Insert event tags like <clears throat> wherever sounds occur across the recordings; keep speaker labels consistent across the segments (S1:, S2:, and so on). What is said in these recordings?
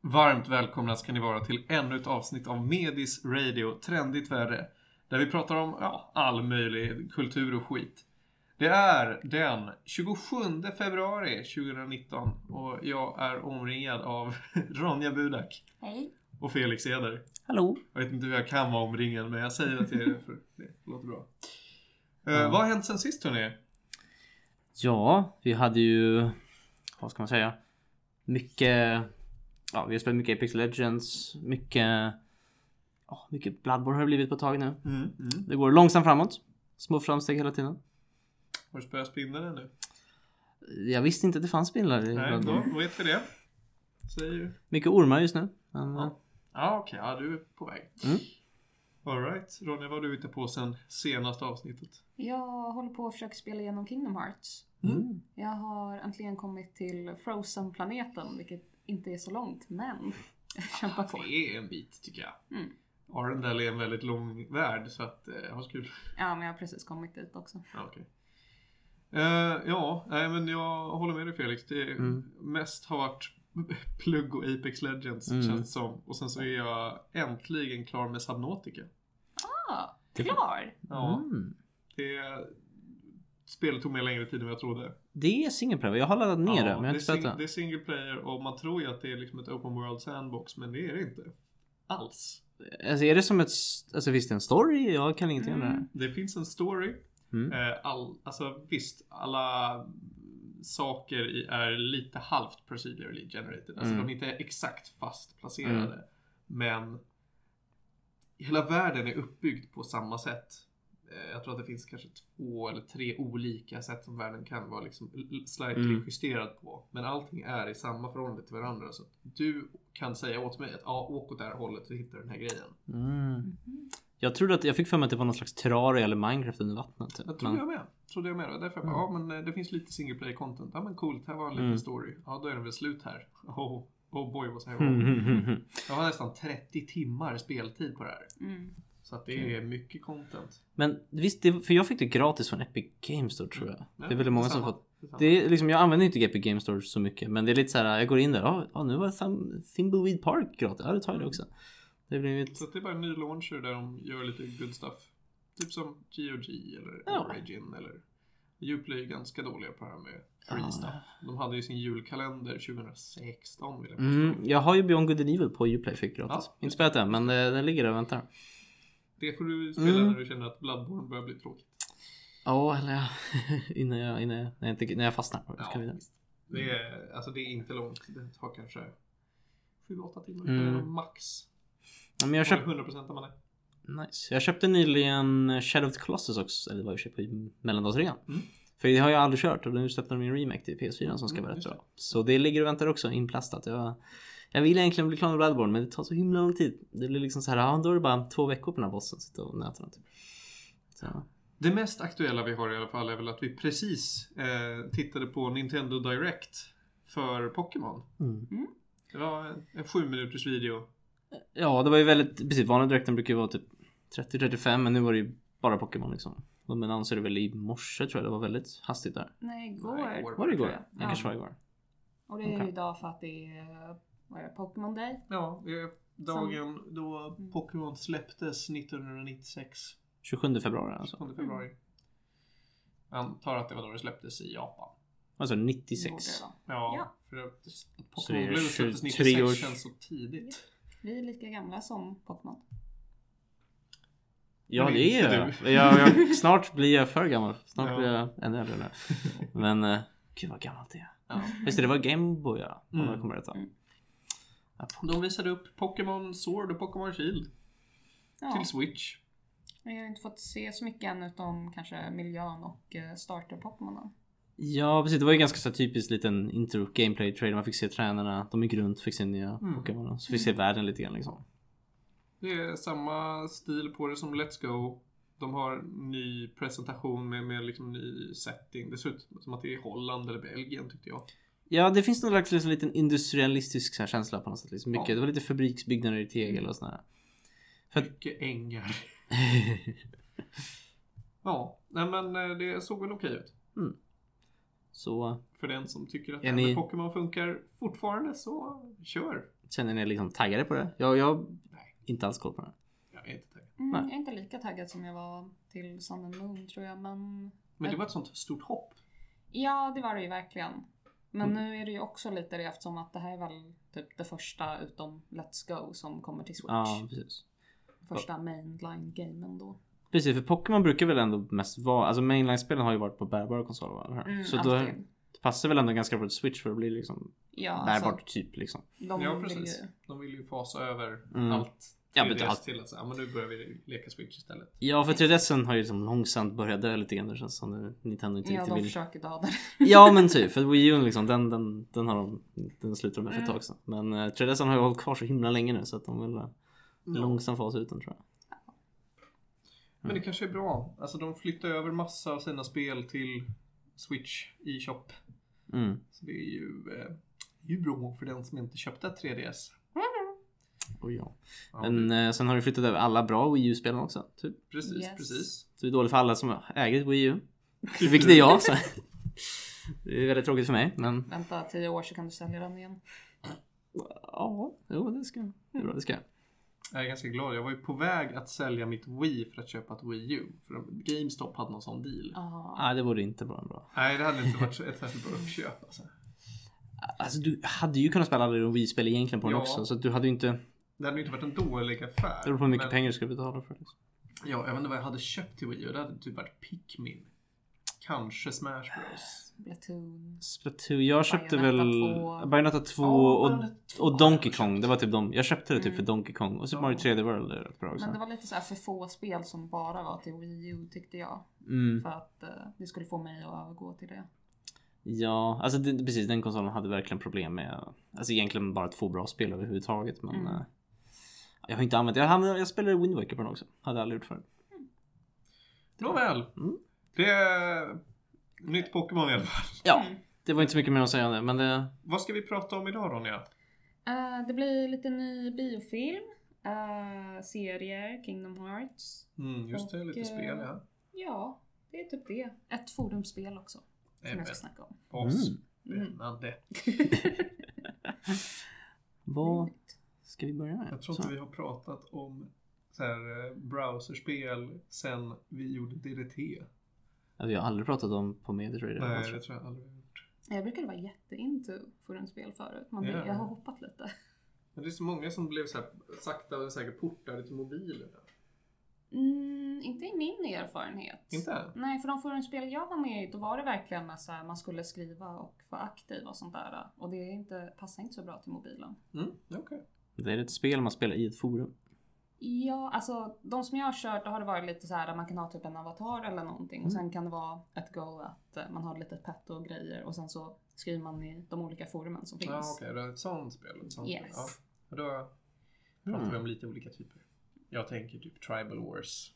S1: Varmt välkomna ska ni vara till ännu ett avsnitt av Medis Radio Trendigt Värre. Där vi pratar om ja, all möjlig kultur och skit. Det är den 27 februari 2019 och jag är omringad av <laughs> Ronja Budak
S2: Hej.
S1: och Felix Eder.
S3: Hallå?
S1: Jag vet inte hur jag kan vara omringad men jag säger det till er för det låter bra. Eh, vad har hänt sen sist hörni?
S3: Ja, vi hade ju... Vad ska man säga? Mycket... Ja, vi har spelat mycket Apex Legends. Mycket... Ja, mycket Bloodborne har det blivit på ett tag nu.
S1: Mm, mm.
S3: Det går långsamt framåt. Små framsteg hela tiden.
S1: Har du spöat spindeln ännu?
S3: Jag visste inte att det fanns spindlar i
S1: Nej, då
S3: Bloodborne.
S1: vet vi det. Säger ju.
S3: Mycket ormar just nu. Men,
S1: Ja. Ja, okej. Ja, du är på väg.
S3: Mm.
S1: Alright. Ronja, vad har du ute på sen senaste avsnittet?
S2: Jag håller på att försöka spela igenom Kingdom Hearts.
S3: Mm.
S2: Jag har äntligen kommit till Frozen-planeten, vilket inte är så långt, men jag kämpar på.
S1: Det är en bit, tycker jag.
S2: Mm.
S1: Arendelle är en väldigt lång värld, så att eh, ha så kul.
S2: Ja, men jag har precis kommit dit också.
S1: Ja, okej. Eh, ja, nej, men jag håller med dig Felix. Det är-
S3: Mm.
S1: mest har varit plugg och Apex Legends,
S3: Mm.
S1: känns det som. Och sen så är jag äntligen klar med Subnautica.
S2: Ah,
S3: Det-
S2: klar!
S1: Ja,
S3: Mm.
S1: det spelet tog mig längre tid än vad jag trodde.
S3: Det är singelpröva. Jag har laddat ner det men jag har
S1: det,
S3: inte
S1: är sing-
S3: spelat
S1: det
S3: det.
S1: är single player och man tror ju att det är liksom ett open world sandbox men det är det inte. Alls.
S3: Alltså är det som ett... s- Alltså finns det en story? Jag kan ingenting om det här.
S1: Det finns en story.
S3: Mm.
S1: Eh, All, alltså visst, alla saker i, är lite halvt procedurally generated. Alltså
S3: Mm.
S1: de är inte exakt fast placerade. Men hela världen är uppbyggd på samma sätt. Eh, Jag tror att det finns kanske två eller tre olika sätt som världen kan vara liksom l- l- slightly
S3: Mm.
S1: justerad på. Men allting är i samma förhållande till varandra. Så att du kan säga åt mig att ja, åk åt det här hållet så hittar du den här grejen.
S3: Mm.
S2: Mhm.
S3: Jag trodde att... Jag fick för mig att det var någon slags Terraria eller Minecraft under vattnet.
S1: Jag
S3: Typ. men-
S1: trodde jag med. Trodde jag med. Det var Därför jag bara, ja men eh, det finns lite single player content. Ja men coolt, här var en liten
S3: Mm.
S1: story. Ja då är den väl slut här. <laughs> Oh, oh boy vad säger jag?
S3: Mm.
S1: Jag har nästan 30 timmar speltid på det här.
S2: Mm.
S1: Så att det är mycket content.
S3: Men visst, det, för jag fick det gratis från Epic Games Store tror jag.
S1: Mm. Ja,
S3: det är väldigt många som
S1: detsamma.
S3: fått.
S1: Detsamma.
S3: Det är liksom, jag använder inte Epic Games Store så mycket. Men det är lite så här, jag går in där. Ja, ja, nu var Thim- Thimbleweed Park gratis. Ja, då tar jag det också. Det blir mitt...
S1: Så att det är bara en ny launcher där de gör lite good stuff. Typ som GOG eller
S3: Ja.
S1: Origin eller Uplay är ganska dåliga på det här med free
S3: Ja.
S1: stuff. De hade ju sin julkalender 2016 vill jag påstå.
S3: Mm, jag har ju Beyond Good and Evil på Uplay fick gratis.
S1: Ja.
S3: Inte spelat den, men eh, den ligger där och väntar.
S1: Det får du spela
S3: Mm.
S1: när du känner att Bloodborne börjar bli tråkigt.
S3: Ja, eller ja. <laughs> innan jag, innan jag, när jag, inte- när jag fastnar. Så
S1: Ja,
S3: kan vi-
S1: visst. Det är, alltså det är inte långt. Det tar kanske 7-8 timmar
S3: Mm.
S1: eller max.
S3: Ja, men jag, köpt,
S1: 100% av man är.
S3: Nice. Jag köpte nyligen Shadow of the Colossus också, eller det var ju köpt på mellandagsrean.
S1: Mm.
S3: För det har jag aldrig kört och nu släppte de min remake till PS4 som ska
S1: Mm,
S3: vara rätt
S1: just
S3: bra. Så det ligger och väntar också inplastat. Jag, jag vill egentligen bli klar med Bloodborne men det tar så himla lång tid. Det blir liksom så här, ja då är det bara två veckor på den här bossen sitta och nöta den typ. Så,
S1: Det mest aktuella vi har i alla fall är väl att vi precis eh, tittade på Nintendo Direct för Pokémon.
S3: mm.
S1: Det var en- en 7 minuters video.
S3: Ja det var ju väldigt, precis vanliga direkten brukar ju vara typ 30-35 men nu var det ju bara Pokémon liksom. De annonserade väl i morse tror jag, det var väldigt hastigt där.
S2: Nej,
S1: Nej, igår.
S2: igår.
S3: Var det
S2: tror
S3: igår?
S2: jag.
S3: Det kanske var igår.
S2: Och det är ju
S3: Okej.
S2: idag för att det är, vad är det, Pokémon Day?
S1: Ja, eh, dagen då Pokémon släpptes 1996.
S3: 27 februari alltså.
S1: 27 februari. Jag antar att det var då det släpptes i Japan.
S3: Alltså
S2: Borde
S3: 96.
S2: det vara.
S1: Ja,
S2: Ja.
S1: för att
S3: Så det
S1: Pokémon
S3: är
S1: Blue släpptes
S3: 23
S1: 96
S3: års-
S1: känns så tidigt.
S2: Vi är lika gamla som Pokémon.
S3: Ja
S1: Men
S3: det
S1: inte
S3: är jag.
S1: du.
S3: jag, jag. <laughs> Snart blir jag för gammal. Snart
S1: Ja.
S3: blir jag ännu äldre nu. Men eh, gud vad gammalt det är.
S1: Ja.
S3: Visst det var Gameboy ja. Om
S1: Mm.
S3: jag kommer rätt ihåg.
S2: Mm.
S3: Ja,
S1: De visade upp Pokémon Sword och Pokémon Shield
S2: Ja,
S1: till Switch.
S2: men jag har inte fått se så mycket än utom kanske miljön och eh, starter-Pokémonen.
S3: Ja precis det var ju ganska så här typiskt liten intro gameplay trailer. Man fick se tränarna. De gick runt, fick se nya
S1: Mm.
S3: Pokémon. Så fick se världen lite grann liksom.
S1: Det är samma stil på det som Let's Go. De har ny presentation med, med liksom ny setting. Det ser ut som att det är Holland eller Belgien tyckte jag.
S3: Ja, det finns någon slags liksom, liten industrialistisk så här, känsla på något sätt. Liksom. Mycket,
S1: Ja.
S3: Det var lite fabriksbyggnader i tegel och sådär. <laughs> För att-
S1: Mycket ängar. Ja, nej men eh, det såg väl okej ut.
S3: så
S1: För den som tycker att
S3: Är
S1: det här
S3: ni-
S1: med Pokémon funkar fortfarande så kör.
S3: känner ni er liksom taggade på det? Jag, jag har inte alls koll på det.
S1: Jag är inte taggad.
S2: Mm,
S3: Nej.
S2: jag är inte lika taggad som jag var till Sun and Moon tror jag, men
S1: Men det var ett sånt stort hopp.
S2: ja, det var det ju verkligen.
S3: Mm.
S2: Men nu är det ju också lite det eftersom att det här är väl typ det första utom Let's Go som kommer till Switch.
S3: Ja, precis.
S2: Första mainline-gamen då.
S3: Precis, för Pokémon brukar väl ändå mest vara... Alltså mainline-spelen har ju varit på bärbara konsoler va? Eller hur?
S2: Mm,
S3: så då det
S2: alltid.
S3: passar väl ändå ganska bra till Switch för att bli liksom
S2: Ja,
S3: bärbart
S2: alltså,
S3: typ liksom.
S2: de
S1: ja,
S2: vill
S1: precis.
S2: ju...
S1: De vill ju fasa över
S3: Mm.
S1: allt.
S3: Ja,
S1: 3DS
S3: men allt-
S1: till att säga, ja, men nu börjar vi leka Switch istället.
S3: Ja, för 3DSen har ju liksom långsamt börjat dö lite grann. Det känns som nu Nintendo inte
S2: Ja,
S3: riktigt
S2: de
S3: vill.
S2: försöker döda det.
S3: Ja, men typ. För Wii U liksom, den, den, den, har de, den slutade de med för ett
S2: Mm.
S3: tag sedan. Men eh, 3DSen har ju hållit kvar så himla länge nu så att de vill eh, långsamt fasa ut den tror jag.
S1: Men
S3: Mm.
S1: det kanske är bra. Alltså de flyttar över massa av sina spel till Switch i shop.
S3: Mm.
S1: Så det är ju, eh, det är ju bra för den som inte köpte 3DS.
S3: Och ja.
S1: Ja,
S3: Men eh, sen har de flyttat över alla bra Wii U-spelen också. Typ.
S1: Precis,
S2: Yes.
S1: precis.
S3: Så det är dåligt för alla som äger ett Wii U. Vilket är jag. Så. Det är väldigt tråkigt för mig. Men
S2: <laughs> Vänta tio år så kan du sälja den igen.
S3: ja, jo, det ska det är bra. Det ska jag.
S1: Jag är ganska glad. Jag var ju på väg att sälja mitt Wii för att köpa ett Wii U. För de- GameStop hade någon sån deal.
S2: Ja,
S3: Nej, det vore inte bra. bra.
S1: Nej, det hade inte varit så- ett särskilt bra uppköp. Alltså.
S3: Alltså, du hade ju kunnat spela alla dina Wii-spel egentligen på den
S1: Ja.
S3: också. Så att du hade ju inte...
S1: Det hade ju inte varit en dålig affär.
S3: Det beror på hur mycket
S1: men,
S3: pengar du ska betala för det.
S1: Ja, jag vet inte vad jag hade köpt till Wii U. Det hade typ varit Pikmin. Kanske Smash Bros.
S2: Splatoon.
S3: Splatoon, jag köpte
S2: Bayonetta
S3: väl
S2: 2.
S3: Bayonetta 2
S1: Ja,
S3: och,
S1: Bayonetta 2
S3: och Donkey
S1: har jag
S3: Kong. Det var typ de. Jag köpte det typ
S2: Mm.
S3: för Donkey Kong. Och Super
S1: Ja.
S3: Mario 3D World är rätt bra också.
S2: Men det var lite så här för få spel som bara var till Wii U tyckte jag.
S3: Mm.
S2: För att eh, det skulle få mig att övergå till det.
S3: Ja, alltså det, precis den konsolen hade verkligen problem med Alltså egentligen bara två bra spel överhuvudtaget men
S2: Mm.
S3: eh, Jag har inte använt det. Jag, använde- jag spelade Wind Waker på den också. Hade aldrig gjort förut.
S1: Nåväl.
S3: Mm.
S1: Det är nytt Pokémon i alla fall.
S3: Ja,
S2: Mm.
S3: det var inte så mycket mer att säga om det men eh, det
S1: Vad ska vi prata om idag Ronja?
S2: Eh, det blir lite ny biofilm. eh, serier, Kingdom Hearts.
S1: Mm, just det,
S2: Och,
S1: lite spel
S2: eh,
S1: ja.
S2: Ja, det är typ det. Ett forumspel också. Som
S1: Även
S2: jag ska snacka om.
S1: oss.
S3: Mm.
S2: Mm.
S1: Spännande.
S2: <laughs>
S3: Vad ska vi börja med?
S1: Jag tror
S3: Så.
S1: inte vi har pratat om så här, eh, browserspel sen vi gjorde DDT.
S3: Ja, vi Alltså, har aldrig pratat om på Alltså, Media
S1: Nej, det
S3: Trader.
S1: tror jag aldrig vi har gjort.
S2: jag brukade vara jätteinto forumspel förut. Men det,
S1: Ja.
S2: jag har hoppat lite.
S1: Men det är så många som blev så här, sakta men säkert portade till mobilerna.
S2: Mm, inte i min erfarenhet.
S1: Inte?
S2: Nej, för de forumspel jag var med i, då var det verkligen med så här, man skulle skriva och vara aktiv och sånt där. Och det är inte, passar inte så bra till mobilen.
S1: Mm, okej.
S3: Det är ett spel man spelar i ett forum.
S2: Ja, alltså de som jag har kört, då har det varit lite så här att man kan ha typ en avatar eller någonting.
S3: Mm.
S2: Och sen kan det vara ett goal att eh, man har lite pet och grejer. Och sen så skriver man i de olika forumen som finns.
S1: Ja, okej. Det är ett sånt spel. Ett sånt spel. Ja.
S2: Yes.
S1: Och då pratar
S3: Mm.
S1: vi om lite olika typer. Jag tänker typ Tribal Wars.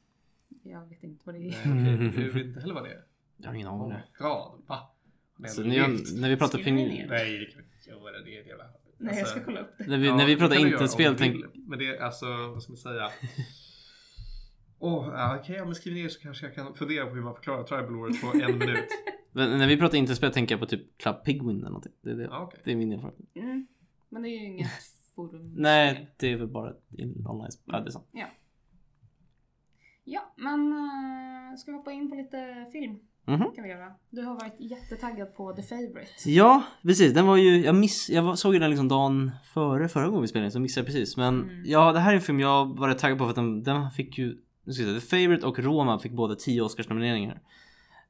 S2: Jag vet inte vad det
S1: Nej,
S2: är.
S3: Mm.
S1: okej. Du vet inte heller vad det är?
S3: Jag har ingen aning
S1: Oh
S3: om
S1: my
S3: det.
S1: god, va? Har ni
S3: Så
S1: aldrig
S3: när, jag,
S1: levt?
S3: när vi pratar
S2: Skriver ni
S3: ping-
S2: ner?
S1: Nej, det kan vi inte göra. Det är ett jävla...
S2: <laughs> Nej, jag
S1: Alltså-
S2: ska kolla upp det.
S3: när vi,
S1: Ja,
S3: när vi
S1: det
S3: pratar
S1: kan du göra om
S3: internetspel
S1: du
S3: tänk...
S1: vill. Men det är alltså, vad ska man
S3: <laughs>
S1: säga? Åh, ja, okej, ja, men skriv ner så kanske jag kan fundera på hur man förklarar tribal wars på en minut.
S3: Men När vi pratar internetspel tänker jag på typ Club Pigwin eller någonting. Det är, det.
S1: Ja, okej.
S3: Det är min erfarenhet.
S2: Mm. Men det är ju inget forum.
S3: Nej, det är väl bara ett in-
S1: Mm.
S3: online spel. Ja, det är sant.
S2: Ja, men eh, ska vi hoppa in på lite film?
S3: Mhm.
S2: kan vi göra. Du har varit jättetaggad på The Favourite.
S3: Ja, precis. Den var ju, jag, miss, jag var- såg ju den liksom dagen före förra gången vi spelade in, så missade jag precis. Men
S2: Mm.
S3: ja, det här är en film jag var rätt taggad på för att den, den fick ju, nu ska jag säga, The Favourite och Roma fick båda 10 Oscarsnomineringar.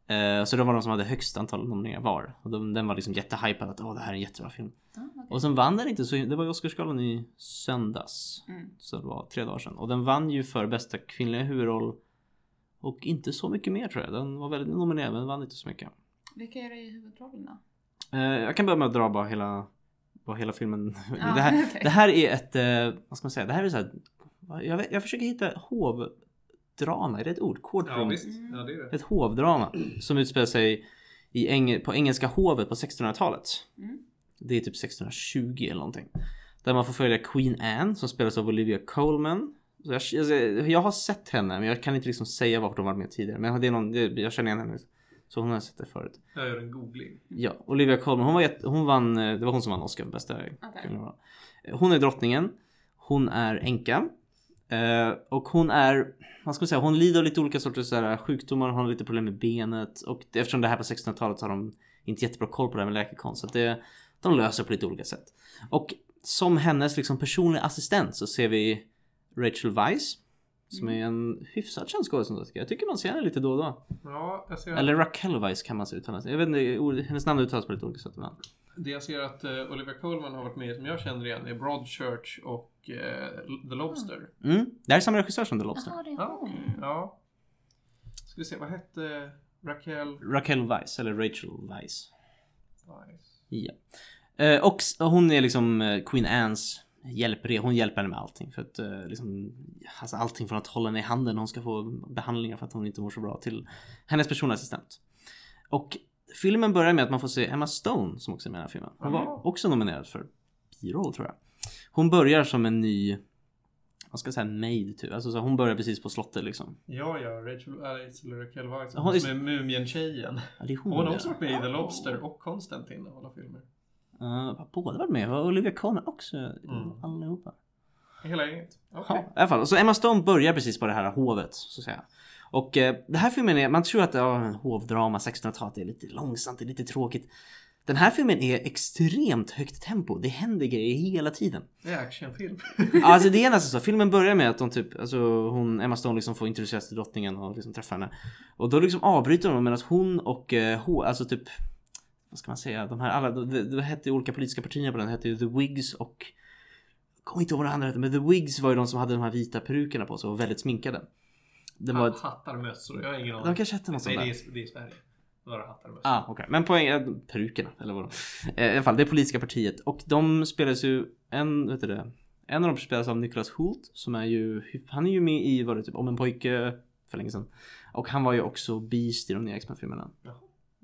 S3: Eh, så det var de som hade högst antal nomineringar var. Och de, den var liksom jättehypad att åh, det här är en jättebra film.
S2: Ah, okej.
S3: Och sen vann den inte, så det var ju Oscarsgalan i söndags.
S2: Mm.
S3: Så det var tre dagar sedan. Och den vann ju för bästa kvinnliga huvudroll. Och inte så mycket mer tror jag. Den var väldigt nominerad men vann inte så mycket.
S2: Vilka är det i huvudrollerna?
S3: Eh, jag kan börja med att dra bara hela, bara hela filmen.
S2: Ja,
S3: <laughs> det, här,
S2: Ah, okej.
S3: det här är ett, eh, vad ska man säga, det här är så här, Jag, vet, jag försöker hitta hovdrama, är det ett ord?
S1: Ja,
S3: Courtroom.
S1: visst. Ja, det är det.
S3: ett hovdrama som utspelar sig i Eng- på engelska hovet på 1600-talet.
S2: Mm.
S3: Det är typ 1620 eller någonting. Där man får följa Queen Anne som spelas av Olivia Colman. Så jag, jag, jag har sett henne men jag kan inte liksom säga varför hon varit med tidigare. Men det är någon, det, jag känner igen henne. Så hon har jag sett det förut.
S1: Jag gör en googling.
S3: Ja, Olivia Colman. Hon, var jätte, hon vann, eh, det var hon som vann Oscar för bästa kvinnliga roll. Eh, Hon är drottningen. Hon är änka. Eh, och hon är, vad ska man säga, hon lider av lite olika sorters så här, sjukdomar. Hon har lite problem med benet. Och det- eftersom det här på 1600-talet så har de inte jättebra koll på det här med läkekonst. Så att det, de löser på lite olika sätt. Och som hennes liksom, personliga assistent så ser vi Rachel Weisz. Som är en hyfsat känd skådespelare tycker jag. Jag tycker man ser henne lite då och då.
S1: Ja, jag ser,
S3: Eller Raquel Weiss kan man se uttalas. Jag vet inte, ord- hennes namn uttalas på lite olika sätt ibland.
S1: det jag ser att eh, Olivia Colman har varit med i, som jag känner igen är Broadchurch och eh, The Lobster.
S3: Mm. Det här är samma regissör som The Lobster.
S2: Jaha, det
S1: Ja,
S2: är hon.
S1: okej. Ja. Ska vi se, vad hette Raquel
S3: Raquel Weiss, eller Rachel Weiss.
S1: Weiss?
S3: Ja. Eh, Och s- hon är liksom eh, Queen Annes hjälpre. Hon hjälper henne med allting. För att eh, liksom, alltså allting från att hålla henne i handen när hon ska få behandlingar för att hon inte mår så bra till hennes personassistent. Och filmen börjar med att man får se Emma Stone som också är med i den här filmen. Hon
S1: Jaha.
S3: var också nominerad för biroll tror jag. Hon börjar som en ny, vad ska jag säga, maid typ. Alltså så hon börjar precis på slottet liksom.
S1: Ja, ja, Rachel Alice eller Raquel Weiss.
S3: Hon är-
S1: Hon som är Mumien-tjejen.
S3: Ja, det är hon.
S1: Hon har
S3: ja.
S1: också varit med i The Lobster och Konstantin av alla filmer.
S3: Eh, båda varit med. Var Olivia Colman också? Allihopa.
S1: Hela gänget. Mm. Okej.
S3: Ja, i alla fall. Så Emma Stone börjar precis på det här hovet, så att säga. Och eh, det här filmen är, man tror att ja, men hovdrama 1600-talet är lite långsamt, det är lite tråkigt. Den här filmen är extremt högt tempo. Det händer grejer hela tiden.
S1: Det är actionfilm.
S3: Alltså det är nästan så. Filmen börjar med att de typ, alltså hon, Emma Stone liksom får introduceras till drottningen och liksom träffa henne. Och då liksom avbryter de medan hon och eh, H, alltså typ, vad ska man säga, de här alla, det, det hette ju olika politiska partierna på den, det hette ju The Wigs och Kommer inte ihåg vad det andra hette, men The Wigs var ju de som hade de här vita perukerna på sig och väldigt sminkade. Det var ett,
S1: Hattar, mössor. Jag har ingen
S3: de
S1: aning.
S3: kanske hette något
S1: Nej, det är,
S3: sånt där.
S1: det är i Sverige. Några hattar och mössor.
S3: Ah, okej. Men poängen, perukerna eller vad de, eh, I alla fall, det är politiska partiet och de spelas ju, en, vet du det, en av dem spelas av Nicholas Hoult som är ju, han är ju med i, var det typ, Om en pojke för länge sedan. Och han var ju också Beast i de nya X-Men-filmerna.
S1: Jaha.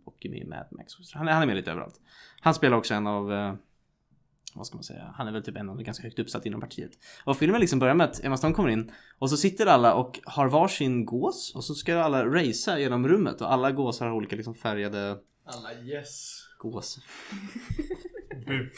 S3: Och är med i Mad Max. Så Han är, han är med lite överallt. Han spelar också en av, eh, vad ska man säga, han är väl typ en av de ganska högt uppsatt inom partiet. Och filmen liksom börjar med att Emma Stone kommer in och så sitter alla och har varsin gås och så ska alla racea genom rummet och alla gåsar har olika liksom färgade
S1: Alla yes.
S3: gås.
S1: Bu.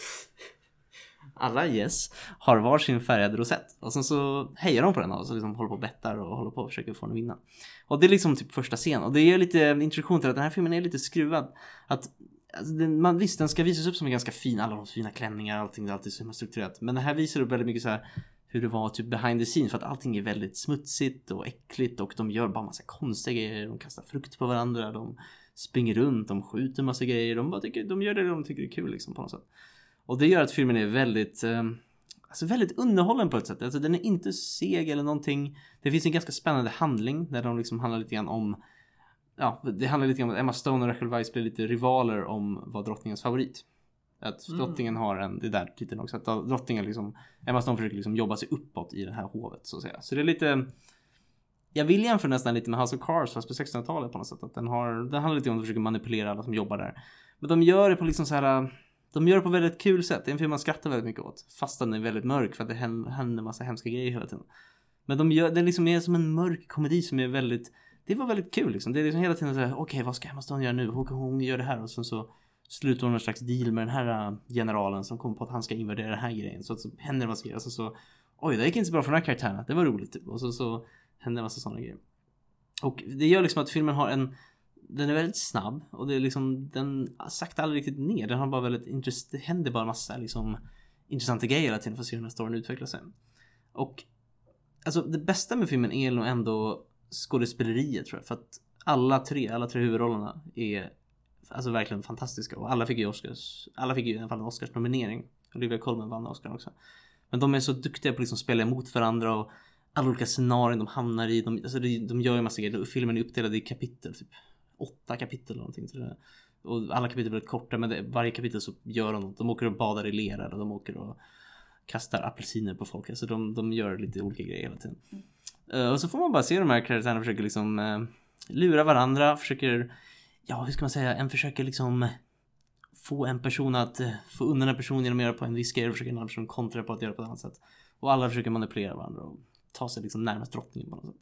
S3: Alla yes har varsin färgad rosett och sen så hejar de på den och så liksom håller på och bettar och håller på och försöker få den att vinna. Och det är liksom typ första scen och det ger lite introduktion till att den här filmen är lite skruvad. Att alltså, den, man, visst, den ska visas upp som en ganska fin, alla har fina klänningar, allting det är alltid så himla strukturerat. Men det här visar upp väldigt mycket så här hur det var typ behind the scenes för att allting är väldigt smutsigt och äckligt och de gör bara massa konstiga grejer. De kastar frukt på varandra, de springer runt, de skjuter massa grejer. De bara tycker, de gör det de tycker är kul liksom på något sätt. Och det gör att filmen är väldigt eh, Alltså väldigt underhållen på ett sätt. Alltså den är inte seg eller någonting. Det finns en ganska spännande handling där de liksom handlar lite grann om Ja, det handlar lite grann om att Emma Stone och Rachel Weisz blir lite rivaler om vad drottningens favorit. Att
S1: Mm.
S3: drottningen har en, det är där titeln också, att drottningen liksom Emma Stone försöker liksom jobba sig uppåt i det här hovet så att säga. Så det är lite Jag vill jämföra nästan lite med House of Cards fast på 1600-talet på något sätt. Att den har, den handlar lite om att försöka manipulera alla som jobbar där. Men de gör det på liksom så här de gör det på väldigt kul sätt. Det är en film man skrattar väldigt mycket åt. Fast den är väldigt mörk för att det hän- händer massa hemska grejer hela tiden. Men de gör, den liksom är som en mörk komedi som är väldigt Det var väldigt kul liksom. Det är liksom hela tiden såhär, okej vad ska Emma Stone göra nu? Hon, hon gör det här och sen så slutar hon någon slags deal med den här äh, generalen som kom på att han ska invadera den här grejen. Så, att så händer det massa grejer. Och sen så Oj, det gick inte så bra för den här karaktären. Det var roligt typ. Och så, så händer en massa sådana grejer. Och det gör liksom att filmen har en den är väldigt snabb och det är liksom den saktar aldrig riktigt ner. Den har bara väldigt intress- det händer bara massa liksom intressanta grejer hela tiden för att se hur den här storyn utvecklar sig. Och alltså det bästa med filmen är nog ändå skådespeleriet tror jag för att alla tre, alla tre huvudrollerna är alltså verkligen fantastiska och alla fick ju Oscars, alla fick ju i alla fall en Oscarsnominering. Olivia Colman vann Oscar också. Men de är så duktiga på att liksom spela emot varandra och alla olika scenarion de hamnar i. De, alltså de, de gör ju massa grejer. Filmen är uppdelad i kapitel, typ åtta kapitel eller någonting. Till det. Och alla kapitel är väldigt korta men det, varje kapitel så gör de något. De åker och badar i lera eller de åker och kastar apelsiner på folk. Alltså de, de gör lite olika grejer hela tiden. Eh, och så får man bara se de här karaktärerna försöker liksom eh, lura varandra, försöker, ja hur ska man säga, en försöker liksom få en person att eh, få undan en person genom att göra på en viss grej och försöker en annan person kontra på att göra på ett annat sätt. Och alla försöker manipulera varandra och ta sig liksom närmast drottningen på något sätt.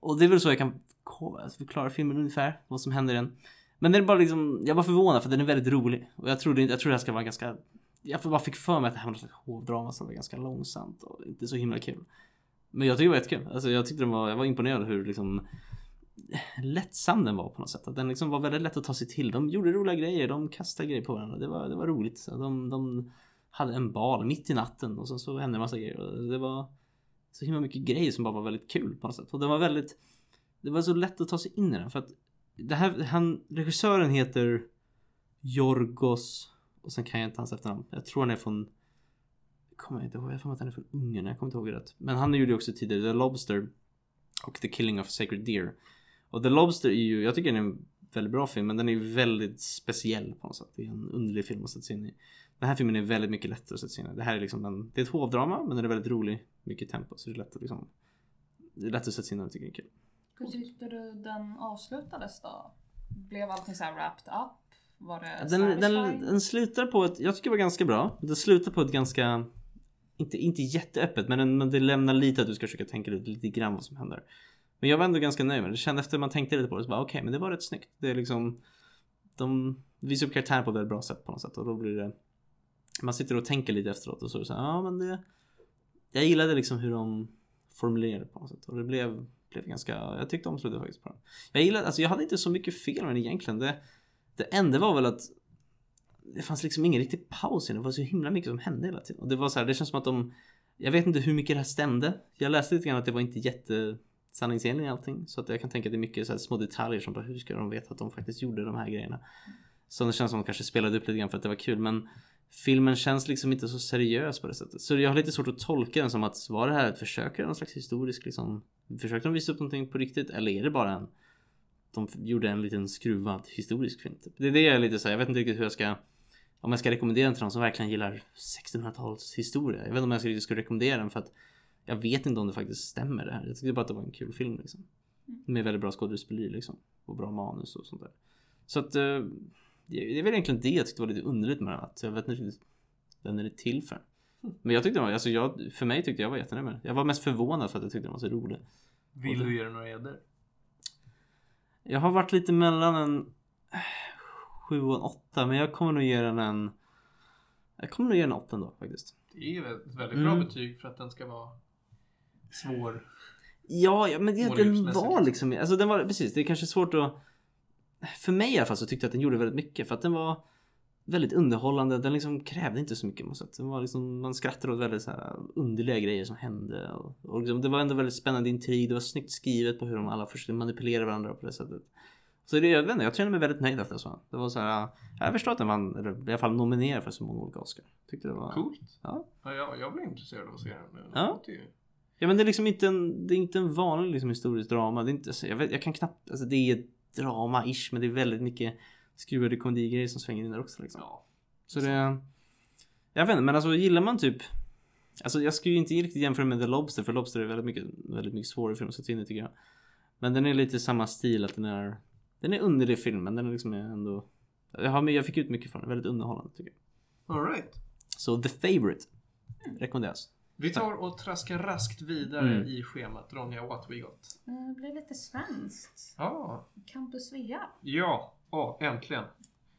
S3: Och det är väl så jag kan ko- alltså, förklara filmen ungefär, vad som händer i den. Men den är bara liksom, jag var förvånad för den är väldigt rolig. Och jag trodde, inte- jag trodde det här ska vara ganska, jag bara fick för mig att det här var något slags hovdrama som var ganska långsamt och inte så himla kul. Men jag tycker det var jättekul. Alltså jag tyckte den var, jag var imponerad hur liksom lättsam den var på något sätt. Att den liksom var väldigt lätt att ta sig till. De gjorde roliga grejer, de kastade grejer på varandra. Det var, det var roligt. Så De, de hade en bal mitt i natten och sen så hände en massa grejer. Och Det var så himla mycket grejer som bara var väldigt kul på något sätt. Och det var väldigt, det var så lätt att ta sig in i den för att det här, han, regissören heter Jorgos och sen kan jag inte hans efternamn. Jag tror han är från kommer jag inte ihåg. Jag får att han är från Ungern. Jag kommer inte ihåg rätt. Men han gjorde ju också tidigare The Lobster och The Killing of a Sacred Deer. Och The Lobster är ju, jag tycker den är en väldigt bra film, men den är ju väldigt speciell på något sätt. Det är en underlig film att sätta sig in i. Den här filmen är väldigt mycket lättare att sätta sig in i. Det här är liksom en, det är ett hovdrama, men den är väldigt rolig. Mycket tempo, så det är lätt att liksom, det är lätt att sätta sig in i den, tycker jag är kul.
S2: Hur tyckte du den avslutades då? Blev allting så här wrapped up? Var det
S3: Den, den,
S2: satisfying?
S3: den slutar på ett, jag tycker det var ganska bra. Den slutar på ett ganska, inte, inte jätteöppet men, den, men det lämnar lite att du ska försöka tänka ut lite grann vad som händer. Men jag var ändå ganska nöjd med det. det. Kände efter man tänkte lite på det så bara okej men det var rätt snyggt. Det är liksom, de visar upp karaktären på ett väldigt bra sätt på något sätt och då blir det, man sitter och tänker lite efteråt och så är det så här, ja men det, jag gillade liksom hur de formulerade det på något sätt och det blev, blev ganska, jag tyckte om slutet faktiskt på den. Jag gillade, alltså jag hade inte så mycket fel med den egentligen. Det, det enda var väl att det fanns liksom ingen riktig paus i den. Det var så himla mycket som hände hela tiden. Och det var så här, det känns som att de... Jag vet inte hur mycket det här stämde. Jag läste lite grann att det var inte jätte sanningsenligt allting. Så att jag kan tänka att det är mycket så här små detaljer som bara hur ska de veta att de faktiskt gjorde de här grejerna. Så det känns som att de kanske spelade upp lite grann för att det var kul. Men filmen känns liksom inte så seriös på det sättet. Så jag har lite svårt att tolka den som att var det här ett försök eller någon slags historisk liksom. Försökte de visa upp någonting på riktigt eller är det bara en de gjorde en liten skruvad historisk film. Typ. Det är det jag är lite så här, jag vet inte riktigt hur jag ska om jag ska rekommendera den till någon som verkligen gillar 1600-talshistoria. Jag vet inte om jag ska, ska rekommendera den för att jag vet inte om det faktiskt stämmer det här. Jag tyckte bara att det var en kul film liksom. Med väldigt bra skådespeleri liksom. Och bra manus och sånt där. Så att eh, det det är väl egentligen det jag tyckte var lite underligt med den. Att jag vet inte riktigt den är det till för. Men jag tyckte den var, alltså jag, för mig tyckte jag var jättenöjd med den. Jag var mest förvånad för att jag tyckte den var så rolig.
S1: Vill du ge den några gäddor?
S3: Jag har varit lite mellan en eh, sju och en åtta men jag kommer nog ge den en Jag kommer nog ge den en 8 ändå faktiskt.
S1: Det är ju ett väldigt bra
S3: Mm.
S1: betyg för att den ska vara svår.
S3: Ja, ja men det, den
S1: Målgruppsmässigt.
S3: var liksom, alltså den var, precis det är kanske svårt att För mig i alla fall så tyckte jag att den gjorde väldigt mycket för att den var Väldigt underhållande, den liksom krävde inte så mycket på något sätt. Den var liksom, man skrattade åt väldigt så här underliga grejer som hände. Och, och liksom, det var ändå väldigt spännande intrig, det var snyggt skrivet på hur de alla försökte manipulera varandra på det sättet. Så det, jag vet inte, jag kände mig väldigt nöjd efter så. Det var så här, jag förstår att den vann, eller i alla fall nominerad för så många olika Oscar. Tyckte det var...
S1: Coolt.
S3: Ja.
S1: Ja, jag, jag blir intresserad av att se den nu.
S3: Ja.
S1: Det är ju-
S3: Ja men det är liksom inte en, det är inte en vanlig liksom, historisk drama. Det är inte, alltså, jag, vet, jag kan knappt, alltså det är drama-ish men det är väldigt mycket skruvade komedigrejer som svänger in där också liksom.
S1: Ja.
S3: Så det, jag vet inte men alltså gillar man typ Alltså jag skulle ju inte riktigt jämföra med The Lobster för Lobster är väldigt mycket, väldigt mycket svårare film att sätta in i tycker jag. Men den är lite samma stil att den är Den är underlig film men den är liksom ändå Jag, har, jag fick ut mycket från den, väldigt underhållande tycker jag.
S1: All right.
S3: Så The Favourite rekommenderas.
S1: Vi tar och traskar raskt vidare
S3: Mm.
S1: i schemat. Ronja, what we got?
S2: Eh, Det blev lite svenskt.
S1: Ja,
S2: Campus Svea.
S1: Ja, ja, äntligen.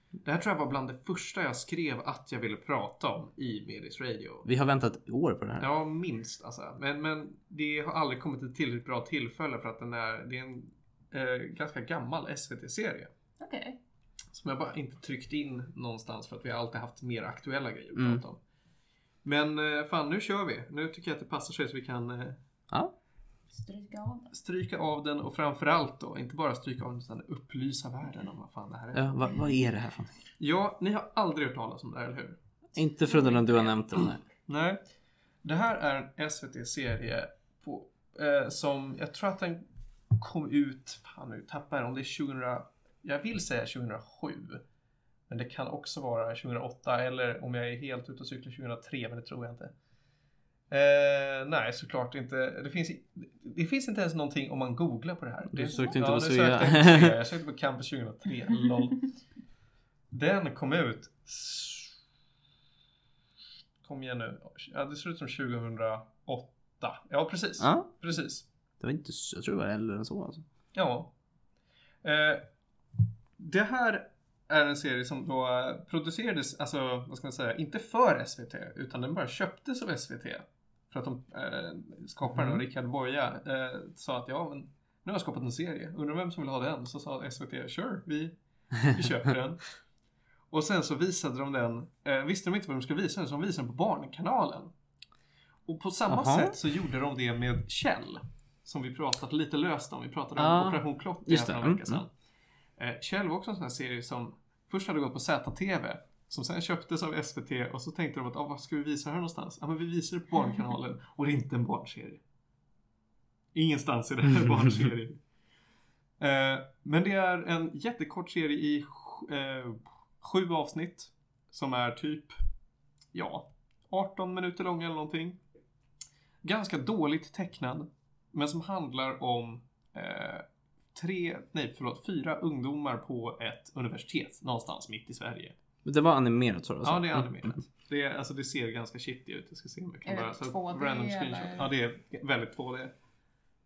S1: Det här tror jag var bland det första jag skrev att jag ville prata om i Medis Radio.
S3: Vi har väntat år på det här.
S1: Ja, minst alltså. Men, men det har aldrig kommit ett tillräckligt bra tillfälle för att den är, det är en eh, ganska gammal SVT-serie.
S2: Okej.
S1: Som jag bara inte tryckt in någonstans för att vi har alltid haft mer aktuella grejer att
S3: Mm.
S1: prata om. Men eh, fan, nu kör vi. Nu tycker jag att det passar sig så vi kan eh,
S3: ja.
S2: Stryka av <laughs> den.
S1: stryka av den och framförallt då, inte bara stryka av den utan upplysa världen om vad fan det här är.
S3: Ja, vad, vad är det här för någonting?
S1: Ja, ni har aldrig hört talas om det här, eller hur?
S3: Inte förutom den du har nämnt den. nej.
S1: Nej. Det här är en SVT-serie på, eh, som jag tror att den kom ut, fan nu tappar jag det, om det är 2000, jag vill säga 2007. Men det kan också vara 2008 eller om jag är helt ute och cyklar 2003, men det tror jag inte. Eh, nej, såklart inte. Det finns, det finns inte ens någonting om man googlar på det här.
S3: Du
S1: Det-
S3: sökte inte
S1: ja,
S3: på
S1: nu
S3: Svea.
S1: sökte jag på Svea. Jag sökte på Campus 2003.
S3: <laughs>
S2: Oh,
S1: Lol. Den kom ut... s- Kom igen nu. Ja, det ser ut som 2008. Ja, precis.
S3: Ja,
S1: Precis.
S3: det var inte, så- jag tror det var äldre än så alltså.
S1: Ja. Eh, det här är en serie som då eh, producerades, alltså vad ska man säga, inte för SVT utan den bara köptes av SVT. För att de eh, skaparen,
S3: Mm.
S1: Rickard Boja, eh, sa att ja men nu har jag skapat en serie, undrar vem som vill ha den? Så sa SVT, sure, vi, vi köper
S3: <laughs>
S1: den. Och sen så visade de den, eh, visste de inte vad de skulle visa den, så de visade den på Barnkanalen. Och på samma
S3: Jaha.
S1: sätt så gjorde de det med Kjell. Som vi pratat lite löst om. Vi pratade om
S3: Ja,
S1: Operation Klott
S3: just
S1: för
S3: det.
S1: några veckor
S3: Mm,
S1: sedan. Eh, Kjell var också en sån här serie som först hade gått på ZTV. Som sen köptes av SVT och så tänkte de att ah, vad ska vi visa här någonstans? Ja men vi visar det på Barnkanalen och det är inte en barnserie. Ingenstans är det här barnserie. Eh, men det är en jättekort serie i sj- eh, sju avsnitt. Som är typ, ja, 18 minuter lång eller någonting. Ganska dåligt tecknad. Men som handlar om eh, tre, nej förlåt, fyra ungdomar på ett universitet någonstans mitt i Sverige.
S3: Men Det var animerat sa du? alltså?
S1: Ja, det är
S3: Mm.
S1: animerat. Det, är, alltså, det ser ganska shitty ut. Jag ska se om jag kan
S2: Är det
S1: bara ta upp
S2: 2D
S1: random
S2: eller?
S1: screenshot. Ja, det är väldigt 2D.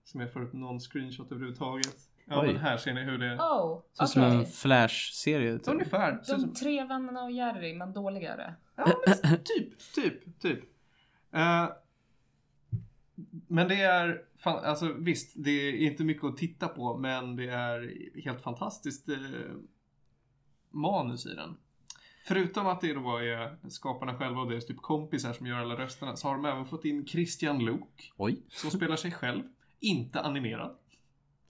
S1: Som jag får upp någon screenshot överhuvudtaget. Ja,
S3: Oj.
S1: men här ser ni hur det...
S2: Oh,
S3: Ser
S2: okej.
S3: ut som en Flash-serie. typ.
S1: Ungefär. ser ut som-
S2: De tre vännerna och Jerry, men dåligare.
S1: Ja, men typ, typ, typ. Eh, men det är, fan, alltså visst, det är inte mycket att titta på, men det är helt fantastiskt eh, manus i den. Förutom att det då var eh, skaparna själva och deras typ kompisar som gör alla rösterna, så har de även fått in Christian Luuk
S3: Oj.
S1: som spelar sig själv, inte animerad.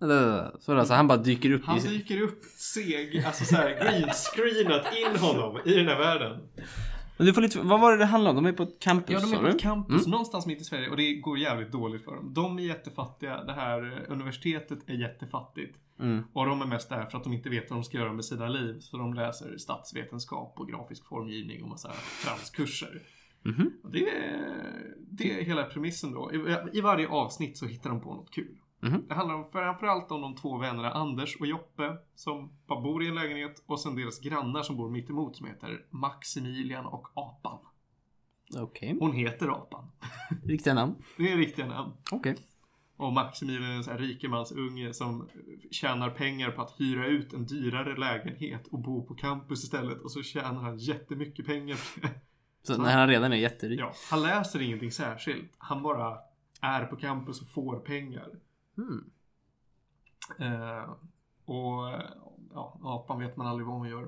S3: Eller, Så alltså, han bara dyker upp
S1: Han
S3: i...
S1: dyker upp seg, alltså såhär greenscreenat in honom i den här världen.
S3: Men du får lite... Vad var det det handlade om? De är på ett campus
S1: Ja, de
S3: sa
S1: är på
S3: du?
S1: ett campus någonstans mitt i Sverige och det går jävligt dåligt för dem. De är jättefattiga, det här eh, universitetet är jättefattigt.
S3: Mm.
S1: Och de är mest där för att de inte vet vad de ska göra med sina liv. Så de läser statsvetenskap och grafisk formgivning och massa transkurser.
S3: Mhm.
S1: Och Det är, det är hela premissen då. I, I varje avsnitt så hittar de på något kul.
S3: Mhm.
S1: Det handlar om, framförallt om de två vännerna Anders och Joppe som bara bor i en lägenhet och sen deras grannar som bor mitt emot som heter Maximilian och Apan.
S3: Okej.
S1: Hon heter Apan.
S3: Riktiga namn.
S1: Det är riktiga namn.
S3: Okej.
S1: Och Maximilian är en sån här rikemansunge som tjänar pengar på att hyra ut en dyrare lägenhet och bo på campus istället. Och så tjänar han jättemycket pengar på det. <laughs>
S3: Så
S1: Så-
S3: när han redan är jätterik.
S1: Ja, han läser ingenting särskilt. Han bara är på campus och får pengar.
S3: Mm.
S1: Eh, och eh, ja, apan vet man aldrig vad hon gör.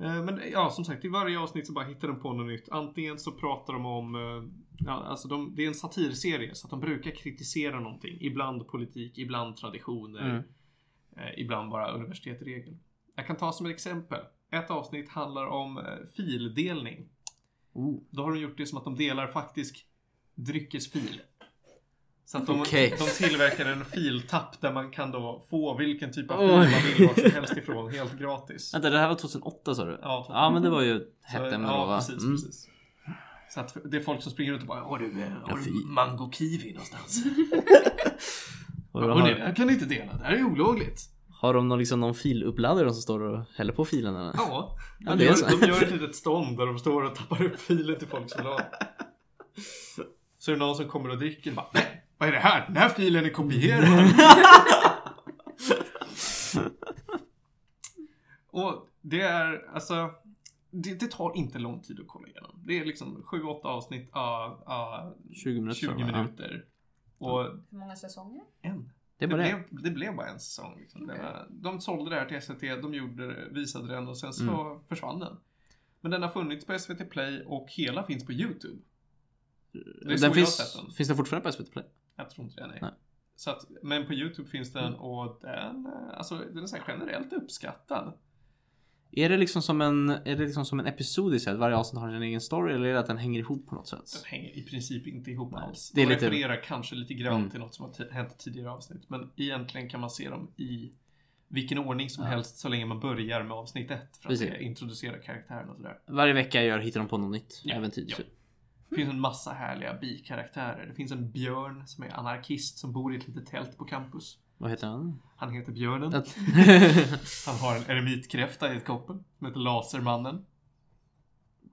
S1: Eh, men ja, som sagt, i varje avsnitt så bara hittar de på något nytt. Antingen så pratar de om, eh, ja, alltså de, det är en satirserie så att de brukar kritisera någonting. Ibland politik, ibland traditioner,
S3: Mm.
S1: eh, ibland bara universitetsregel. Jag kan ta som ett exempel. Ett avsnitt handlar om eh, fildelning.
S3: Oh.
S1: Då har de gjort det som att de delar faktisk dryckesfil. Så att de,
S3: Okej.
S1: de tillverkar en filtapp där man kan då få vilken typ av fil
S3: Oj.
S1: man vill vart som helst ifrån helt gratis.
S3: Vänta, det här var 2008 sa du?
S1: Ja,
S3: Ja, men det var ju
S1: så-
S3: hett ämne då
S1: ja,
S3: va?
S1: precis,
S3: Mm.
S1: precis. Så att det är folk som springer runt och bara Har du, eh, har
S3: fy.
S1: du mango kiwi någonstans?
S3: Och då
S1: Hörrni, det
S3: Har,
S1: här kan ni inte dela, det här är olagligt.
S3: har de någon, liksom, någon filuppladdare som står och häller på filen eller?
S1: Ja,
S3: Ja,
S1: de,
S3: det är
S1: gör,
S3: så.
S1: de gör ett litet stånd där de står och tappar upp filen till folk som vill ha den. Så är det någon som kommer och dricker och bara Nej, vad är det här? Den här filen är kopierad. <laughs> och det är alltså det, det tar inte lång tid att kolla igenom. Det är liksom 7-8 avsnitt av av
S3: 20 minuter.
S1: 20
S3: sa de, va? Ja.
S1: minuter. Och
S2: Hur många säsonger?
S1: en
S3: Det är
S1: det,
S3: bara det.
S1: blev, det blev bara en säsong. Liksom.
S2: Okej.
S1: Den här- De sålde det här till SVT, de gjorde, det, visade den och sen så försvann den. Men den har funnits på SVT Play och hela finns på YouTube. Det är så jag
S3: Den
S1: har
S3: finns,
S1: sett den.
S3: finns den fortfarande på SVT Play?
S1: Jag tror inte det, nej. Mm.
S3: Nej.
S1: Så att, men på YouTube finns den och den, eh, alltså, den är så här generellt uppskattad.
S3: Är det liksom som en, är det liksom som en episod i sig? Att varje avsnitt har sin egen story? Eller är det att den hänger ihop på något
S1: Den
S3: sätt?
S1: hänger i princip inte ihop alls.
S3: det
S1: Det
S3: är
S1: är
S3: lite-
S1: refererar kanske lite grann
S3: Mm.
S1: till något som har ti- hänt i tidigare avsnitt. Men egentligen kan man se dem i vilken ordning som
S3: Ja.
S1: helst så länge man börjar med avsnitt ett. För att
S3: Precis.
S1: eh, introducera karaktären och sådär.
S3: Varje vecka gör, hittar de på något nytt
S1: Ja,
S3: äventyr.
S1: ja.
S3: typ.
S1: Det finns en massa härliga bikaraktärer. Det finns en björn som är anarkist som bor i ett litet tält på campus.
S3: Vad heter han?
S1: Han heter Björnen.
S3: Att- <laughs>
S1: Han har en eremitkräfta i ett koppel som heter Lasermannen.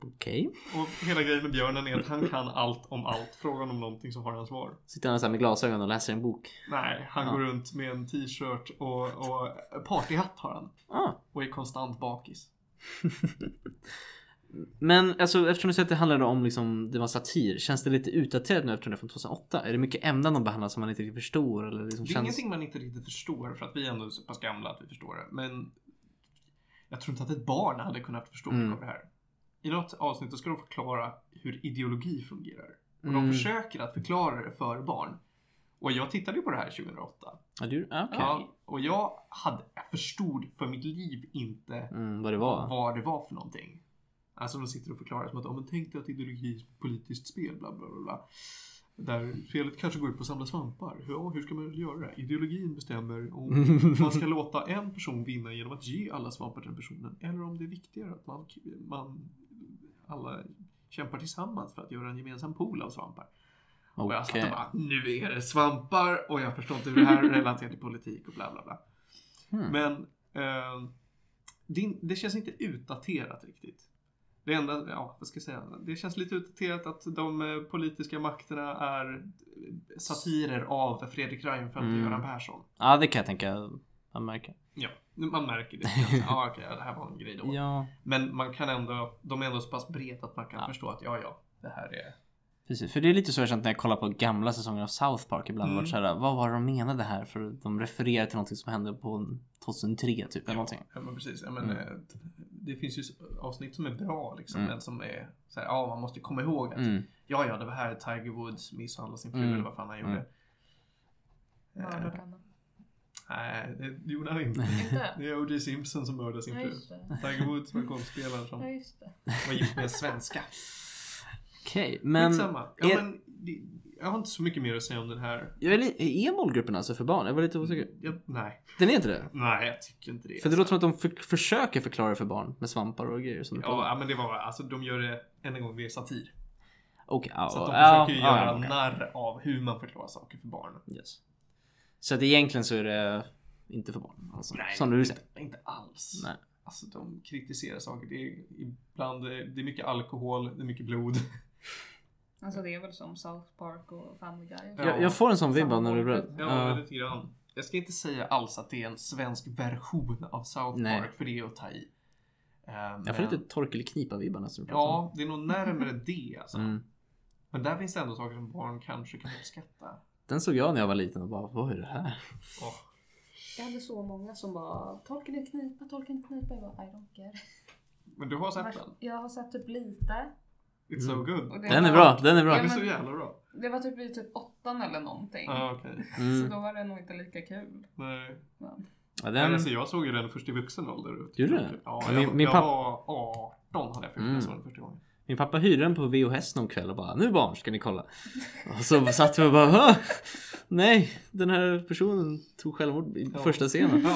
S3: Okej.
S1: Och hela grejen med björnen är att han kan allt om allt. Frågan om någonting så har han svar.
S3: Sitter han så här med glasögon och läser en bok?
S1: Nej, han
S3: Ja.
S1: går runt med en t-shirt och, och partyhatt har han.
S3: Ah.
S1: Och är konstant bakis.
S3: Men alltså eftersom du säger att det handlade om liksom, det var satir. Känns det lite utdaterat nu eftersom det är från 2008? Är det mycket ämnen de behandlar som man inte riktigt förstår? Eller liksom
S1: Det är
S3: känns...
S1: ingenting man inte riktigt förstår för att vi är ändå så pass gamla att vi förstår det. Men jag tror inte att ett barn hade kunnat förstå
S3: Mm.
S1: mycket av det här. I något avsnitt då ska de förklara hur ideologi fungerar. Och
S3: Mm.
S1: de försöker att förklara det för barn. Och jag tittade ju på det här 2008.
S3: Ja, du... ah, okej.
S1: Ja, och jag, hade, jag förstod för mitt liv inte
S3: Mm, vad det var?
S1: vad det var för någonting. Alltså de sitter och förklarar som att om man tänkte att ideologi är ett politiskt spel, bla bla bla, bla. Där spelet kanske går ut på att samla svampar. Ja, hur ska man göra det? Ideologin bestämmer om man ska låta en person vinna genom att ge alla svampar till den personen. Eller om det är viktigare att man, man alla kämpar tillsammans för att göra en gemensam pool av svampar. Och jag satt
S3: Okej.
S1: och bara, nu är det svampar och jag förstår inte hur det här relaterar till politik och bla bla bla.
S3: Hmm.
S1: Men eh, det, det känns inte utdaterat riktigt. Det enda, ja vad ska jag säga, det känns lite utdaterat att de eh, politiska makterna är eh, satirer av Fredrik Reinfeldt och
S3: Mm.
S1: Göran Persson.
S3: Ja, det kan jag tänka. Jag märker.
S1: Ja, man märker
S3: <laughs>
S1: det. Alltså, ja, okej, det här var en grej då.
S3: Ja,
S1: Men man kan ändå, de är ändå så pass breda att man kan
S3: Ja.
S1: förstå att ja, ja, det här är...
S3: precis. För det är lite så jag känt när jag kollar på gamla säsonger av South Park ibland.
S1: Mm.
S3: Varit så här, vad var det de menade här? För de refererar till någonting som hände på 2003 typ. Eller någonting.
S1: Ja, men precis. Ja, men,
S3: Mm.
S1: eh, Det finns ju avsnitt som är bra liksom,
S3: Mm.
S1: men som är så här, ja, man måste komma ihåg att
S3: Mm.
S1: Ja, ja, det var här Tiger Woods misshandlade sin fru
S3: Mm.
S1: eller vad fan han
S3: Mm.
S1: gjorde. Eh,
S2: Mördade henne.
S1: nej, det gjorde han
S3: <laughs>
S1: inte.
S2: Inte?
S1: Det är O.J. Simpson som mördade sin
S2: Ja
S1: fru.
S2: just det.
S1: Tiger Woods var golfspelaren som
S2: Ja just det.
S1: var gift med en svenska.
S3: Okej,
S1: Men,
S3: <laughs> men...
S1: ja,
S3: är-
S1: men, det- jag har inte så mycket mer att säga om den här.
S3: Jag är, li- är målgruppen alltså för barn? Jag var lite osäker.
S1: Jag, nej,
S3: Den är inte det?
S1: nej, jag tycker inte det.
S3: För det låter som att de för, försöker förklara för barn med svampar och grejer som du pratar om.
S1: Ja, ja, men det var alltså de gör det än en gång, det är satir.
S3: Okej, ja,
S1: Så att de
S3: ja,
S1: försöker
S3: ja,
S1: göra
S3: okej.
S1: narr av hur man förklarar saker för barn.
S3: Yes. Så att egentligen så är det inte för barn. Alltså, som du säger.
S1: inte, inte alls.
S3: Nej.
S1: Alltså de kritiserar saker. Det är ibland, det är mycket alkohol, det är mycket blod.
S2: Alltså det är väl som South Park och Family Guy. och så.
S1: Ja.
S3: Jag, jag får en sån vibb av när du
S2: Samma
S3: berättar.
S1: Ja,
S3: Ja.
S1: lite grann. Jag ska inte säga alls att det är en svensk version av South
S3: Nej.
S1: Park, för det är att ta i. Eh,
S3: jag får
S1: men-
S3: lite torkelknipa-vibbar när du pratar.
S1: Ja, det är nog närmare det alltså.
S3: Mm.
S1: Men där finns det ändå saker som barn kanske kan uppskatta.
S3: Den såg jag när jag var liten och bara, vad är det här?
S1: Åh,
S2: Jag hade så många som bara Tolken i knipa, tolken i knipa. Jag bara I don't care.
S1: Men du har sett den?
S2: Jag har sett typ lite.
S1: It's so
S3: Mm.
S1: good.
S2: Och det
S3: Den är
S2: var-
S3: bra, den
S1: Den
S3: är bra.
S1: är
S2: men-
S1: så jävla bra.
S2: Det var typ i typ åttan eller någonting.
S1: Ja, okej.
S2: Så
S3: Mm.
S2: då var det nog inte lika kul.
S1: Nej.
S2: Men,
S3: Ja,
S1: Nej,
S3: den...
S1: Alltså, jag såg ju den först i vuxen ålder.
S3: Gjorde du?
S1: Ja,
S3: Men
S1: jag,
S3: min- min
S1: jag
S3: papp-
S1: var 18 hade jag fyllt när
S3: Mm.
S1: jag såg den första gången.
S3: Min pappa hyrde den på VHS någon kväll och bara, nu barn ska ni kolla. Och så satt vi och bara, "Hå? nej, den här personen tog självmord i
S1: Ja.
S3: första scenen.
S1: Ja,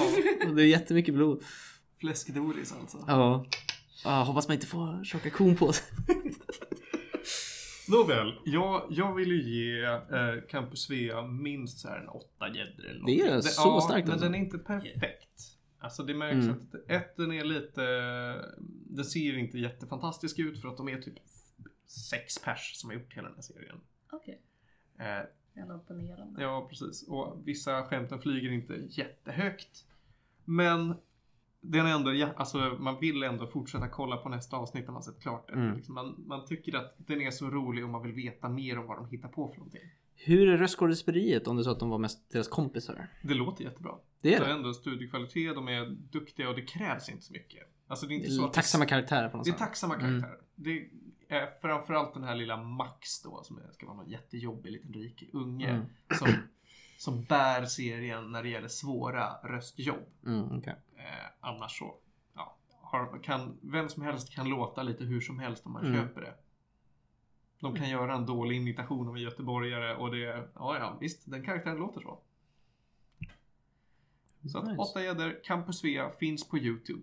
S3: Och det är jättemycket blod.
S1: fläskdoris alltså.
S3: Ja. Ja, hoppas man inte får tjocka kon på sig.
S1: Nåväl, jag, jag vill ju ge eh, Campus Svea minst så här en åtta gäddor eller någonting.
S3: Det är så
S1: ja,
S3: starkt
S1: Men
S3: alltså.
S1: den är inte perfekt. Alltså det märks
S3: Mm.
S1: att ett, den är lite, den ser ju inte jättefantastisk ut för att de är typ sex pers som har gjort hela den här serien.
S2: Okej.
S1: Eh,
S2: Ändå imponerande.
S1: ja, precis. Och vissa skämten flyger inte jättehögt. Men den är ändå, ja, alltså man vill ändå fortsätta kolla på nästa avsnitt när man sett klart det.
S3: Mm.
S1: Liksom man, man tycker att den är så rolig och man vill veta mer om vad de hittar på för någonting.
S3: Hur är röstskådespeleriet om du sa att de var mest deras kompisar?
S1: Det låter jättebra.
S3: Det är
S1: Det är
S3: det.
S1: ändå studiekvalitet, de är duktiga och det krävs inte så mycket. Alltså det är inte
S3: Det
S1: så
S3: är
S1: att
S3: Tacksamma karaktärer på något
S1: det är
S3: sätt.
S1: tacksamma
S3: Mm.
S1: karaktärer. Det är framförallt den här lilla Max då som är- ska vara någon jättejobbig liten rik unge
S3: Mm.
S1: som, som bär serien när det gäller svåra röstjobb.
S3: Mm, okej.
S1: Eh, annars så, ja, har, kan, vem som helst kan låta lite hur som helst om man
S3: Mm.
S1: köper det. De kan göra en dålig imitation av en göteborgare och det, ja ja, visst, den karaktären låter så. Så att
S3: Nice.
S1: åtta gäddor, Campus Svea finns på YouTube.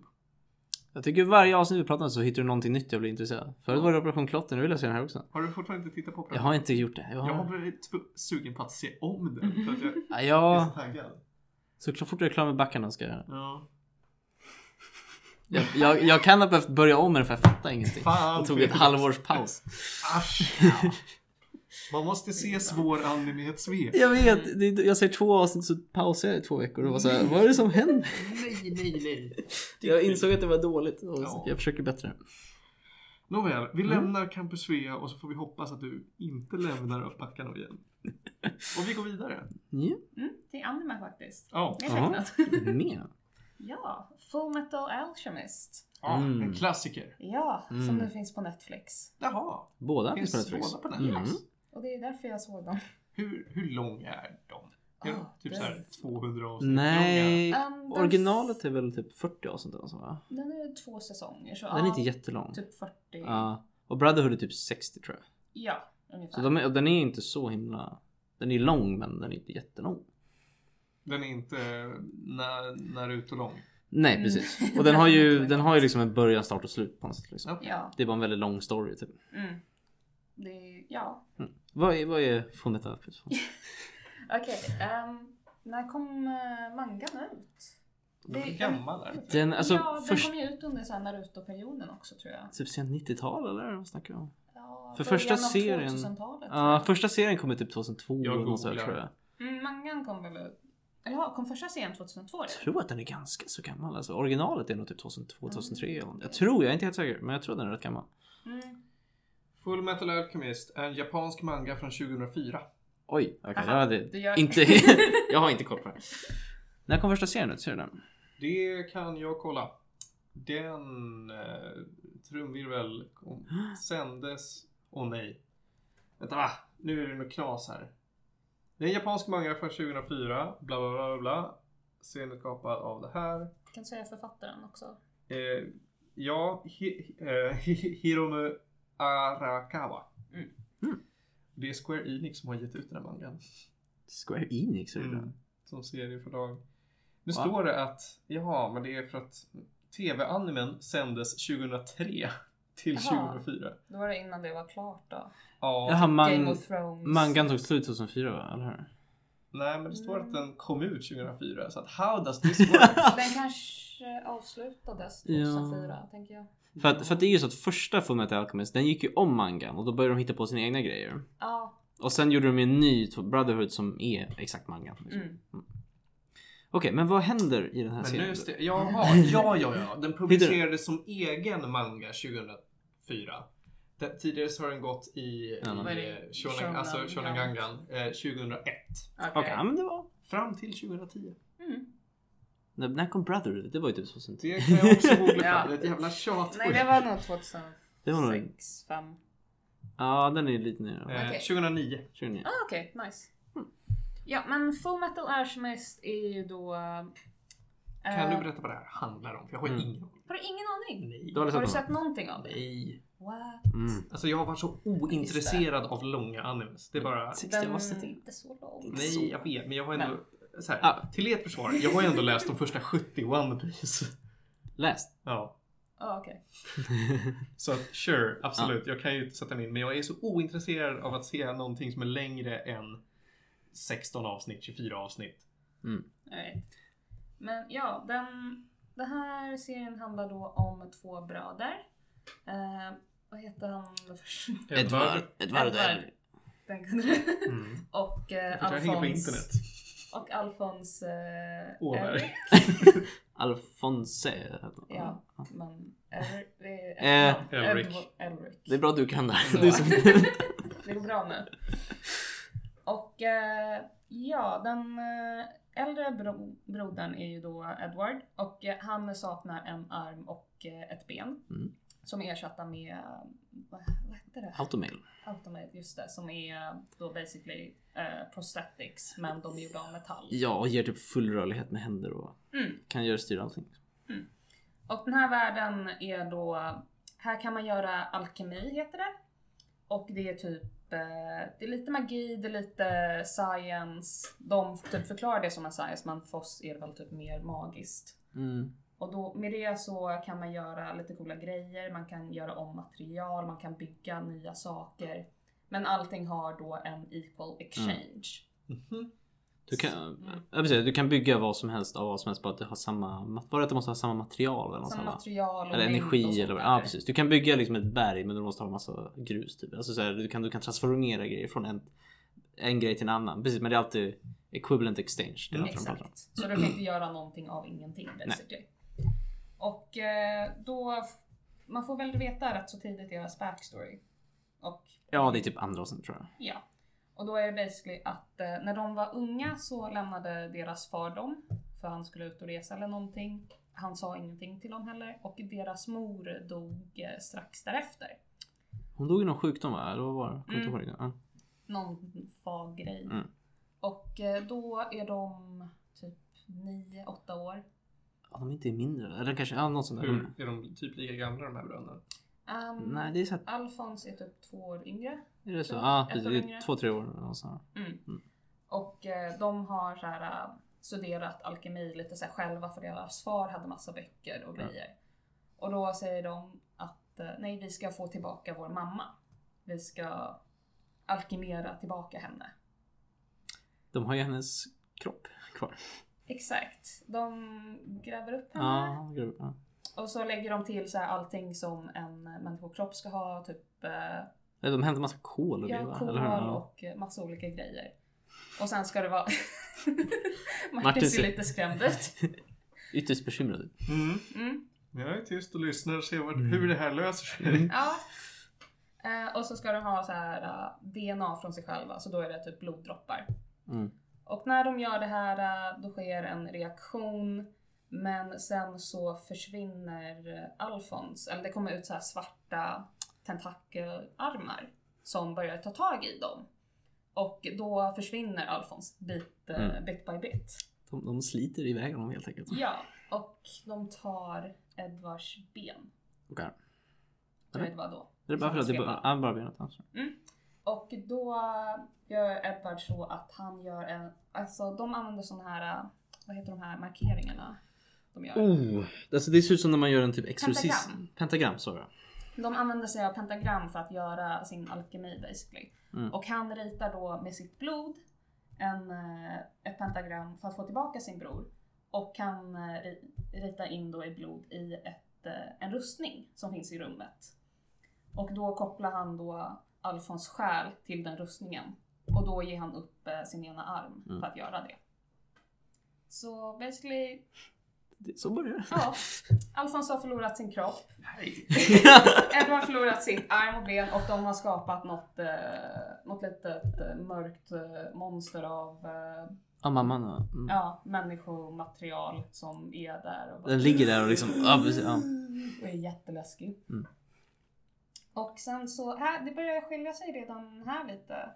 S3: Jag tycker varje avsnitt vi pratar om så hittar du någonting nytt jag blir intresserad. Förut var det Operation Klotter, nu vill jag se den här också.
S1: Har du fortfarande inte tittat på
S3: Jag
S1: Operation?
S3: har inte gjort det. Jag
S1: Jag har
S3: har...
S1: blivit tv- sugen på att se om den. För att jag
S3: Ja,
S1: är
S3: jag...
S1: så taggad.
S3: Så klart- fort jag är klar med backarna ska jag göra det.
S1: Ja.
S3: jag, jag, jag kan ha behövt börja om med det för jag fattar ingenting.
S1: Fan,
S3: Och tog ett
S1: Felix.
S3: halvårs paus.
S1: Asch. Man måste se svår anime i ett svep.
S3: Jag vet, det, jag ser två avsnitt så pausar jag i två veckor och var så här, vad är det som händer?
S1: Nej, nej, nej.
S3: Jag insåg att det var dåligt och
S1: Ja.
S3: jag försöker bättre.
S1: Nåväl, vi
S3: Mm.
S1: lämnar Campus Svea och så får vi hoppas att du inte lämnar Uppbackarna igen. Och vi går vidare.
S3: Ja,
S2: Mm, det är anime faktiskt.
S1: Ja,
S2: Det är
S3: Jaha.
S2: tecknat. <laughs>
S3: mer.
S2: Ja, Full Metal Alchemist.
S1: ja, en
S3: Mm.
S1: klassiker.
S2: Ja, som
S3: Mm.
S2: nu finns på Netflix.
S1: Jaha,
S3: Båda
S1: finns
S3: finns på Netflix.
S1: båda på
S3: Mm.
S1: Netflix?
S2: Och det är därför jag såg dem.
S1: Hur, hur lång är de? Är de
S2: Ah,
S1: typ
S2: det-
S1: såhär 200 avsnitt långa?
S3: Nej,
S2: Um, den-
S3: originalet är väl typ 40 avsnitt eller så va?
S2: Den är två säsonger. Så
S3: Den är
S2: ja,
S3: inte jättelång.
S2: Typ 40.
S3: Ja. Och Brotherhood är typ 60 tror jag.
S2: Ja,
S3: Så
S2: ungefär.
S3: de är, och den är inte så himla... Den är lång men den är inte jättelång.
S1: Den är inte na, Naruto-lång.
S3: Nej
S2: Mm. <laughs>
S3: precis. Och den har ju, den har ju liksom en början, start och slut på något sätt. Liksom.
S1: Ja.
S2: Ja.
S3: Det är bara en väldigt lång story typ.
S2: Mm. Det är, ja.
S3: Vad är, vad är Fullmetal Alchemist?
S2: <laughs> Okej. ehm, när kom eh, mangan ut?
S1: Den är gammal är den inte?
S3: Den, alltså,
S2: ja,
S3: först,
S2: den kom ju ut under så här Naruto-perioden också tror jag.
S3: Typ sen 90-tal eller vad snackar vi om?
S2: Ja,
S3: För
S2: början
S3: första
S2: av
S3: serien-
S2: 2000-talet.
S3: Ja, första serien kom ju typ 2002
S1: Jag
S3: eller något sånt
S1: googlar.
S3: tror jag.
S2: Mm, mangan kom väl ut? Eller ja, kom första serien 2002?
S3: Jag tror att den är ganska så gammal. Alltså, originalet är nog typ 2002, 2003 eller något. Jag tror, jag är inte helt säker, men jag tror att den är rätt gammal.
S2: Mm.
S1: Full Metal Alchemist är en japansk manga från 2004.
S3: Oj, okej.
S2: Aha,
S3: det var det
S2: du gör- <laughs>
S3: inte, <laughs> jag har inte koll på det. När kom första serien ut? Ser du den?
S1: Det kan jag kolla. Den eh, trumvirvel kom, sändes... Åh nej. Vänta va? Nu är det något knas här. Det är en japansk manga från 2004. Bla bla bla bla, bla. Serien är skapad av det här.
S2: Jag kan säga författaren också.
S1: Eh, ja, hi, eh, <laughs> Hiromu Arakawa.
S2: Mm.
S3: Mm.
S1: Det är Square Enix som har gett ut den här mangan.
S3: Square Enix är det
S1: Mm.
S3: den?
S1: Som serieförlag. Nu
S3: Va?
S1: står det att, jaha, men det är för att TV-animen sändes 2003 till
S2: Jaha.
S1: 2004.
S2: Då var det innan det var klart då.
S1: Ja,
S3: Jaha,
S2: Game
S3: man,
S2: of Thrones.
S3: mangan tog slut 2004 va? Eller hur?
S1: nej men det står att
S2: Mm.
S1: den kom ut 2004. Så att how does
S3: <laughs>
S1: this work?
S2: Den kanske avslutades
S3: Ja.
S2: 2004 tänker jag.
S3: För att, för att det är ju så att första Fullmetal Alchemist, den gick ju om mangan och då började de hitta på sina egna grejer.
S2: Ja.
S3: Och sen gjorde de ju en ny Brotherhood som är exakt mangan. Liksom.
S2: Mm.
S3: Okej, men vad händer i den här
S1: men
S3: serien?
S1: nu, st- jaha, ja, ja, ja. Den publicerades som egen manga 2004. Den, tidigare så har den gått i,
S3: Ja, men-
S1: i eh, Shonen, alltså
S2: Shonen,
S1: Shonen
S2: ja.
S1: Gangan eh, 2001.
S2: Okej.
S3: Okej, ja, men det var...
S1: Fram till 2010.
S2: Mm.
S3: När, när kom Brotherhood? Det var ju typ 2010.
S1: Det kan jag
S3: <laughs>
S1: också googla fram.
S2: Ja.
S1: Det är ett jävla tjat.
S2: Nej det var nog 2006,
S3: Det var nog-
S2: 5.
S3: Ja, den är lite nyare.
S1: Eh,
S2: Okej.
S1: 2009.
S3: Kör ni?
S2: Ah, Okej, nice.
S3: Mm.
S2: Ja men Full Metal Alchemist är ju då... eh,
S1: Kan du berätta vad det här handlar om? För jag har
S3: Mm.
S1: ingen aning.
S2: Har du ingen aning?
S1: Nej. Alltså,
S3: Du har
S2: Eh.
S3: aldrig
S2: Har du sett någonting
S3: sett
S2: av det?
S1: Nej.
S2: What?
S3: Mm.
S1: Alltså jag har varit så ointresserad av långa animes. Det är bara...
S3: 60
S2: Den
S3: avsnitt.
S2: är inte så lång.
S1: Nej, jag vet. Men jag har ändå... Så här,
S3: Ah.
S1: Till ert försvar, jag har ändå läst de första 70 One Piece. <laughs>
S3: Läst.
S1: Ja.
S2: Ah, okej.
S1: Så att, sure, absolut. Jag kan ju sätta mig in. Men jag är så ointresserad av att se någonting som är längre än 16 avsnitt, 24 avsnitt.
S2: Alright. Men ja, den, den här serien handlar då om två bröder. Eh, vad heter han? den första?
S3: Edvard och
S2: Edvard.
S3: Edvard.
S2: <laughs> Den kunde du.
S1: Mm.
S2: Och
S1: För att
S2: eh,
S1: Jag hänger på internet.
S2: Alfons. Och Alfons... Eh, Eric.
S1: Åberg.
S3: Alfonse. heter han.
S2: Ja, men... Eric- det är
S3: Eh,
S2: efternamn.
S1: Elric.
S2: Edward- Elric.
S3: Det är bra att du kan <laughs> det här.
S2: Ja.
S3: Du som...
S2: Det går bra nu. Och eh, ja, den eh, äldre bro- brodern är ju då Edward och eh, han saknar en arm och eh, ett ben
S3: Mm.
S2: som är ersatta med, eh, vad, vad heter det?
S3: Automail.
S2: Automate, just det, som är eh, då basically eh, prosthetics men de är gjorda av metall.
S3: Ja, och ger typ full rörlighet med händer och
S2: Mm.
S3: kan göra styra allting.
S2: Och den här världen är då, här kan man göra alkemi heter det. Och det är typ, eh, det är lite magi, det är lite science. De typ förklarar det som en science men för oss är det väl typ mer magiskt.
S3: Mm.
S2: Och då, med det så kan man göra lite coola grejer, man kan göra om material, man kan bygga nya saker. Men allting har då en
S3: Mm.
S2: equal exchange.
S3: Du kan, ja, precis, du kan bygga vad som helst av vad som helst bara att det har samma, mat- bara att det måste ha samma material eller
S2: Som
S3: samma,
S2: material och
S3: eller
S2: mängd och
S3: energi
S2: sånt
S3: eller vad
S2: där.
S3: ja, precis. Du kan bygga liksom ett berg men du måste ha massa grus typ. Alltså, så här, du, kan, du kan transformera grejer från en, en grej till en annan. Precis men det är alltid equivalent exchange. Det är allt de pratar om.
S2: Mm, Exakt. Så du kan inte göra någonting av ingenting basically. Och eh, då, f- man får väl veta rätt så tidigt deras backstory. Och
S3: Ja det är typ andra avsnitt tror jag.
S2: Ja. Och då är det basically att eh, när de var unga så lämnade deras far dem. För han skulle ut och resa eller någonting. Han sa ingenting till dem heller. Och deras mor dog eh, strax därefter.
S3: Hon dog i någon sjukdom va? Eller vad var det? Kommer
S2: Mm.
S3: inte ihåg. det. Ja.
S2: Någon fag grej.
S3: Mm.
S2: Och eh, då är de typ 9-8 år.
S3: Ja, de inte är mindre eller kanske, ja något sånt där.
S2: Mm.
S1: Hur, är de typ lika gamla de här bröderna?
S2: Um,
S3: Nej det är så här,
S2: Alfons är typ två år yngre.
S3: är det så?
S2: Ett
S3: Ja
S2: år
S3: precis, det är
S2: yngre.
S3: två tre år eller något sånt.
S2: Mm.
S3: Mm.
S2: Och eh, de har så här, eh, studerat alkemi lite så här själva för deras far hade massa böcker och
S3: Ja.
S2: grejer. Och då säger de att eh, nej, vi ska få tillbaka vår mamma. Vi ska alkemera tillbaka henne.
S3: De har ju hennes kropp kvar.
S2: Exakt. De gräver upp henne.
S3: Ja, gud, ja.
S2: Och så lägger de till så här allting som en människokropp ska ha. Typ eh,
S3: Nej, De hämtar massa kol och det
S2: ja,
S3: va?
S2: kol
S3: Eller hur? Ja.
S2: och eh, massa olika grejer. Och sen ska det vara... <laughs> Martin
S3: Martin
S2: ser
S3: ser-
S2: lite skrämd ut.
S3: Ytterst bekymrad ut.
S1: Mm.
S2: Mm.
S1: Jag är tyst och lyssnar och ser vad,
S3: Mm.
S1: hur det här löser sig.
S2: Ja. Eh, och så ska de ha så här eh, DNA från sig själva, så då är det typ bloddroppar.
S3: Mm.
S2: Och när de gör det här eh, då sker en reaktion. Men sen så försvinner eh, Alfons, eller det kommer ut så här svarta tentakelarmar som börjar ta tag i dem. Och då försvinner Alfons bit, eh,
S3: Mm.
S2: bit by bit.
S3: De, de sliter iväg honom helt enkelt.
S2: Ja, och de tar Edvards ben.
S3: Okej.
S2: Tror jag det var då.
S3: Det är bara för att det
S2: Som
S3: bara, ja, bara benet. Alltså.
S2: Och då gör Edward så att han gör en, alltså de använder såna här, vad heter de här markeringarna de gör?
S3: Oh, alltså det ser ut som när man gör en typ exorcism.
S2: Pentagram.
S3: Pentagram. Pentagram sa jag.
S2: De använder sig av pentagram för att göra sin alkemi basically.
S3: Mm.
S2: Och han ritar då med sitt blod en, eh, ett pentagram för att få tillbaka sin bror. Och kan eh, ri- rita in då i blod i ett, eh, en rustning som finns i rummet. Och då kopplar han då Alfons själ till den rustningen. Och då ger han upp eh, sin ena arm
S3: Mm.
S2: för att göra det. Så basically,
S3: Det, så börjar det.
S2: ja. Alfons har förlorat sin kropp. <laughs> Edward har förlorat sin arm och ben och de har skapat något, eh, något litet eh, mörkt eh, monster av eh,
S3: ja, mamman. ja. Mm.
S2: ja, människomaterial som är där och, bara, Mm.
S3: Den ligger där och liksom. Ja, precis, ja.
S2: och är jätteläskig.
S3: Mm.
S2: Och sen så, här, det börjar skilja sig redan här lite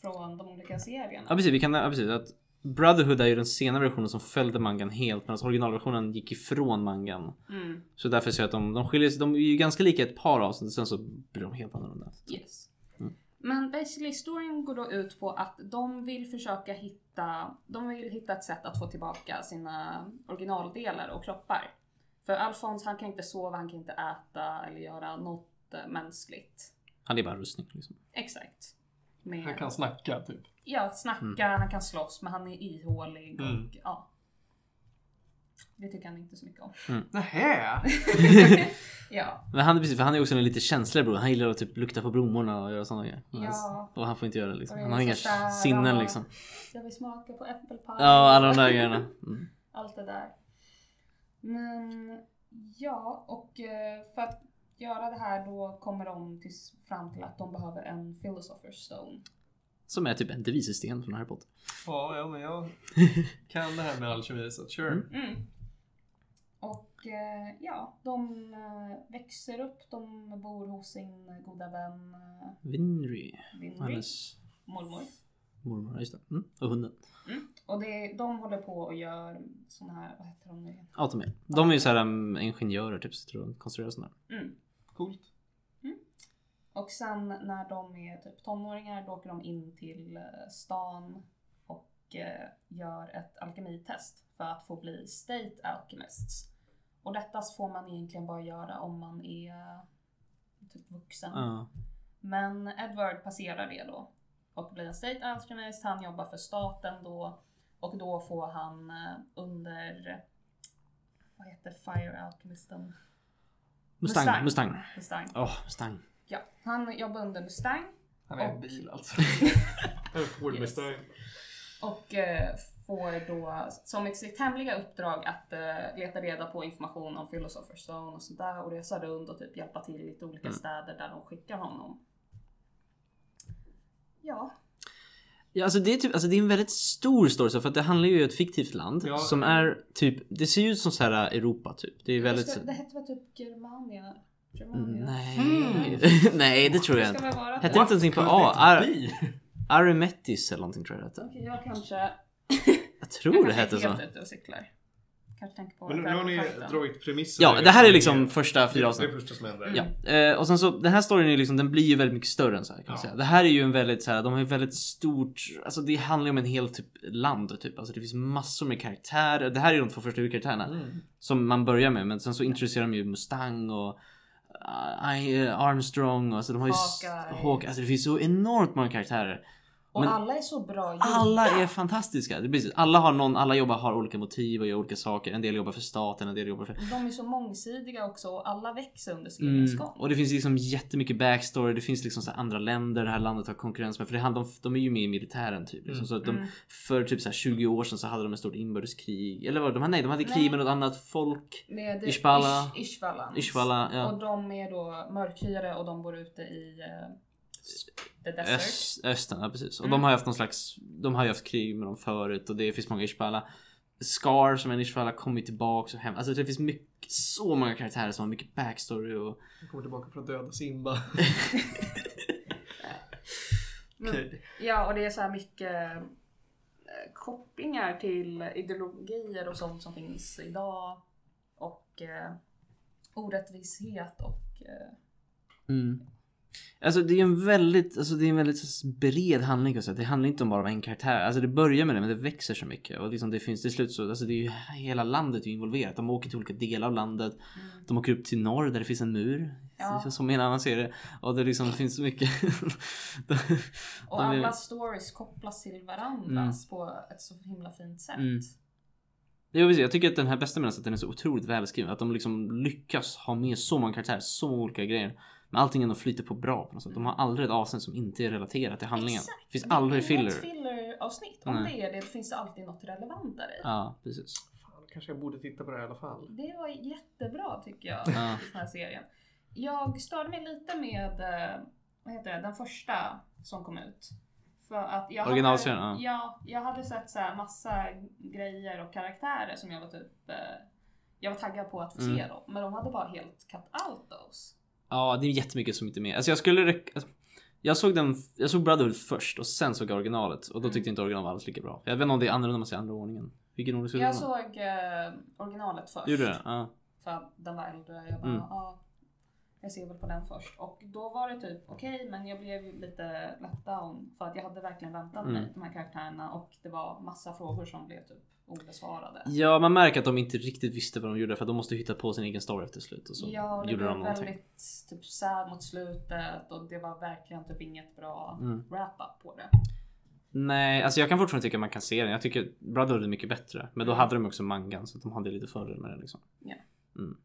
S2: från de olika serierna.
S3: ja precis. Vi kan, ja, precis att Brotherhood är ju den senare versionen som följde mangan helt medan originalversionen gick ifrån mangan.
S2: Mm.
S3: Så därför ser jag att de, de skiljer sig. De är ju ganska lika ett par avsnitt sen så blir de helt annorlunda.
S2: Yes.
S3: Mm.
S2: Men basically storyn går då ut på att de vill försöka hitta, de vill hitta ett sätt att få tillbaka sina originaldelar och kroppar. För Alfons han kan inte sova, han kan inte äta eller göra något eh, mänskligt.
S3: Han är bara en rustning liksom.
S2: Exakt. Med,
S1: Han kan snacka typ.
S2: Ja, snacka, han kan slåss men han är ihålig och
S1: Mm.
S2: ja. Det tycker han inte så mycket om.
S1: Nähä!
S2: Ja.
S3: Men han, är precis, för han är också en lite känsligare bror. Han gillar att typ lukta på blommorna och göra sådana grejer. Men
S2: Ja.
S3: Och han får inte göra det liksom.
S2: Och det är
S3: Han har inga
S2: så där,
S3: sinnen
S2: ja.
S3: liksom.
S2: Jag vill smaka på äppelpaj.
S3: Ja, alla de där grejerna. Mm.
S2: allt det där. Men ja, och eh, för att göra det här då kommer de till, fram till att de behöver en philosopher's stone.
S3: Som är typ en devisesten från Harry Potter.
S1: Ja, ja, men jag kan det här med alkemi så sure.
S3: Mm.
S2: Mm. Och eh, ja, de eh, växer upp, de bor hos sin goda vän eh,
S3: Winry.
S2: Winry,
S3: Hennes
S2: mormor.
S3: mormor. Just det. Mm. Och hunden.
S2: Och det, de håller på och gör såna här, vad heter de nu igen?
S3: Automail. De är ju såhär um, ingenjörer typ. Så tror jag, konstruerar sådana här.
S2: Mm.
S1: Coolt.
S2: Och sen när de är typ tonåringar då åker de in till eh, stan och eh, gör ett alkemitest för att få bli state alchemists. Och detta får man egentligen bara göra om man är eh, typ vuxen.
S3: Ja.
S2: Men Edward passerar det då och blir en state alchemist. Han jobbar för staten då och då får han eh, under vad heter Fire Alchemisten?
S3: Mustang, Mustang.
S2: Mustang.
S3: Åh, Mustang.
S2: Ja, han jobbar under Mustang
S1: Han är en
S2: Och-
S1: bil alltså. en Ford
S2: Yes.
S1: Mustang.
S2: och eh, får då som ett sitt hemliga uppdrag att eh, leta reda på information om Philosopher's Stone och sådär och resa runt och typ hjälpa till i lite olika
S3: Mm.
S2: städer där de skickar honom. Ja,
S3: <laughs> Ja, alltså, det är typ, alltså det är en väldigt stor story så, för att det handlar ju om ett fiktivt land
S1: Ja.
S3: som är typ, det ser ju ut som så här Europa typ. Det är
S2: det,
S3: väldigt...
S2: ska, det hette väl typ Germania? Germania.
S3: Nej,
S1: Mm.
S3: <laughs> nej det tror jag
S2: Det
S3: inte.
S2: ska väl vara
S3: Hette det inte någonting på
S1: Could
S3: A?
S1: it
S3: Ar
S1: be?
S3: Arimetis eller någonting tror jag det hette.
S2: Okej, jag kanske...
S3: Jag tror
S2: jag
S3: det
S2: kanske
S3: hette
S2: är
S3: så.
S2: helt ute och cyklar. Kanske tänker på
S1: Men nu, nu har ni
S2: Attack on Titan.
S1: dragit premisser.
S3: Ja, det här är
S1: Det
S3: liksom första
S1: det
S3: fyra
S1: är det
S3: avsnittet.
S1: första som händer.
S3: Ja, eh, och sen så den här storyn är liksom, den blir ju väldigt mycket större än så här kan man
S1: Ja.
S3: säga. Det här är ju en väldigt så här, de har ju väldigt stort, alltså det handlar ju om en hel typ land typ. Alltså det finns massor med karaktärer. Det här är ju de två första huvudkaraktärerna.
S1: Mm.
S3: Som man börjar med men sen så introducerar de ju Mustang och eh, I- eh, Armstrong och alltså de har ju s-
S2: Hawkeye.
S3: Hawk, alltså det finns så enormt många karaktärer.
S2: Och
S3: Men-
S2: alla är så bra gjorda.
S3: Alla är fantastiska. Det är precis, alla har någon, alla jobbar har olika motiv och gör olika saker. En del jobbar för staten, en del jobbar för...
S2: De är så mångsidiga också och alla växer under
S3: Mm.
S2: seriens gång.
S3: Och det finns liksom jättemycket backstory. Det finns liksom så här andra länder det här landet har konkurrens med. För det handlar om, de är ju med i militären typ. Liksom.
S1: Mm.
S3: Så att de,
S2: Mm.
S3: för typ så här 20 år sedan så hade de ett stort inbördeskrig. Eller vad, de, nej, de hade
S2: Nej.
S3: krig med något annat folk.
S2: Med
S3: Ishbala.
S2: Ish, Ishvalans.
S3: Ishvala, ja.
S2: Och de är då mörkhyade och de bor ute i eh, the desert.
S3: Öst, östern, ja precis. Och
S2: Mm.
S3: de har ju haft någon slags, de har ju haft krig med dem förut och det finns många Ishbala. Scar som är en Ishbala kommer tillbaks och hem. Alltså det finns mycket, så många karaktärer som har mycket backstory och...
S1: Han kommer tillbaka för att döda Simba. <laughs>
S2: Men-
S1: Okej.
S2: Ja, och det är så här mycket eh, kopplingar till ideologier och sånt som finns idag. Och eh, orättvishet och eh,
S3: Mm. Alltså det är ju en väldigt, alltså det är en väldigt så bred handling kan jag säga. Det handlar inte om bara om en karaktär. Alltså det börjar med det men det växer så mycket. Och liksom det finns till slut så, alltså det är ju hela landet är ju involverat. De åker till olika delar av landet.
S2: mm,
S3: De åker upp till norr där det finns en mur.
S2: Ja.
S3: Som i en annan serie. Och det liksom finns så mycket. <laughs> De-
S2: Och
S3: de är-
S2: alla stories kopplas till varandras på ett så himla fint sätt.
S3: Mm. Jo, precis. Jag tycker att den här bästa med den är att den är så otroligt välskriven. Att de liksom lyckas ha med så många karaktärer, så många olika grejer. Men allting ändå flyter på bra på något sätt. De har aldrig ett avsnitt som inte är relaterat till handlingen.
S2: Exakt.
S3: Det finns
S2: Det
S3: aldrig
S2: är inget
S3: filler.
S2: filler-avsnitt. Om
S3: Nej.
S2: det är det finns det alltid något relevant där i.
S3: Ja, precis.
S1: Fan, kanske jag borde titta på det här i alla fall.
S2: Det var jättebra tycker jag,
S3: <laughs> Ja.
S2: den här serien. Jag störde mig lite med eh, vad heter det, den första som kom ut. För att jag
S3: Originalserien,
S2: hade,
S3: ja.
S2: ja. Jag hade sett så här massa grejer och karaktärer som jag var typ eh, jag var taggad på att få se
S3: Mm.
S2: dem, men de hade bara helt cut out those.
S3: Ja, det är jättemycket som inte är med. Alltså jag skulle rek- alltså, jag såg, den, jag såg Brotherhood först och sen såg jag originalet
S2: Mm.
S3: och då tyckte jag inte originalet var alls lika bra. Jag vet inte om det är annorlunda om man säger andra ordningen. Vilken ordning skulle
S2: Jag
S3: du ha?
S2: såg eh, originalet först.
S3: Gjorde du det? Ja.
S2: För att den var äldre. Jag bara,
S3: Mm.
S2: ja. Jag ser väl på den först. Och då var det typ okej, men jag blev ju lite let down. För att jag hade verkligen väntat
S3: Mm.
S2: mig de här karaktärerna och det var massa frågor som blev typ obesvarade.
S3: Ja, man märker att de inte riktigt visste vad de gjorde för att de måste hitta på sin egen story efter slut och så
S2: ja, och det
S3: gjorde
S2: blev
S3: de någonting.
S2: väldigt typ sad mot slutet och det var verkligen typ inget bra
S3: Mm.
S2: wrap-up på det.
S3: Nej, alltså jag kan fortfarande tycka man kan se den. Jag tycker Brotherhood är mycket bättre. Men då
S2: Mm.
S3: hade de också mangan så att de hade lite fördel med den liksom.
S2: Ja.
S3: Mm.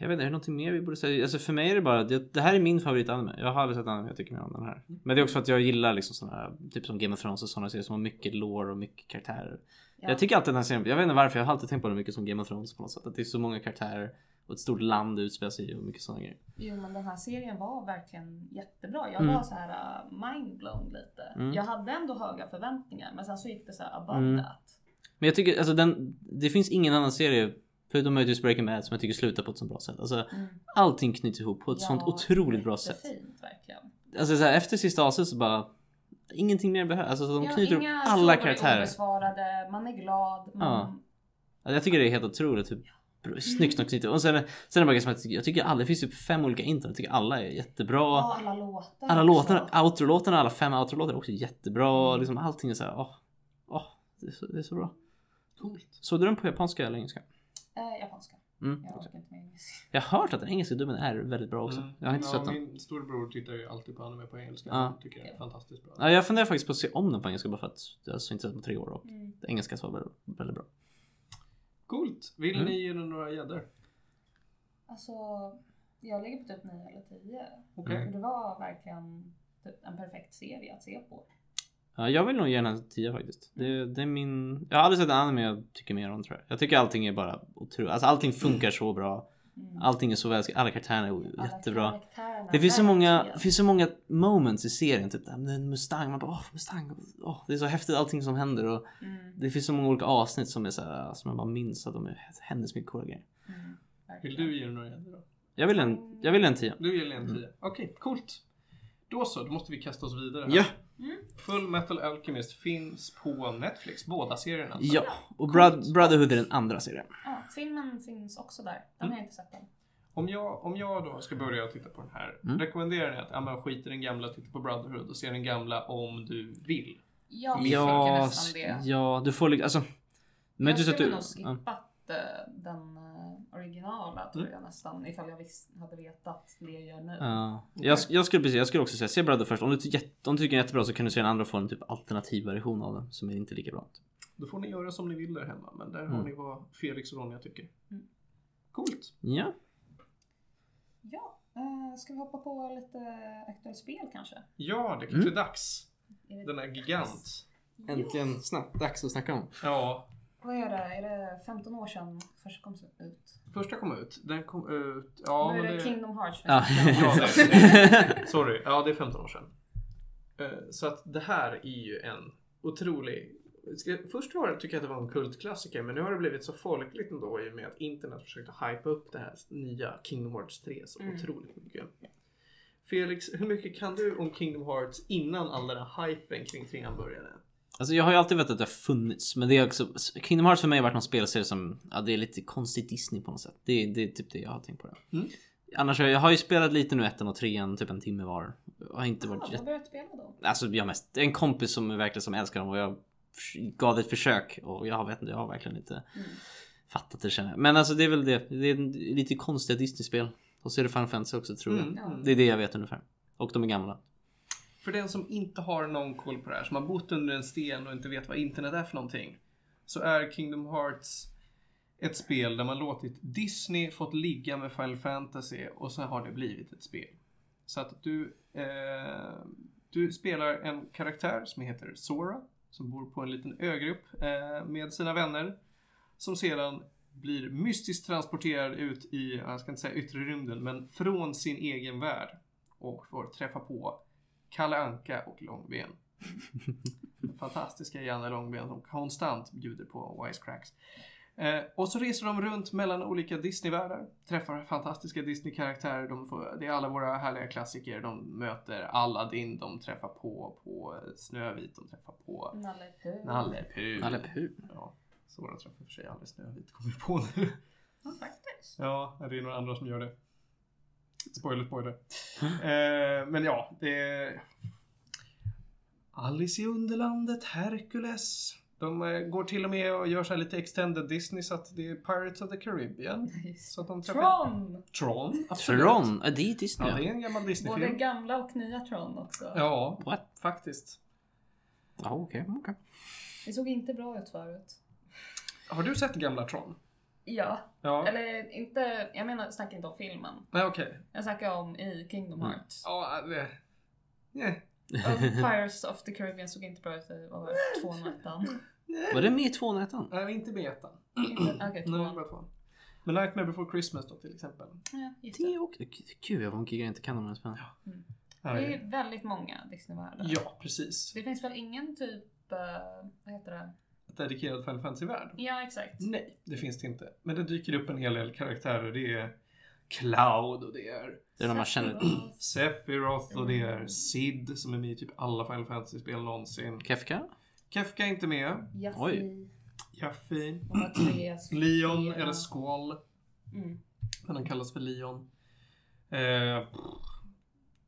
S3: Jag vet inte, är det någonting mer vi borde säga? Alltså för mig är det bara att jag- det här är min favoritanime. Jag har aldrig sett anime jag tycker mer om den här.
S2: Mm.
S3: Men det är också för att jag gillar liksom sådana här, typ som Game of Thrones och sådana serier som har mycket lore och mycket karaktärer.
S2: Ja.
S3: Jag tycker alltid den här serien, jag vet inte varför, jag har alltid tänkt på det mycket som Game of Thrones på något sätt. Att det är så många karaktärer och ett stort land utspelar sig i och mycket sådana grejer.
S2: Jo men den här serien var verkligen jättebra. Jag
S3: Mm.
S2: var så här uh, mindblown lite.
S3: Mm.
S2: Jag hade ändå höga förväntningar men sen så gick det så här above
S3: Mm.
S2: that.
S3: Men jag tycker, alltså den, det finns ingen annan serie Förutom möjligtvis Breaking Bad som jag tycker slutar på ett så bra sätt. Alltså,
S2: Mm.
S3: allting knyts ihop på ett sånt otroligt bra sätt.
S2: Jättefint verkligen.
S3: Alltså så här, efter sista avsnittet så bara Ingenting mer behövs. Alltså så de
S2: Ja,
S3: knyter
S2: inga
S3: ihop
S2: frågor
S3: alla
S2: är
S3: karaktärer.
S2: obesvarade, man är glad. Man...
S3: Alltså, jag tycker det är helt otroligt hur br- snyggt de knyter Och sen, sen är det bara som att jag tycker alla, det finns ju fem olika intron. Jag tycker alla är jättebra.
S2: Ja. alla låtar.
S3: alla
S2: också.
S3: låtarna, outrolåtarna, alla fem outrolåtar är också jättebra.
S2: Mm.
S3: Liksom allting är så här, åh, åh, det, är så, det är så bra.
S1: Coolt.
S3: Såg du den på japanska eller engelska?
S2: Eh, japanska.
S3: Mm.
S2: Jag orkar inte med engelska.
S3: Jag har hört att den engelska dubben är väldigt bra också. Jag har inte sett den.
S1: Mm. Min storebror tittar ju alltid på anime på engelska.
S3: Ja.
S1: Han tycker det är fantastiskt bra.
S3: Ja, jag funderar faktiskt på att se om den på engelska bara för att jag har inte sett den på tre år och
S2: Mm.
S3: engelska så var väldigt, väldigt bra.
S1: Coolt! Vill
S3: Mm.
S1: ni ge den några gäddor?
S2: Alltså, jag ligger på typ 9 eller 10.
S1: Okej.
S2: Det var verkligen typ en perfekt serie att se på.
S3: Ja, jag vill nog ge den en 10 faktiskt. Det, det är min... Jag har aldrig sett en anime jag tycker mer om tror jag. Jag tycker allting är bara otroligt. Alltså allting funkar så bra.
S2: Mm.
S3: Allting är så väl Alla karaktärerna är
S2: Alla
S3: jättebra.
S2: karaktärerna,
S3: Det finns så många,
S2: verkligen.
S3: det finns så många moments i serien. Typ det här med en Mustang. Man bara åh Mustang. Åh, det är så häftigt allting som händer. Och
S2: Mm.
S3: det finns så många olika avsnitt som är så här, som man bara minns att de är, händer så mycket coola grejer.
S2: Mm.
S1: Vill
S2: Verkligen.
S1: du ge den några gäddor då?
S3: Jag vill en, jag vill en 10.
S1: Du ger den en 10.
S3: Mm.
S1: Okej, coolt. Då så, då måste vi kasta oss vidare. här.
S3: Ja,
S1: Full Metal Alchemist finns på Netflix, båda serierna. alltså.
S3: ja. Och Brad, Brotherhood är den andra serien.
S2: Ja, filmen finns också där.
S1: Mm.
S2: Den har jag inte sett än.
S1: Om jag, om jag då ska börja titta på den här,
S3: Mm.
S1: rekommenderar ni att ja, men skit i den gamla, titta på Brotherhood och se den gamla om du vill?
S2: Jag tycker
S3: Ja,
S2: nästan det.
S3: ja, du får liksom... Alltså, men
S2: jag
S3: du, så att
S2: skulle
S3: du,
S2: nog
S3: ja.
S2: skippat eh, den eh, originala tror
S1: Mm.
S2: jag nästan. Ifall jag visst, hade vetat det jag gör nu.
S3: Ja. jag, sk- jag, skulle, precis, jag skulle också säga se Brother först. Om du, ty- jätte- om du tycker den är jättebra så kan du se den andra och få en typ alternativ version av den som är inte lika bra.
S1: Då får ni göra som ni vill där hemma, men där har
S3: Mm.
S1: ni vad Felix och Ronja tycker.
S2: Mm.
S1: Coolt!
S3: Ja,
S2: Ja, eh, ska vi hoppa på lite aktuellt spel kanske?
S1: Ja, det kanske
S3: Mm.
S1: är dags.
S2: Är det-
S1: Den är gigant.
S2: Ja.
S3: äntligen snack, dags att snacka om.
S1: Ja,
S2: Vad är det? Är det 15 år sedan första kom ut?
S1: första kom ut. Den kom ut... Ja,
S2: nu är
S1: men
S2: det
S1: det...
S2: Kingdom Hearts.
S3: Ja. <laughs>
S1: Ja, det är det. Sorry, ja det är 15 år sedan. Eh, Så att det här är ju en otrolig... ska- Först var det, tycker jag att det var en kultklassiker men nu har det blivit så folkligt ändå i och med att internet försökte hypa upp det här nya Kingdom Hearts 3 så
S2: Mm.
S1: otroligt mycket. Felix, hur mycket kan du om Kingdom Hearts innan all den här hypen kring trean började?
S3: Alltså jag har ju alltid vetat att det har funnits men det är också Kingdom Hearts för mig har varit någon spelserie som ja, det är lite konstigt Disney på något sätt. Det, är- det är typ det jag har tänkt på det.
S1: Mm.
S3: Annars har jag, jag har ju spelat lite nu ettan och trean typ en timme var. Jag har inte
S2: Det
S3: varit
S2: var
S3: jätte-
S2: har börjat spela då.
S3: Alltså jag har mest, det är en kompis som är verkligen som älskar dem och jag förs- gav det ett försök och jag vet inte, jag har verkligen inte
S2: Mm.
S3: fattat det känner jag. Men alltså det är väl det, det är en- lite konstiga Disney-spel. Och så är det Final Fantasy också tror jag.
S1: Mm,
S2: Ja.
S1: mm.
S3: Det är det jag vet ungefär. Och de är gamla.
S1: För den som inte har någon koll på det här, som har bott under en sten och inte vet vad internet är för någonting. Så är Kingdom Hearts ett spel där man låtit Disney fått ligga med Final Fantasy och så har det blivit ett spel. Så att du, eh, du spelar en karaktär som heter Sora som bor på en liten ögrupp eh, med sina vänner. Som sedan blir mystiskt transporterad ut i, jag ska inte säga yttre rymden, men från sin egen värld. Och får träffa på Kalle Anka och Långben. Fantastiska Janne Långben som konstant bjuder på wisecracks. Eh, och så reser de runt mellan olika Disney-världar, träffar fantastiska Disney-karaktärer. De får, det är alla våra härliga klassiker. De möter Aladdin, de träffar på, på Snövit, de träffar på
S2: Nalle Puh.
S1: Nalle Puh.
S3: Nalle Puh.
S1: Ja, Sora träffar för sig aldrig Snövit, kommer jag på nu.
S2: Ja, faktiskt.
S1: Ja, det är några andra som gör det. Spoiler, spoiler. eh, men ja, det är... Alice i Underlandet, Hercules. De eh, går till och med och gör så här lite extended Disney så att det är Pirates of the Caribbean. Så att de träffar...
S2: Tron!
S1: Tron! absolut.
S3: Tron! Ja, det är Disney.
S1: Ja, det
S3: ja.
S1: är en gammal
S2: Både
S1: Disney-film.
S2: gamla och nya Tron också.
S1: Ja,
S3: What?
S1: faktiskt.
S3: Ja okej. okej.
S2: Det såg inte bra ut förut.
S1: Har du sett gamla Tron?
S2: Ja,
S1: Ja.
S2: eller inte, jag menar, jag snackar inte om filmen.
S1: Nej, okej.
S2: Jag snackar om i Kingdom
S3: Mm.
S2: Hearts.
S1: Ja, det... Nej. <laughs>
S2: Och Pirates of the Caribbean såg inte bra ut i, vad var det, tvåan och
S1: Mm.
S2: ettan?
S3: Var det med i tvåan och ettan?
S1: Nej, inte med ettan.
S2: Inte- Okej,
S1: Nej, det
S2: tvåan.
S1: var tvåan. Men Nightmare before Christmas då till exempel.
S2: Ja, just
S3: Det
S2: det.
S3: är också... Gud jag var jag inte kan de här spelen.
S2: det är väldigt många Disney-världar.
S1: Ja, precis.
S2: Det finns väl ingen typ, eh, vad heter det?
S1: Ett dedikerad Final Fantasy-värld?
S2: Ja, exakt.
S1: Nej, det finns det inte. Men det dyker upp en hel del karaktärer. Det är Cloud och det är
S3: Det är de man känner.
S2: Sephiroth.
S1: Sephiroth och det är Sid som är med i typ alla Final Fantasy-spel någonsin.
S3: Kefka?
S1: Kefka är inte med.
S2: Jaffi.
S3: Oj.
S1: Jaffi.
S2: De har tre
S1: Leon
S2: fyra.
S1: eller Squall.
S2: Mm.
S1: Men han kallas för Leon. Eh,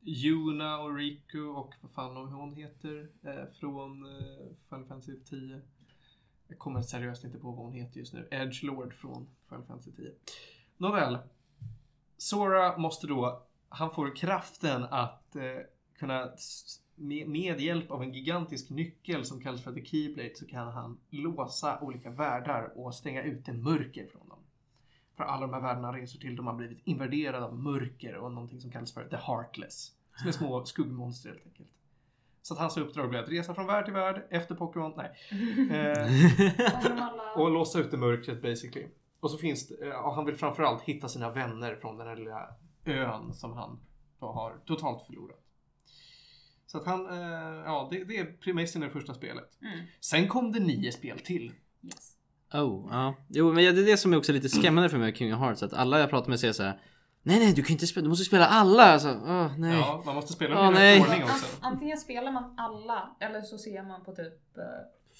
S1: Yuna och Riku och vad fan om hon heter eh, från eh, Final Fantasy 10. Jag kommer seriöst inte på vad hon heter just nu. Edge Lord från Final Fantasy 10. Nåväl. Sora måste då, han får kraften att eh, kunna s- med, med hjälp av en gigantisk nyckel som kallas för The Keyblade så kan han låsa olika världar och stänga ute mörker från dem. För alla de här världarna reser till de har blivit invaderade av mörker och någonting som kallas för The Heartless. Som är små skuggmonster helt enkelt. Så att hans uppdrag blir att resa från värld till värld efter Pokémon. Nej.
S3: <laughs>
S1: Eh,
S2: Kommer de alla...
S1: <laughs> och låsa ut det mörkret basically. Och så finns det, ja, han vill framförallt hitta sina vänner från den här lilla ön som han då har totalt förlorat. Så att han, eh, ja det, det är premissen i det första spelet.
S2: Mm.
S1: Sen kom det nio spel till.
S2: Yes.
S3: Oh, ja. Jo, men det är det som är också lite skrämmande för mig med King of Hearts. Att alla jag pratar med säger så här. Nej, nej, du kan inte spela. Du måste spela alla. Så, åh, nej.
S1: Ja, man måste spela
S3: Åh,
S1: dem i
S3: nej.
S1: rätt ordning också.
S2: An- antingen spelar man alla eller så ser man på typ eh,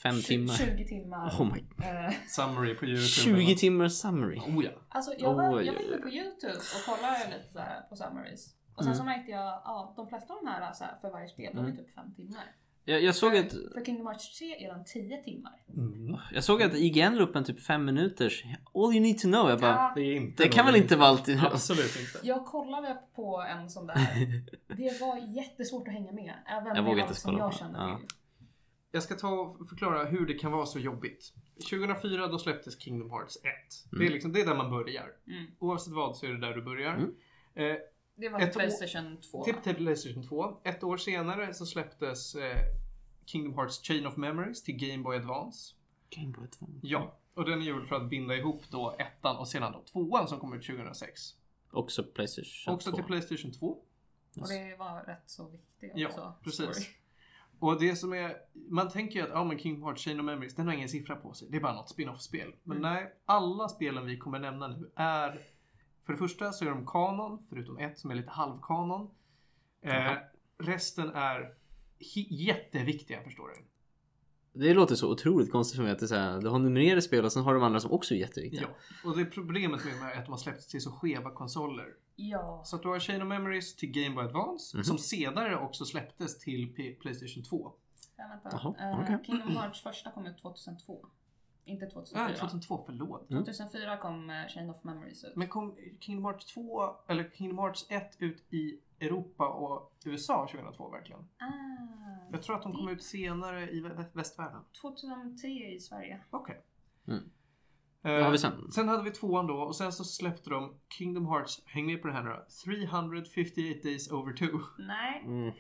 S3: Fem
S2: tju-
S3: timmar.
S2: 20 timmar.
S3: Oh my.
S2: Eh,
S1: Summary på youtube.
S3: 20 timmar summary.
S1: Oh ja.
S2: Alltså jag var,
S3: Oj,
S2: jag var
S3: oj,
S2: inne
S3: oj.
S2: på YouTube och kollade lite så här på summaries. Och sen så märkte jag att ja, de flesta av de här så här, för varje spel de är
S3: Mm.
S2: typ 5 timmar.
S3: Jag, jag såg att
S2: För Kingdom Hearts 3 är de 10 timmar.
S1: Mm.
S3: Jag såg att IGN la upp en typ fem minuters All you need to know. Jag bara,
S2: Ja,
S1: Det, är inte
S3: det kan väl
S1: någon-
S3: inte vara alltid. Alltså,
S1: Absolut inte.
S2: jag kollade på en sån
S3: <laughs>
S2: där. Det var jättesvårt att hänga med. Även
S3: Jag vågar
S2: med
S3: inte
S2: allt som
S3: kolla
S2: jag
S3: på
S2: kände
S3: det. Ja.
S2: till.
S1: Jag ska ta och förklara hur det kan vara så jobbigt. 2004 då släpptes Kingdom Hearts 1. Det, är
S3: Mm.
S1: liksom, det är där man börjar.
S2: Mm.
S1: Oavsett vad så är det där du börjar.
S3: Mm.
S1: Eh,
S2: Det var
S1: Ett
S2: Playstation 2.
S1: Till till Playstation 2. Ett år senare så släpptes eh, Kingdom Hearts Chain of Memories till Game Boy Advance.
S3: Game Boy Advance.
S1: Ja, och den är ju väl för att binda ihop då ettan och sedan då tvåan som kom ut 2006.
S3: Också Playstation
S1: Också
S3: 2.
S1: till Playstation 2.
S2: Och det var rätt så viktigt
S1: Ja,
S2: också.
S1: precis.
S2: Sorry.
S1: Och det som är, man tänker ju att ja men Kingdom Hearts Chain of Memories, den har ingen siffra på sig. Det är bara något spin-off-spel. Men
S2: Mm.
S1: nej, alla spelen vi kommer nämna nu är, för det första så är de kanon, förutom ett som är lite halvkanon. Eh,
S3: Jaha.
S1: resten är hi- jätteviktiga förstår du.
S3: Det låter så otroligt konstigt för mig att det är så här, du har numrerade spel och sen har du de andra som också är jätteviktiga.
S1: Ja, och det problemet med de här är att de har släppts till så skeva konsoler.
S2: Ja.
S1: Så att du har Chain of Memories till Game Boy Advance,
S3: Mhm.
S1: som senare också släpptes till P- Playstation 2.
S2: Ja, vänta.
S3: Jaha,
S2: Eh,
S3: okej.
S2: Kingdom Hearts första kom ut 2002. Inte 2004.
S1: Nej, 2002, förlåt.
S2: 2004 kom eh, Chain of Memories ut.
S1: Men kom Kingdom Hearts 2, eller Kingdom Hearts 1 ut i Europa och USA 2002 verkligen?
S2: Ah,
S1: Jag tror att de
S3: Mm.
S1: kom ut senare i vä- västvärlden.
S2: 2003 i Sverige.
S1: Okej.
S3: Mm.
S1: Eh,
S3: Vad har vi sen?
S1: Sen hade vi tvåan då och sen så släppte de Kingdom Hearts, häng med på det här nu då, 358 Days Over 2.
S2: Nej,
S3: Mm.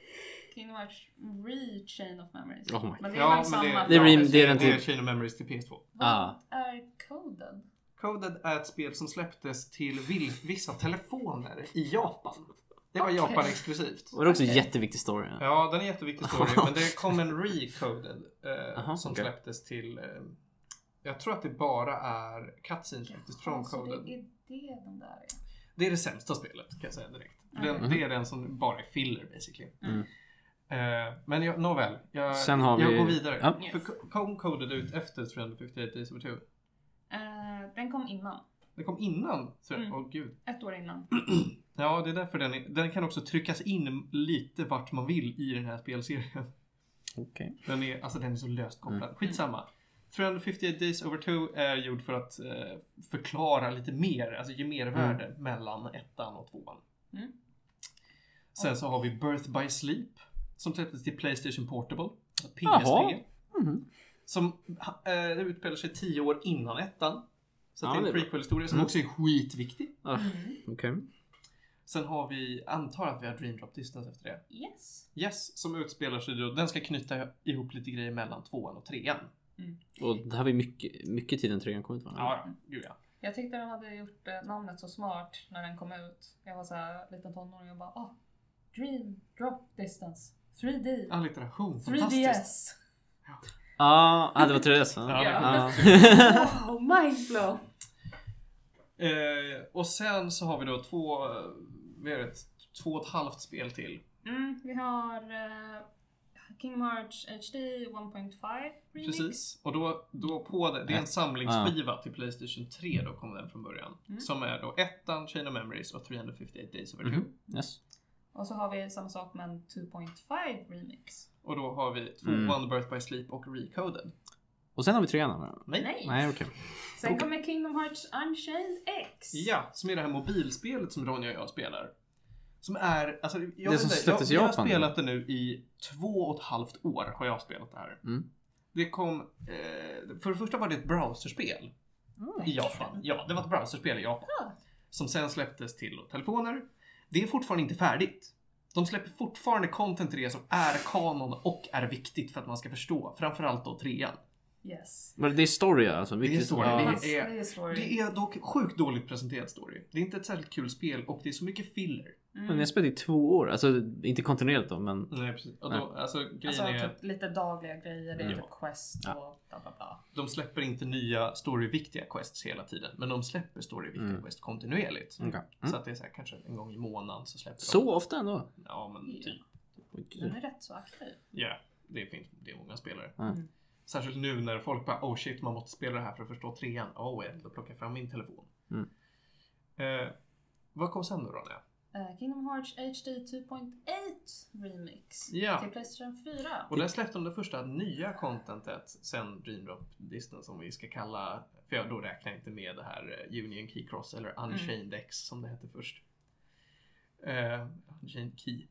S2: Kingdom Hearts Re-Chain of Memories.
S3: Oh my
S2: men det är
S1: Ja,
S2: väl samma?
S1: men
S2: Det,
S1: det-
S3: Det är rim- det är den
S1: Det är
S3: typ.
S1: Chain of Memories till PS2.
S2: Vad
S3: Ah.
S2: är Coded?
S1: Coded är ett spel som släpptes till vil- vissa telefoner i Japan. Det var
S2: Okej.
S1: Japan exklusivt.
S3: Och det är också en
S2: Okej.
S3: jätteviktig story.
S1: Ja, den är en jätteviktig story, men det kom en recoded eh,
S3: Aha,
S1: som
S3: okej.
S1: släpptes till eh, jag tror att det bara är cutscenes faktiskt från
S2: så Alltså, det
S1: Coded.
S2: är det de där är.
S1: Det är det sämsta spelet kan jag säga direkt.
S2: Mhm.
S1: Den, det är den som bara är filler basically.
S3: Mm.
S1: Eh, men jag, nåväl, jag,
S3: Sen har vi-
S1: jag går vidare.
S3: Ja.
S2: Yes.
S1: För co- kom Coded ut efter 358 Days of Two?
S2: Eh, den kom innan.
S1: Det kom innan. Åh
S2: Mm.
S1: gud.
S2: Ett år innan.
S1: Ja, det är därför den, är, den kan också tryckas in lite vart man vill i den här spelserien.
S3: Okej.
S1: Den är, alltså den är så löst kopplad.
S3: Mm.
S1: Skitsamma. 358 Days Over 2 är gjord för att eh, förklara lite mer, alltså ge
S3: Mm.
S1: mervärde mellan ettan och tvåan.
S2: Mm.
S1: Sen så har vi Birth by Sleep som släpptes till Playstation Portable, alltså PS3.
S3: Jaha. Mhm.
S1: Som eh, det utspelar sig tio år innan ettan. Så
S3: Ja,
S1: det är
S3: det
S1: en
S3: är bra.
S1: prequel-historia som
S3: Mm.
S1: också är skitviktig.
S3: Ah,
S2: Mm.
S3: Okej.
S1: Sen har vi, antar att vi har Dream Drop Distance efter det.
S2: Yes.
S1: Yes, som utspelar sig då. Den ska knyta ihop lite grejer mellan tvåan och trean.
S3: Och det här var ju mycket, mycket tid än trean kom ut va?
S1: Ja, gud ja.
S2: Jag tyckte de hade gjort eh, namnet så smart när den kom ut. Jag var så här liten tonåring och bara åh, Dream Drop Distance 3D.
S1: Allitteration, fantastiskt.
S2: 3DS.
S3: Ah, ah, det var Therese.
S1: Ja, det
S3: Ah.
S2: Wow, mindblow!
S1: Eh, och sen så har vi då två, eh, vad är det, två och ett halvt spel till.
S2: Mm, vi har eh, Kingdom Hearts HD 1.5 remix.
S1: Precis. Och då, då på det, det är en samlingsskiva till Playstation 3 då kom den från början.
S2: Mm.
S1: Som är då ettan, Chain of Memories och 358 Days of Two.
S3: Mhm. Yes.
S2: Och så har vi samma sak med en 2.5 remix.
S1: Och då har vi tvåan, Birth by Sleep och Recoded.
S3: Och sen har vi trean eller?
S2: Nej.
S3: Nej okej.
S2: Sen kommer Kingdom Hearts Unchained X.
S1: Ja, som är det här mobilspelet som Ronja och jag spelar. Som är, alltså, jag, vet
S3: som
S1: inte,
S3: släpptes i
S1: jag, jag har
S3: Japan.
S1: spelat det nu i två och ett halvt år har jag spelat det här.
S3: Mm.
S1: Det kom, eh, för det första var det ett browserspel i Japan. Ja, det var ett browserspel i Japan.
S2: Ja.
S1: Som sen släpptes till telefoner. Det är fortfarande inte färdigt. De släpper fortfarande content till det som är kanon och är viktigt för att man ska förstå. Framförallt då trean.
S2: Yes.
S3: Men det är story alltså? Vilket,
S1: story,
S3: ja.
S1: Det
S2: Fast
S1: är-
S2: det är story.
S1: Det är dock sjukt dåligt presenterad story. Det är inte ett särskilt kul spel och det är så mycket filler.
S2: Mm.
S3: Men jag spelade i två år. Alltså inte kontinuerligt då men.
S1: Nej, precis. Och
S3: Nej.
S1: då, alltså, grejen
S2: Alltså
S1: är...
S2: typ lite dagliga grejer, det är
S1: Ja.
S2: typ quest
S3: Ja.
S2: och bla bla bla.
S1: De släpper inte nya storyviktiga quests hela tiden, men de släpper storyviktiga
S3: Mm.
S1: quests kontinuerligt.
S3: Okej.
S1: Så
S3: Mm.
S1: att det är så här, kanske en gång i månaden så släpper de.
S3: Så ofta ändå?
S1: Ja, men typ.
S2: Den är rätt så aktiv.
S1: Ja, det finns det är många spelare.
S2: Mm.
S1: Särskilt nu när folk bara oh shit, man måste spela det här för att förstå trean. Oh, well, då plockar jag fram min telefon.
S3: Mm.
S1: Eh, vad kom sen då, Ronja?
S2: Eh, Kingdom Hearts HD 2.8 Remix
S1: Ja.
S2: till Playstation 4.
S1: Och där släppte de det första nya contentet sen Dreamdrop-listan som vi ska kalla, för jag då räknar jag inte med det här eh, Union Key Cross eller
S2: Mm.
S1: Unchained X som det hette först. Eh, Unchained Key.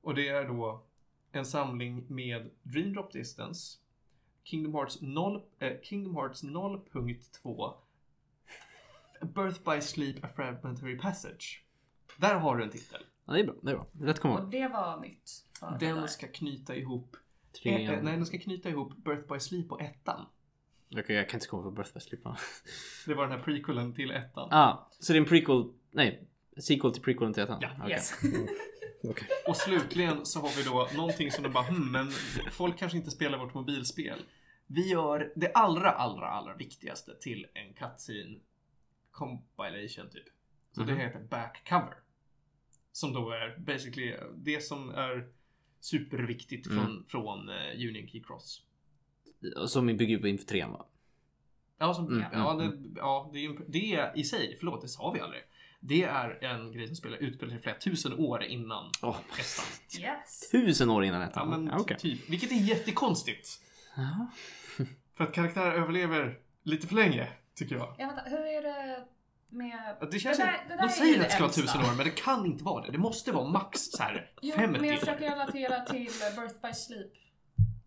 S1: Och det är då en samling med Dreamdrop Distance, Kingdom Hearts 0, eh, Kingdom Hearts 0.2, Birth by Sleep A Fragmentary Passage. Där har du en titel.
S3: Ja, det är bra. Det är bra. Lätt komma
S2: Och
S3: ihåg.
S2: det var nytt. för det där.
S1: Den ska knyta ihop Eh, eh,
S3: Trean.
S1: nej, den ska knyta ihop Birth by Sleep och ettan.
S3: Okej jag kan inte komma på Birth by Sleep.
S1: Det var den här prequelen till ettan.
S3: ah, så det är en prequel. Nej. Sequel till prequelen till ettan?
S1: Ja.
S3: Okej.
S2: Yes. <laughs>
S3: Okej.
S1: Och slutligen så har vi då någonting som de bara hmm, men folk kanske inte spelar vårt mobilspel. Vi gör det allra, allra, allra viktigaste till en cutscene compilation typ. Så
S3: Mhm.
S1: det heter backcover. Som då är basically eh, det som är superviktigt
S3: Mm.
S1: från, från eh, Union Key Cross.
S3: Och Som bygger på inför trean va?
S1: Ja, som,
S3: Mm,
S1: ja,
S3: mm,
S1: det, ja det, är ju en- det är i sig, förlåt, det sa vi aldrig. Det är en grej som spelar utspelar sig flera tusen år innan
S3: Oh,
S1: ettan.
S2: yes.
S3: tusen år innan
S1: Ja,
S3: ettan?
S1: men
S3: Ja, okej. Ah,
S1: typ. Vilket är jättekonstigt.
S3: Jaha.
S1: För att karaktärer överlever lite för länge, tycker jag.
S2: Ja, vänta, hur är det med...
S1: Att Det känns
S2: Det där-
S1: inte-
S2: det där
S1: de
S2: är
S1: säger
S2: ju
S1: att det ska vara
S2: äldsta.
S1: tusen år, men det kan inte vara det. Det måste vara max så här
S2: Jo, men
S1: 50
S2: jag
S1: år.
S2: försöker relatera till Birth by Sleep.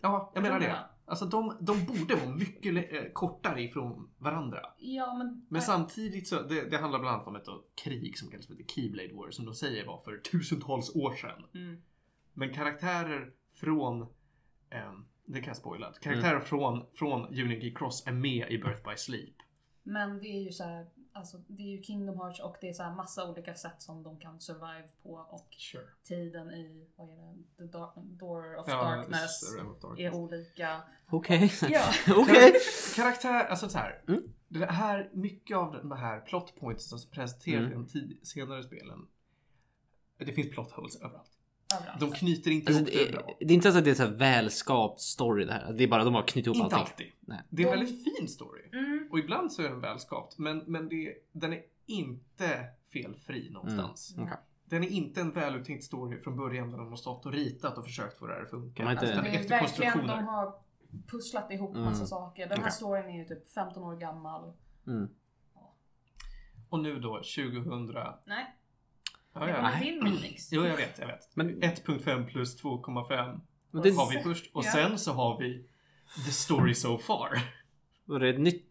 S1: Ja, jag menar det.
S2: Ja.
S1: Alltså de, de borde vara mycket eh, kortare ifrån varandra.
S2: Ja, men...
S1: Men samtidigt så, det, det handlar bland annat om ett då krig som kallas för The Keyblade War som de säger var för tusentals år sedan.
S2: Mm.
S1: Men karaktärer från, ehm, det kan jag spoila, karaktärer
S3: Mm.
S1: från, från Unity Cross är med i Birth by Sleep.
S2: Men det är ju så här, alltså det är ju Kingdom Hearts och det är så här massa olika sätt som de kan survive på och
S1: Sure.
S2: tiden i, vad är det, The Dark, Door of
S1: Ja,
S2: Darkness
S1: s- Realm of Darkness.
S2: är
S1: <laughs>
S2: olika.
S3: Okej.
S2: Ja.
S3: <laughs>
S2: <laughs>
S3: Okej.
S1: Karaktär, alltså så här.
S3: Mm.
S1: Det här, mycket av de här plot points som presenteras i
S3: Mm.
S1: de tid, senare spelen. Det finns plot holes överallt.
S2: Överallt.
S1: De knyter inte
S3: Alltså,
S1: ihop det,
S3: det, är-
S1: bra.
S3: det är inte ens att det är så här välskapt story det här. Det är bara de har knutit ihop
S1: Inte
S3: allting.
S1: alltid.
S3: Nej.
S1: Det är en
S2: De-
S1: väldigt fin story.
S2: Mm.
S1: Och ibland så är den välskapt, men, men det, den är inte felfri någonstans.
S2: Mm.
S3: Okej.
S1: Den är inte en väluttänkt story från början där de har stått och ritat och försökt få det här att funka.
S3: De har inte-
S1: Alltså,
S2: Det
S1: den är
S2: är
S1: efter
S2: verkligen,
S1: konstruktioner.
S2: de har pusslat ihop
S3: Mm.
S2: massa saker. Den här
S3: Okej.
S2: storyn är ju typ 15 år gammal.
S3: Mm.
S1: Och nu då 2000... Ja,
S2: Nej,
S1: ja.
S2: det
S1: ja.
S2: kommer din
S1: <clears throat>
S2: remix.
S1: Jo, jag vet, jag vet.
S3: Men,
S1: 1.5 plus 2,5
S3: men det,
S1: har vi först och
S2: Ja.
S1: sen så har vi the story so far.
S3: var det ett nytt?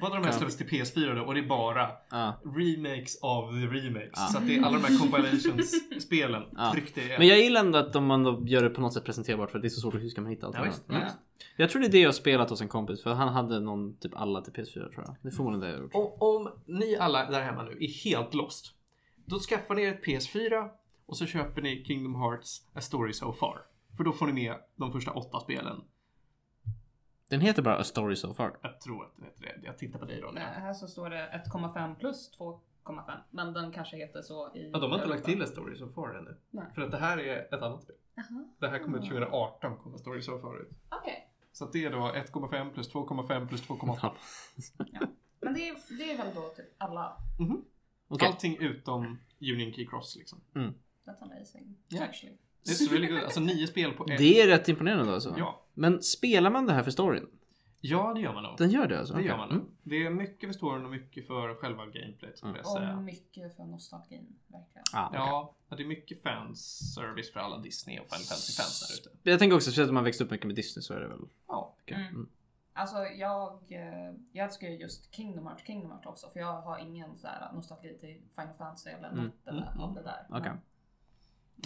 S1: Båda de här
S3: Ja.
S1: släpps till PS4 då och det är bara
S3: Ja.
S1: remakes av the remakes.
S3: Ja.
S1: Så att det är alla de här
S3: <laughs>
S1: compilations-spelen
S3: Ja.
S1: tryckte i ett.
S3: Men jag gillar ändå att de man då gör det på något sätt presenterbart för det är så svårt att hur ska man hitta allt
S1: Ja,
S3: det här?
S1: visst.
S3: Mm. Jag tror det är det jag har spelat hos en kompis för han hade någon typ alla till PS4 tror jag. Det är förmodligen det jag har gjort.
S1: Och om ni alla där hemma nu är helt lost, då skaffar ni er ett PS4 och så köper ni Kingdom Hearts A Story So Far. För då får ni med de första åtta spelen.
S3: Den heter bara A Story So Far.
S1: Jag tror att det heter det. Jag tittar på dig då.
S2: Nej, Här så står det 1,5 plus 2,5. Men den kanske heter så i...
S1: Ja, de har inte lagt till A Story So Far ännu.
S2: Nej.
S1: För att det här är ett annat spel.
S2: Jaha.
S1: Det här kom ut 2018, kom A Story So Far ut.
S2: Okej.
S1: Så att det är då 1,5 plus 2,5 plus 2,8.
S3: Ja.
S2: Men det är, det är väl då typ alla.
S3: Okej.
S1: Allting utom Union Key Cross liksom.
S2: That's amazing.
S1: Ja.
S2: Actually.
S1: It's really good. Alltså nio spel på ett.
S3: Det är rätt imponerande alltså.
S1: Ja.
S3: Men spelar man det här för storyn?
S1: Ja, det gör man nog.
S3: Den gör det alltså?
S1: Det gör
S3: Okej.
S1: man nog.
S3: Mm.
S1: Det är mycket för storyn och mycket för själva gameplayet skulle
S3: Mm.
S1: jag säga.
S2: Och mycket för nostalgin, verkligen.
S3: Ah, okej.
S1: Ja, det är mycket fanservice för alla Disney och Final Fantasy-fans där ute.
S3: Jag tänker också, speciellt om man växt upp mycket med Disney så är det väl...
S1: Ja.
S3: okej.
S2: Mm.
S3: Mm.
S2: Alltså jag, eh, jag älskar ju just Kingdom Hearts, Kingdom Hearts också för jag har ingen så här nostalgi till Final Fantasy eller
S3: Mm,
S2: något eh,
S1: mm,
S2: av
S1: mm.
S2: det där.
S3: Okej.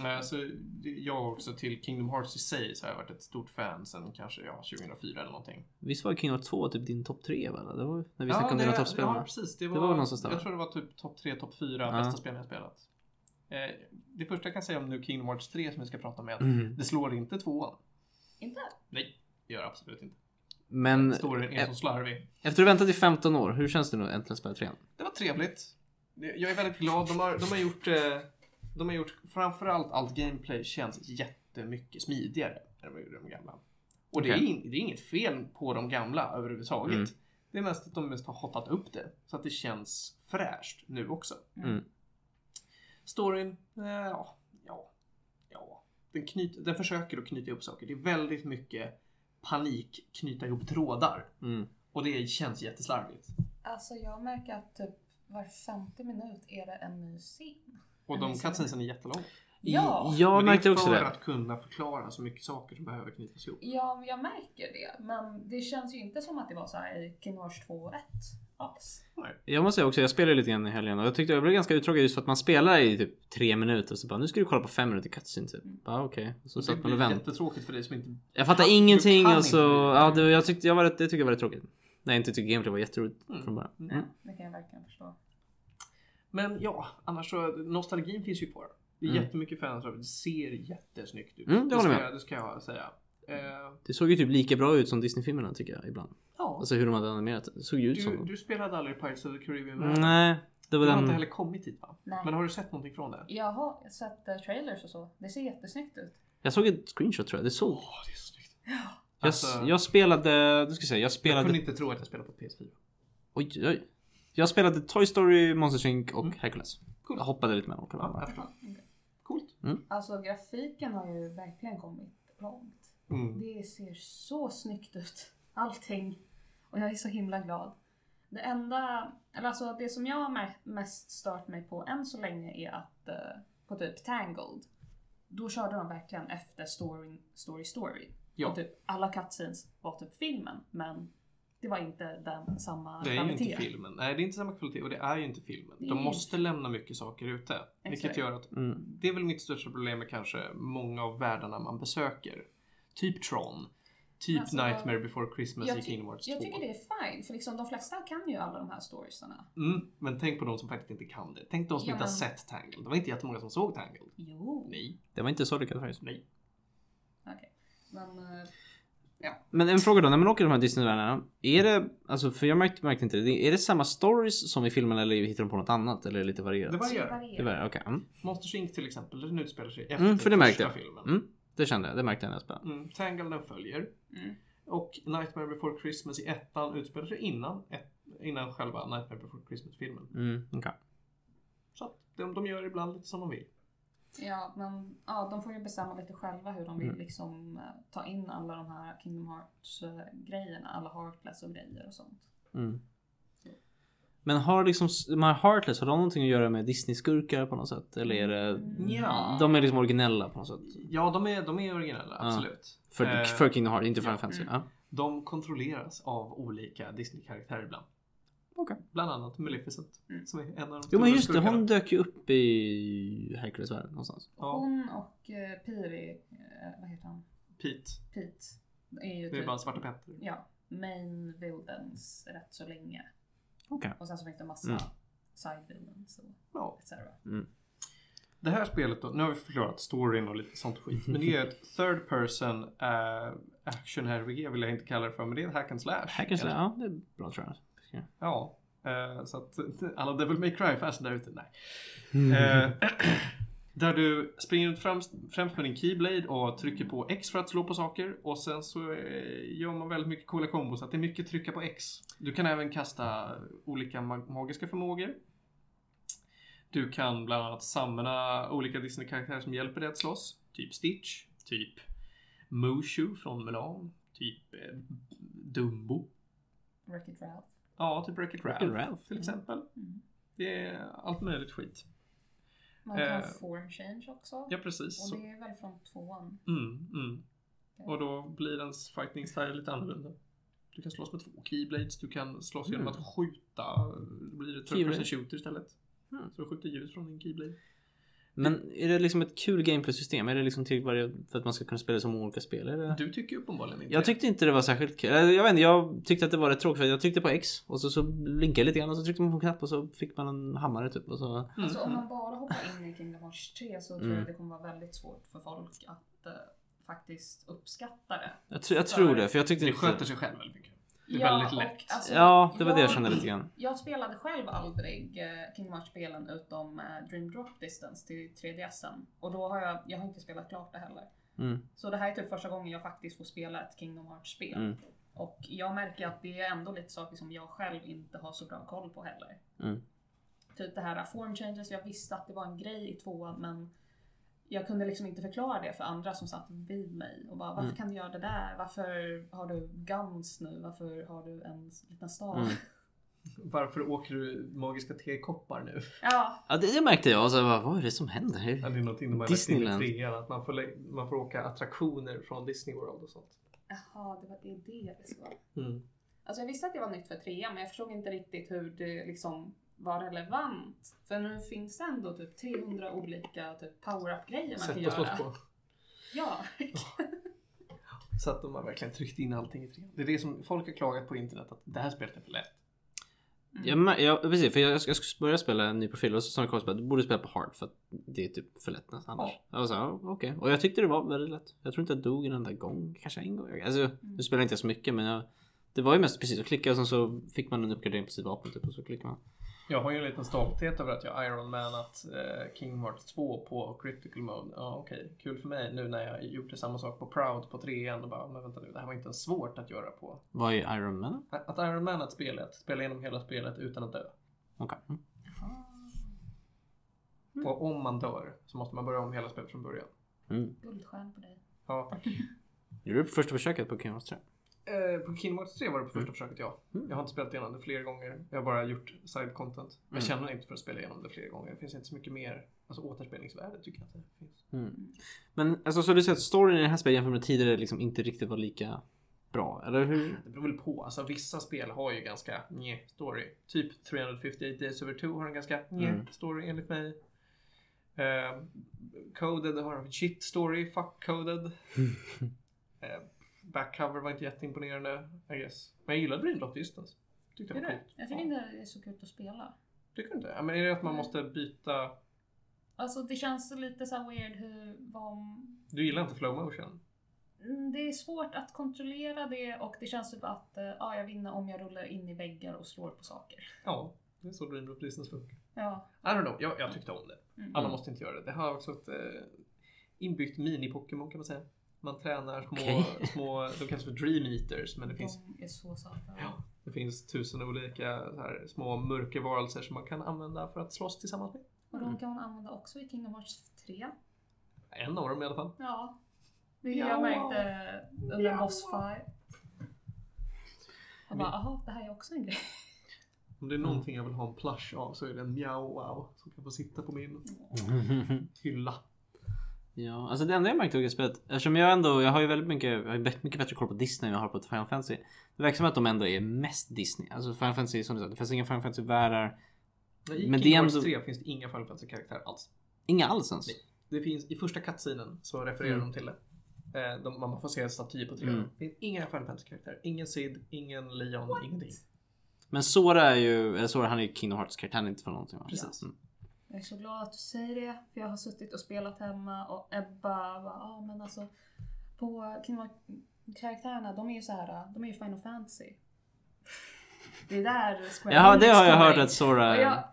S1: Eh, Så det- jag också till Kingdom Hearts i sig så har jag varit ett stort fan sen kanske ja, 2004 eller någonting.
S3: Visst var King Hearts 2 typ din topp 3 va? Det var ju när vi
S1: Ja,
S3: snackade om dina
S1: det-
S3: toppspel.
S1: Ja, precis. Det var,
S3: var väl någonstans där,
S1: jag
S3: va?
S1: tror det var typ topp 3, topp 4
S3: Ja.
S1: bästa spelen jag spelat. Eh, Det första jag kan säga om nu Kingdom Hearts 3 som vi ska prata om är att
S3: Mm.
S1: det slår inte tvåan.
S2: Inte?
S1: Nej, det gör det absolut inte.
S3: Men
S1: Storyn är
S3: eh,
S1: så slarvig.
S3: efter att ha väntat i 15 år, hur känns det nu att äntligen spela 3?
S1: Det var trevligt. Det- Jag är väldigt glad. De har, de har gjort, eh, de har gjort framförallt allt gameplay känns jättemycket smidigare än vad de gjorde de gamla. Och det är,
S3: Okej.
S1: in, det är inget fel på de gamla överhuvudtaget.
S3: Mm.
S1: Det är mest att de mest har hotat upp det så att det känns fräscht nu också.
S3: Mm.
S1: Storyn, eh, ja, ja, ja. Den, knyt, den försöker att knyta ihop saker. Det är väldigt mycket panik, knyta ihop trådar.
S3: Mm.
S1: Och det känns jätteslarvigt.
S2: Alltså jag märker att typ var femte minut är det en ny scen.
S1: Och
S2: Men
S1: de
S2: sen-
S1: cutscenesen är jättelånga.
S2: Ja!
S3: Jag
S1: Men
S3: märkte
S1: det är
S3: också
S1: för
S3: det.
S1: att kunna förklara så mycket saker som behöver knytas ihop.
S2: Ja, jag märker det. Men det känns ju inte som att det var så här i Kingdom Hearts 2 och 1 alls.
S3: Jag måste säga också, jag spelade lite grann i helgen och jag tyckte jag blev ganska uttråkad just för att man spelar i typ 3 minuter och så bara nu ska du kolla på 5 minuter cutscene typ.
S2: Mm.
S3: Ja okej. Och Så
S1: Och
S3: satt
S1: det
S3: man och
S1: blir
S3: väntade.
S1: jättetråkigt för dig som inte... mm.
S3: Jag fattar
S1: Du kan
S3: ingenting
S1: inte
S3: och så...
S1: bli-
S3: Ja, det, jag tyckte, jag var, rätt- det tyckte jag var rätt tråkigt. Nej, jag inte tyckte gameplay var jätteroligt
S1: Mm.
S3: från början.
S1: Nej.
S2: Ja, det kan jag verkligen förstå.
S1: Men ja, annars så... Nostalgin finns ju kvar. Det är
S3: Mm.
S1: jättemycket fans av det. Det ser jättesnyggt ut.
S3: Mm, det håller
S1: ska
S3: jag med.
S1: jag, det ska jag säga. Eh,
S3: Det såg ju typ lika bra ut som Disney-filmerna tycker jag ibland.
S1: ja.
S3: Alltså hur de hade animerat det. Det såg ju ut
S1: Du,
S3: som...
S1: du spelade aldrig Pirates of the Caribbean? va?
S3: Nej, det var
S1: Du har inte
S3: den...
S1: heller kommit dit va?
S2: Nej.
S1: Men har du sett någonting från det?
S2: Jag har sett eh, trailers och så. Det ser jättesnyggt ut.
S3: Jag såg ett screenshot tror jag. Det såg...
S1: Åh, det är så snyggt.
S3: Jag,
S1: Alltså, jag,
S3: jag spelade... Du ska jag säga, jag spelade...
S1: kunde inte tro att jag spelade på PS4.
S3: Oj, oj. Jag spelade Toy Story, Monster Inc och
S1: Mm.
S3: Hercules.
S1: Coolt.
S3: Jag hoppade lite mellan
S1: Ja,
S3: varandra.
S1: jag förstår.
S2: okej.
S1: Coolt.
S2: Alltså grafiken har ju verkligen kommit långt.
S1: Mm.
S2: Det ser så snyggt ut. Allting. Och jag är så himla glad. Det enda, eller alltså det som jag har me- mest stört mig på än så länge är att eh, på typ Tangled, då körde de verkligen efter story, story, story.
S1: Ja.
S2: Och typ alla cutscenes var typ filmen, men det var inte den samma
S1: Det är ju inte filmen. Nej, det är inte samma kvalitet och det är ju inte filmen.
S2: Det är
S1: De
S2: ju-
S1: måste lämna mycket saker ute. Vilket
S2: Exakt.
S1: gör att
S3: Mm.
S1: det är väl mitt största problem med kanske många av världarna man besöker. Typ Tron. Typ
S2: Alltså,
S1: Nightmare before Christmas i
S2: Jag, ty-
S1: Kingdom Hearts 2.
S2: jag tycker det är fine, för liksom de flesta kan ju alla de här storiesarna.
S1: mm, men tänk på de som faktiskt inte kan det. Tänk de som
S2: Ja,
S1: inte har
S2: men-
S1: sett Tangled. Det var inte jättemånga som såg Tangled.
S2: Jo.
S1: Nej,
S3: Det var inte så lyckat faktiskt.
S1: nej.
S2: Okej. Men eh,
S3: Men en fråga då, när man åker i de här Disney-världarna. Är det, alltså för jag märkte, märkte inte det. det. Är det samma stories som i filmen eller hittar de på något annat? Eller är det lite varierat?
S1: Det var-
S2: det
S1: gör?
S3: Det
S2: varierar.
S3: var okej. Mm.
S1: Monsters Inc till exempel, den utspelar sig efter
S3: Mm, för det märkte
S1: första
S3: jag.
S1: filmen.
S3: Mm, det kände jag, det märkte jag när jag spelade.
S1: Mm, Tangled den följer.
S2: Mm.
S1: Och Nightmare before Christmas i ettan utspelar sig innan, ett, innan själva Nightmare before Christmas-filmen.
S3: Mm, okej.
S1: Så att de, de gör ibland lite som de vill.
S2: Ja, men ja, de får ju bestämma lite själva hur de vill
S3: Mm.
S2: liksom eh, ta in alla de här Kingdom Hearts-grejerna, alla Heartless och grejer och sånt.
S3: mm. Men har liksom s- de här Heartless, har de någonting att göra med Disney-skurkar på något sätt? Eller är det...
S2: Mm.
S1: Ja.
S3: Eh, De är liksom originella på något sätt?
S1: Ja, de är, de är originella,
S3: Ja.
S1: absolut.
S3: För,
S1: Eh,
S3: för Kingdom Hearts, inte för
S1: ja.
S3: Final Fantasy.
S2: Mm.
S3: Ja.
S1: De kontrolleras av olika Disney-karaktärer ibland.
S3: Okej.
S1: Bland annat Maleficent,
S2: Mm.
S1: som är en av de
S3: Jo men just det,
S1: skurkarna.
S3: hon dök ju upp i Hercules-världen någonstans.
S1: Ja,
S2: Hon och eh, Piri, eh, vad heter han,
S1: Pete.
S2: Pete, är ju
S1: Det är
S2: typ,
S1: bara Svarta Petter.
S2: ja, main villains rätt så länge.
S3: Okej.
S2: Och sen så finns det massa
S3: Mm.
S2: side villains och
S1: Ja.
S2: etc.
S1: Det här spelet då, nu har vi förklarat storyn och lite sånt skit. Men det är
S3: <laughs>
S1: ett third person eh, action RPG vill jag inte kalla det för, men det är ett hack and slash.
S3: Hercules,
S1: Eller-
S3: ja det är bra tror jag.
S1: Ja. Eh, så att <laughs> alla Devil May Cry-fans där ute, nej. Eh, <clears throat>
S3: Mm.
S1: där du springer ut främst, främst med din Keyblade och trycker på X för att slå på saker. Och sen så eh, gör man väldigt mycket coola kombos. Att det är mycket trycka på X. Du kan även kasta olika mag- magiska förmågor. Du kan bland annat samla olika Disney-karaktärer som hjälper dig att slåss. Typ Stitch, typ Mushu från Mulan, typ eh, Dumbo.
S2: Wreck-It Ralph.
S1: Ja, typ Wreck-It
S3: Wreck-It
S1: Ralph,
S3: Ralph,
S1: till
S3: ja.
S1: exempel.
S2: Mm.
S1: Det är allt möjligt skit.
S2: Man kan
S1: Eh,
S2: form change också.
S1: Ja, precis.
S2: Och
S1: Så.
S2: det är väl från tvåan.
S1: Mm, mm. Och då blir ens fighting style lite annorlunda. Du kan slåss med två keyblades, du kan slåss genom
S3: Mm.
S1: att skjuta. Då blir det third
S3: Keyblade.
S1: person shooter istället.
S3: Mm.
S1: Så du skjuter ljus från din keyblade.
S3: Men är det liksom ett kul gameplay-system? Är det liksom till varje, för att man ska kunna spela som olika spel? Är det...
S1: Du tycker ju uppenbarligen inte
S3: Jag
S1: det.
S3: tyckte inte det var särskilt kul. Eller, Jag vet inte, jag tyckte att det var rätt tråkigt. för Jag tryckte på X och så, så blinkade jag lite grann och så tryckte man på en knapp och så fick man en hammare typ. Och så...
S1: Mm,
S2: Alltså om
S1: mm.
S2: man bara hoppar in i Kingdom Hearts 3 så tror
S3: Mm.
S2: jag det kommer vara väldigt svårt för folk att eh, faktiskt uppskatta det.
S3: Jag, tr- jag tror det, för jag tyckte
S1: Det sköter
S3: inte...
S1: sig själv väldigt mycket. Det är väldigt
S2: och
S1: lätt.
S2: alltså,
S3: Ja, det var det jag
S2: jag-
S3: kände lite grann.
S2: Jag spelade själv aldrig eh, Kingdom Hearts-spelen utom eh, Dream Drop Distance till 3DSen. Och då har jag, jag har inte spelat klart det heller.
S3: Mm.
S2: Så det här är typ första gången jag faktiskt får spela ett Kingdom Hearts-spel.
S3: Mm.
S2: Och jag märker att det är ändå lite saker som jag själv inte har så bra koll på heller.
S3: Mm.
S2: Typ det här form changes, jag visste att det var en grej i tvåan men jag kunde liksom inte förklara det för andra som satt vid mig och bara varför
S3: Mm.
S2: kan du göra det där? Varför har du guns nu? Varför har du en s- liten stav?
S3: Mm.
S1: Varför åker du magiska tekoppar <laughs> nu?
S2: <laughs> Ja,
S3: Ja, det, det märkte jag. Och så bara, vad är det som händer?
S1: Ja, Det är någonting de har lagt in i
S3: Disneyland.
S1: trean. Att man får, lä- man får åka attraktioner från Disney World och sånt.
S2: jaha det var det är det det ska vara.
S1: Mm.
S2: Alltså jag visste att det var nytt för trean men jag förstod inte riktigt hur det liksom var relevant. För nu finns det ändå typ 300 olika typ power-up-grejer man kan
S1: Sätt att slåss
S2: göra.
S1: på.
S2: <laughs> Ja,
S1: Så att de har verkligen tryckt in allting i trean. Det är det som folk har klagat på internet. Att det här spelet är för lätt.
S3: Jag, mär- ja, precis, för jag, jag ska börja spela en ny profil och så sa min kompis bara, du borde spela på hard för att det är typ för lätt nästan annars. Jag var så här, "Ja, okej. Och jag tyckte det var väldigt lätt. Jag tror inte jag dog en enda gång, kanske en gång. Alltså, nu spelar inte jag så mycket men jag, det var ju mest precis att klicka och sen så fick man en uppgradering på sitt vapen typ och så klickar man.
S1: Jag har ju en liten stolthet över att jag Ironmanat eh, King Hearts 2 på critical mode. Ja okej, kul för mig nu när jag gjorde samma sak på Proud på 3 och bara, men vänta nu, det här var inte ens svårt att göra på.
S3: Vad är Iron Man?
S1: Att Ironmanat spelet, spela igenom hela spelet utan att dö.
S3: Okej. Mm.
S1: Och om man dör så måste man börja om hela spelet från början.
S3: Mm.
S2: guldstjärn på dig.
S1: Ja, tack.
S3: Gjorde du på första försöket på Kingdom Hearts 3?
S1: Eh, på Kingdom Hearts 3 var det på första försöket ja. Jag har inte spelat igenom det flera gånger. Jag har bara gjort side content. Men jag känner inte för att spela igenom det flera gånger. Det finns inte så mycket mer alltså, återspelningsvärde tycker jag att det finns.
S3: Men alltså så du säger att storyn i det här spelet jämfört med tidigare liksom inte riktigt var lika bra, eller hur? <laughs>
S1: Det beror väl på. Alltså, vissa spel har ju ganska nje story. Typ 358 Days Over 2 har en ganska nje
S3: Mm.
S1: story enligt mig. Eh, coded har en shit story. Fuck coded. eh, backcover var inte jätteimponerande. I guess. Men jag gillade Dream Drop Distance. alltså. Tyckte det
S2: Gör
S1: var
S2: du?
S1: coolt.
S2: Jag tycker
S1: Ja.
S2: inte det är så kul att spela.
S1: Tycker du inte? Ja, men är det att man måste byta?
S2: Alltså det känns lite så här weird hur, vad,
S1: Du gillar inte flow motion?
S2: Mm, Det är svårt att kontrollera det och det känns typ att eh, ja, jag vinner om jag rullar in i väggar och slår på saker.
S1: Ja, det är så Dream Drop Distance funkar.
S2: Ja.
S1: I don't know. Jag, jag tyckte om det.
S2: Mm.
S1: Alla
S3: Mm.
S1: måste inte göra det. Det har också ett eh, inbyggt mini-Pokémon kan man säga. Man tränar små, <laughs>
S3: Okej.
S1: små de kallas för Dream Eaters, men det finns,
S2: De är så söta.
S1: ja, det finns tusen olika så här, små mörkervarelser som man kan använda för att slåss tillsammans med.
S2: Och de kan man använda också i Kingdom Hearts 3.
S1: En av dem i alla fall.
S2: Ja. Vilket jag märkte under
S1: Ja.
S2: Boss Fight. Jag bara, aha, det här är också en grej.
S1: Om
S3: Mm.
S1: det är någonting jag vill ha en plush av så är det en Meow Wow som kan få sitta på min hylla.
S3: Ja, alltså det enda jag märkte i spelet, eftersom jag ändå, jag har ju väldigt mycket, jag har ju väldigt mycket bättre koll på Disney än jag har på Final Fantasy. Det verkar som att de ändå är mest Disney. Alltså Final Fantasy, som du sa, det finns inga Final Fantasy-världar.
S1: Men I
S3: Men det är
S1: King Hearts
S3: ändå-
S1: 3 finns det inga Final Fantasy-karaktärer alls.
S3: Inga alls ens.
S1: Det finns, I första cutscenen så refererar
S3: Mm.
S1: de till det. Eh, de, man får se en staty på tre.
S3: Mm.
S1: Det finns inga Final Fantasy-karaktärer. Ingen Sid, ingen Leon, ingenting.
S3: Men Sora är ju, eller Sora han är ju Kingdom Hearts karaktär, han är inte från någonting va?
S1: Precis.
S3: Mm.
S2: Jag är så glad att du säger det, för jag har suttit och spelat hemma och Ebba bara, ja men alltså på Kingdom Hearts- karaktärerna, de är ju så här, de är ju Final Fantasy. Det är där Square
S3: Jaha,
S2: Enix
S3: det har jag
S2: kommer
S3: hört
S2: in.
S3: att Sora...
S2: Och jag,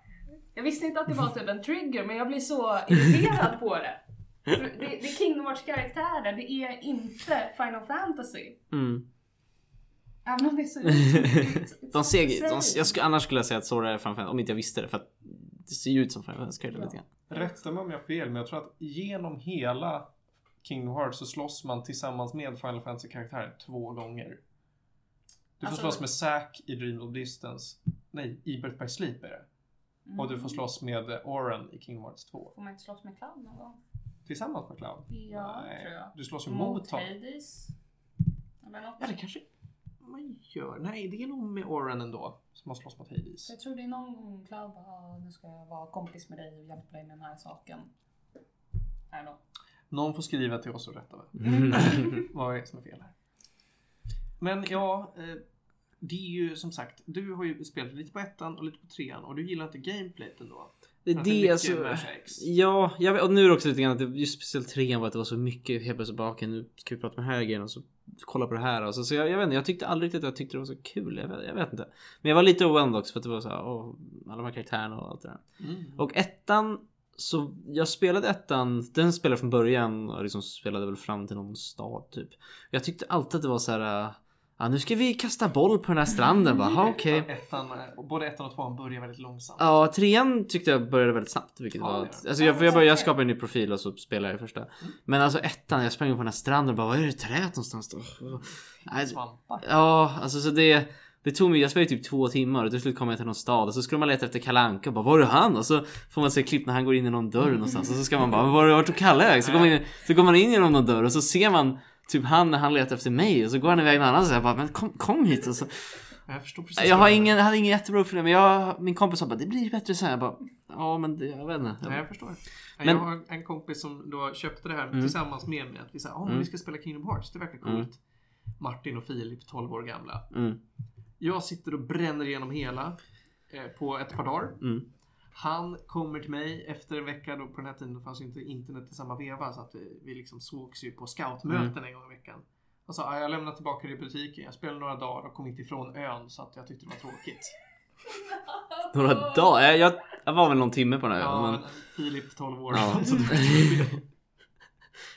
S2: jag visste inte att det var typ en trigger, men jag blir så irriterad på det. För Det, det är Kingdom Hearts karaktärer, det är inte Final Fantasy.
S3: Mm.
S2: Även om det är så...
S3: <laughs> De ser, de, jag skulle, annars skulle jag säga att Sora är Final Fantasy, om inte jag visste det, för att det ser ju ut som Final Fantasy karaktär lite grann.
S1: Rätta mig om jag har fel, men jag tror att genom hela Kingdom Hearts så slåss man tillsammans med Final Fantasy-karaktärer två gånger. Du får
S2: Alltså-
S1: slåss med Zack i Dream of Distance. Nej, i Birth by Sleep är det.
S2: Mm.
S1: Och du får slåss med eh, Oren i Kingdom Hearts 2.
S2: Får man inte slåss med clown någon gång?
S1: Tillsammans med Cloud.
S2: Ja, tror jag.
S1: Du slåss ju mot honom.
S2: Hades? Eller något.
S1: Ja, det kanske man gör. Nej, det är nog med Oren ändå. Som har slåss mot Hades.
S2: Så jag tror det är någon gång Cloud bara, "Ah, nu ska jag vara kompis med dig och hjälpa dig med den här saken. I don't know.
S1: Någon får skriva till oss och rätta va? vad är det som är fel här. Men ja, eh, det är ju som sagt, du har ju spelat lite på ettan och lite på trean och du gillar inte gameplayt ändå.
S3: <laughs> Det
S1: För
S3: är
S1: att
S3: det
S1: mycket
S3: alltså.
S1: Mesh X.
S3: Ja, jag vet, och nu är det också lite grann att det, just speciellt trean var att det var så mycket helt plötsligt bara okej nu ska vi prata med den här grejen och så kolla på det här alltså. Så jag, jag vet inte, jag tyckte aldrig riktigt att jag tyckte det var så kul. Jag vet, jag vet inte. Men jag var lite oänd också för att det var så här, åh, alla de här karaktärerna och allt det där.
S1: Mm.
S3: Och ettan så jag spelade ettan, den spelade jag från början och liksom spelade väl fram till någon stad typ. Jag tyckte alltid att det var så här, äh, ja nu ska vi kasta boll på den här stranden bara, "Ha, okej.
S1: Ettan- Ettan, eh, både ettan och tvåan börjar väldigt långsamt.
S3: Ja, trean tyckte jag började väldigt snabbt. Vilket
S1: Ja, det
S3: var...
S1: gör
S3: Ett,
S1: det.
S3: alltså
S2: Ja,
S3: jag,
S2: det
S3: jag, började,
S2: gör
S3: jag
S2: det.
S3: skapade en ny profil och så spelade jag i första. Men alltså ettan, jag sprang på den här stranden och bara vad är det i träet någonstans då? Nej, det-
S1: Svampar.
S3: Ja, alltså så det... Det tog mig, jag spelade typ två timmar och till slut kom jag till någon stad och så skulle man leta efter Kalle Anka och bara var är han? Och så får man se klipp när han går in i någon dörr någonstans och så ska man bara "Men var, vart tog Kalle vägen? Så går, man in, så går man in genom någon dörr och så ser man typ han när han letar efter mig och så går han iväg någon annanstans och jag bara men kom, kom hit och så
S1: Jag förstår precis.
S3: jag
S1: vad
S3: har
S1: du menar.
S3: ingen, jag hade ingen jättebra uppföljning men jag, min kompis sa bara det blir bättre sen. Jag bara ja men det, jag vet inte.
S1: Nej, jag förstår. Men... Jag
S3: Men-
S1: har en kompis som då köpte det här
S3: Mm.
S1: tillsammans med mig. Att vi sa, oh, men
S3: Mm.
S1: vi ska spela Kingdom Hearts, det verkar coolt.
S3: Mm.
S1: Martin och Filip, 12 år gamla.
S3: Mm,
S1: Jag sitter och bränner igenom hela eh, på ett par dagar.
S3: mm,
S1: Han kommer till mig efter en vecka, då på den här tiden då fanns ju inte internet i samma veva så att vi, vi liksom sågs ju på scoutmöten
S3: Mm.
S1: en gång i veckan. Han sa, "Ah, jag lämnar tillbaka det i butiken, jag spelade några dagar och kom inte ifrån ön så att jag tyckte det var tråkigt.
S3: några dagar? Jag, jag, jag var väl någon timme på den här
S1: Ja,
S3: ja,
S1: men
S3: men,
S1: Filip 12 år.
S3: Ja.
S1: <laughs>
S3: <laughs>
S1: så det var inte så kul.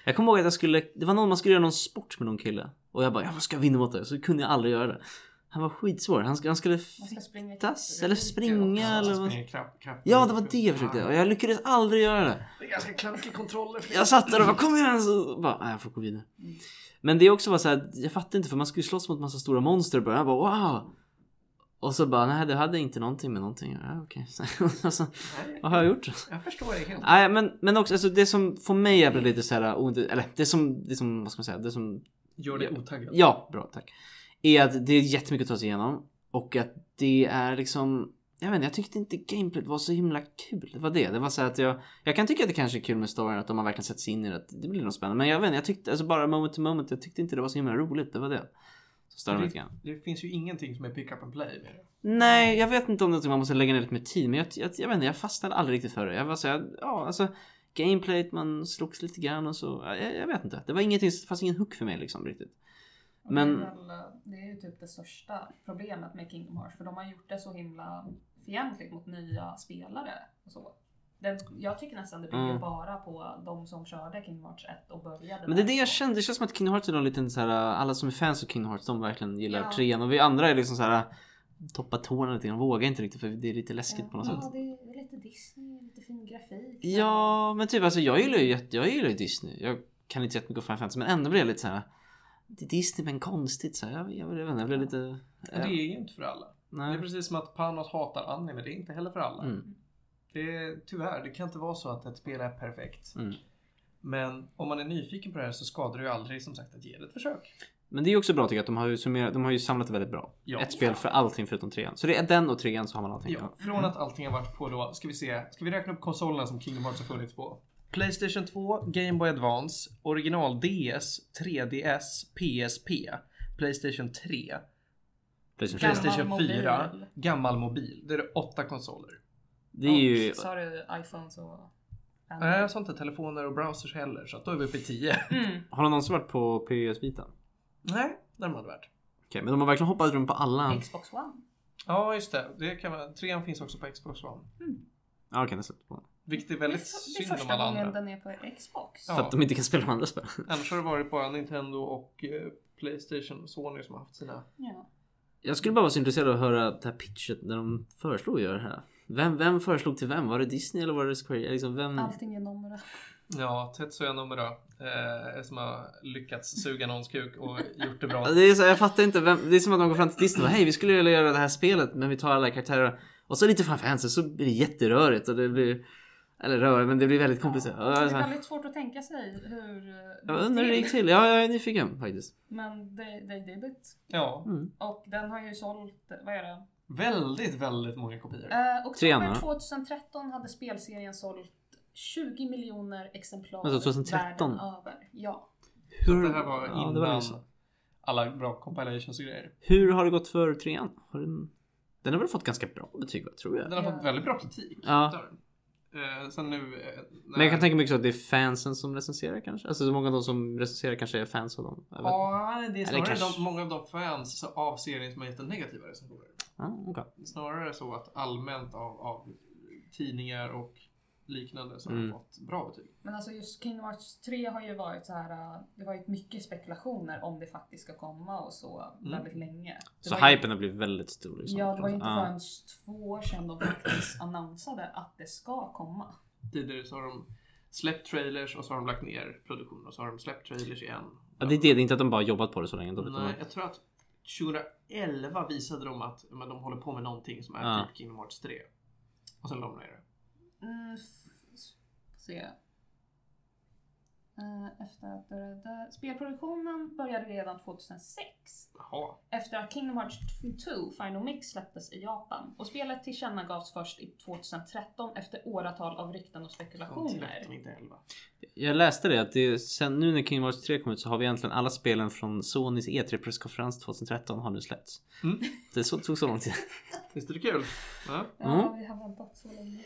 S3: Jag kommer ihåg att jag skulle, det var någon man skulle göra någon sport med någon kille. Och jag bara jag ska vinna mot det. Så kunde jag aldrig göra det. Han var skitsvår. Han, sk- han skulle
S2: Man ska springa
S3: fittas
S2: efter
S3: eller
S2: det.
S3: springa
S1: Ja,
S3: eller
S1: så
S3: vad.
S1: springer krapp- krapp-
S3: Ja det var det jag försökte göra. Och jag lyckades aldrig göra det.
S1: Det är ganska klankig kontroller. för-
S3: Jag satt där och bara kom igen så bara, nej jag får gå vidare.
S2: Mm.
S3: Men det är också bara så här, jag fattar inte för man skulle slåss mot massa stora monster och bara, jag bara wow. Och så bara nej det hade inte någonting med någonting att göra. Ja, okej. <laughs> Så- alltså,
S1: Nej,
S3: vad har jag gjort?
S1: Jag förstår dig helt.
S3: Nej men, men också alltså, det som för mig är lite så här, oint- eller det som, det som, vad ska man säga, det som,
S1: Gör dig otaggad.
S3: ja bra tack. Är att det är jättemycket att ta sig igenom och att det är liksom jag vet inte, jag tyckte inte gameplayt var så himla kul. Det var det. Det var så här att jag... Jag kan tycka att det kanske är kul med storyn, att om man verkligen sätter sig in i det, att det blir nog spännande. Men jag vet inte, jag tyckte, alltså bara moment to moment, jag tyckte inte det var så himla roligt. Det var det. Så störde mig lite grann.
S1: Det finns ju ingenting som är pick up and play med det.
S3: Nej, jag vet inte om det är något man måste lägga ner lite mer tid, men jag, jag, jag vet inte, jag fastnade aldrig riktigt för det. Jag var så här, ja alltså gameplayt, man slogs lite grann och så. ja, Jag, jag vet inte, det var ingenting, det fanns ingen hook för mig liksom riktigt.
S2: Och det är
S3: Men-
S2: väl, eh, Det är ju typ det största problemet med Kingdom Hearts för de har gjort det så himla fientligt mot nya spelare och så. Den, jag tycker nästan det bygger
S3: Mm.
S2: bara på de som körde Kingdom Hearts 1 och började
S3: Men det är
S2: där.
S3: det jag kände, det känns som att Kingdom Hearts är någon liten så här, äh, alla som är fans av Kingdom Hearts de verkligen gillar
S2: Ja.
S3: trean och vi andra är liksom så här toppa tårna lite grann, vågar inte riktigt för det är lite läskigt på något
S2: ja,
S3: sätt.
S2: det är det är lite Disney, lite fin grafik.
S3: Ja, men typ alltså jag gillar ju jätte- jag gillar ju Disney. Jag kan inte jättemycket om Final Fantasy men ändå blir jag lite så här. Det är Disney men konstigt så här. Jag, jag, jag vet inte, jag blir lite...
S1: Det är ju inte för alla. Det
S3: Nej.
S1: är precis som att Panos hatar anime, det är inte heller för alla.
S3: Mm.
S1: Det är, tyvärr, det kan inte vara så att ett spel är perfekt.
S3: Mm.
S1: Men om man är nyfiken på det här så skadar det ju aldrig som sagt att ge det ett försök.
S3: Men det är ju också bra tycker jag att de har ju, summerat, de har ju samlat det väldigt bra.
S1: Ja.
S3: Ett spel för allting förutom trean. Så det är den och trean så har man allting.
S1: Ja, från att allting har varit på då, ska vi se, ska vi räkna upp konsolerna som Kingdom Hearts har funnits på? Playstation 2, Game Boy Advance, original DS, 3DS, PSP, Playstation 3,
S3: Playstation
S2: Gammal
S3: 4.
S1: Playstation
S2: mobil.
S1: 4, gammal mobil. Det är det åtta konsoler.
S3: Det är ju...
S2: Sa du iPhones och...
S1: Nej, jag sa inte telefoner och browsers heller, så att då är vi uppe i 10.
S2: Mm.
S3: Har de någonsin varit på PS Vita? Okej,
S1: Nej, där hade varit.
S3: men de har verkligen hoppat runt på alla.
S2: Xbox One.
S1: Ja, just det. det kan man, trean finns också på Xbox One.
S3: Ja, okej, den släppte på. den.
S1: Vilket är
S2: Det är,
S1: väldigt
S2: f- det är
S1: synd om
S2: första
S1: alla
S2: gången
S1: andra.
S2: den är på Xbox.
S1: Ja.
S3: För att de inte kan spela de andra spelen. <laughs>
S1: Annars har det varit bara Nintendo och eh, Playstation och Sony som har haft sina...
S2: Ja.
S3: Jag skulle bara vara så intresserad av att höra det här pitchet när de föreslog att göra det här. Vem, vem föreslog till vem? Var det Disney eller var det Square? Liksom vem?
S2: Allting är nummer.
S1: Ja, Tetsuya Nomura. Eh, som har lyckats suga någons kuk och gjort det bra.
S3: Det är så, jag fattar inte vem, Det är som att de går fram till Disney och bara, hej vi skulle vilja göra det här spelet men vi tar alla karaktärer och så lite framför fansen så blir det jätterörigt och det blir Eller rörigt men det blir väldigt komplicerat.
S2: Det
S3: Ja.
S2: är
S3: så här,
S2: väldigt svårt att tänka sig hur... eh,
S3: Jag undrar hur det
S2: till.
S3: gick till. Ja, jag är nyfiken faktiskt.
S2: Men they, they did it.
S1: Ja,
S3: Mm.
S2: Och den har ju sålt, eh, vad är det?
S1: väldigt, väldigt många kopior.
S2: Eh,
S3: Trean,
S2: oktober
S3: va?
S2: 2013 hade spelserien sålt 20 miljoner exemplar
S3: Alltså 2013?
S2: världen över. Ja.
S1: Så det här var
S3: Ja,
S1: innan
S3: det var liksom-
S1: alla bra compilations och grejer.
S3: Hur har det gått för trean? Har den... den har väl fått ganska bra betyg va, tror jag.
S1: Den har
S2: Ja.
S1: fått väldigt bra kritik.
S3: Ja.
S1: där. Eh, sen nu... Eh, när-
S3: Men jag kan tänka mig också att det är fansen som recenserar kanske. Alltså så många av de som recenserar kanske är fans av dem. Jag vet inte.
S1: Ja, det är snarare
S3: kanske-
S1: de, många av de fans så- av serien som har gett en negativa recensioner.
S3: Ah, okej.
S1: Snarare så att allmänt av, av tidningar och liknande så har
S3: Mm.
S1: de fått bra betyg.
S2: Men alltså just Kingdom Hearts 3 har ju varit så här. eh, Det har varit mycket spekulationer om det faktiskt ska komma och så
S1: Mm.
S2: väldigt länge. Det
S3: Så
S2: var ju-
S3: hypen har blivit väldigt stor. Liksom.
S2: Ja, det var ju inte
S3: Ah.
S2: förrän två år sedan de faktiskt <clears throat> annonsade att det ska komma.
S1: Tidigare så har de släppt trailers och så har de lagt ner produktionen och så har de släppt trailers igen.
S3: Ja, det är det. Det är inte att de bara jobbat på det så länge. Då, utan
S1: Nej, jag tror att 2011 visade de att men de håller på med någonting som är
S3: Ja.
S1: typ Kingdom Hearts 3. Och sen la de ner det.
S2: Mm, f- se. Eh, Efter att det där. Spelproduktionen började redan 2006
S1: Jaha.
S2: efter att Kingdom Hearts 2 Final Mix släpptes i Japan och spelet tillkännagavs först i 2013 efter åratal av rykten och
S1: de
S2: spekulationer.
S1: släppte inte 11.
S3: Jag läste det att det, sen nu när Kingdom Hearts 3 kom ut så har vi egentligen alla spelen från Sonys E3 presskonferens 2013 har nu släppts.
S1: Mm.
S3: Det så, tog så lång tid.
S1: Visst är det kul? Ja.
S2: Ja,
S3: Mm.
S2: vi har väntat så länge.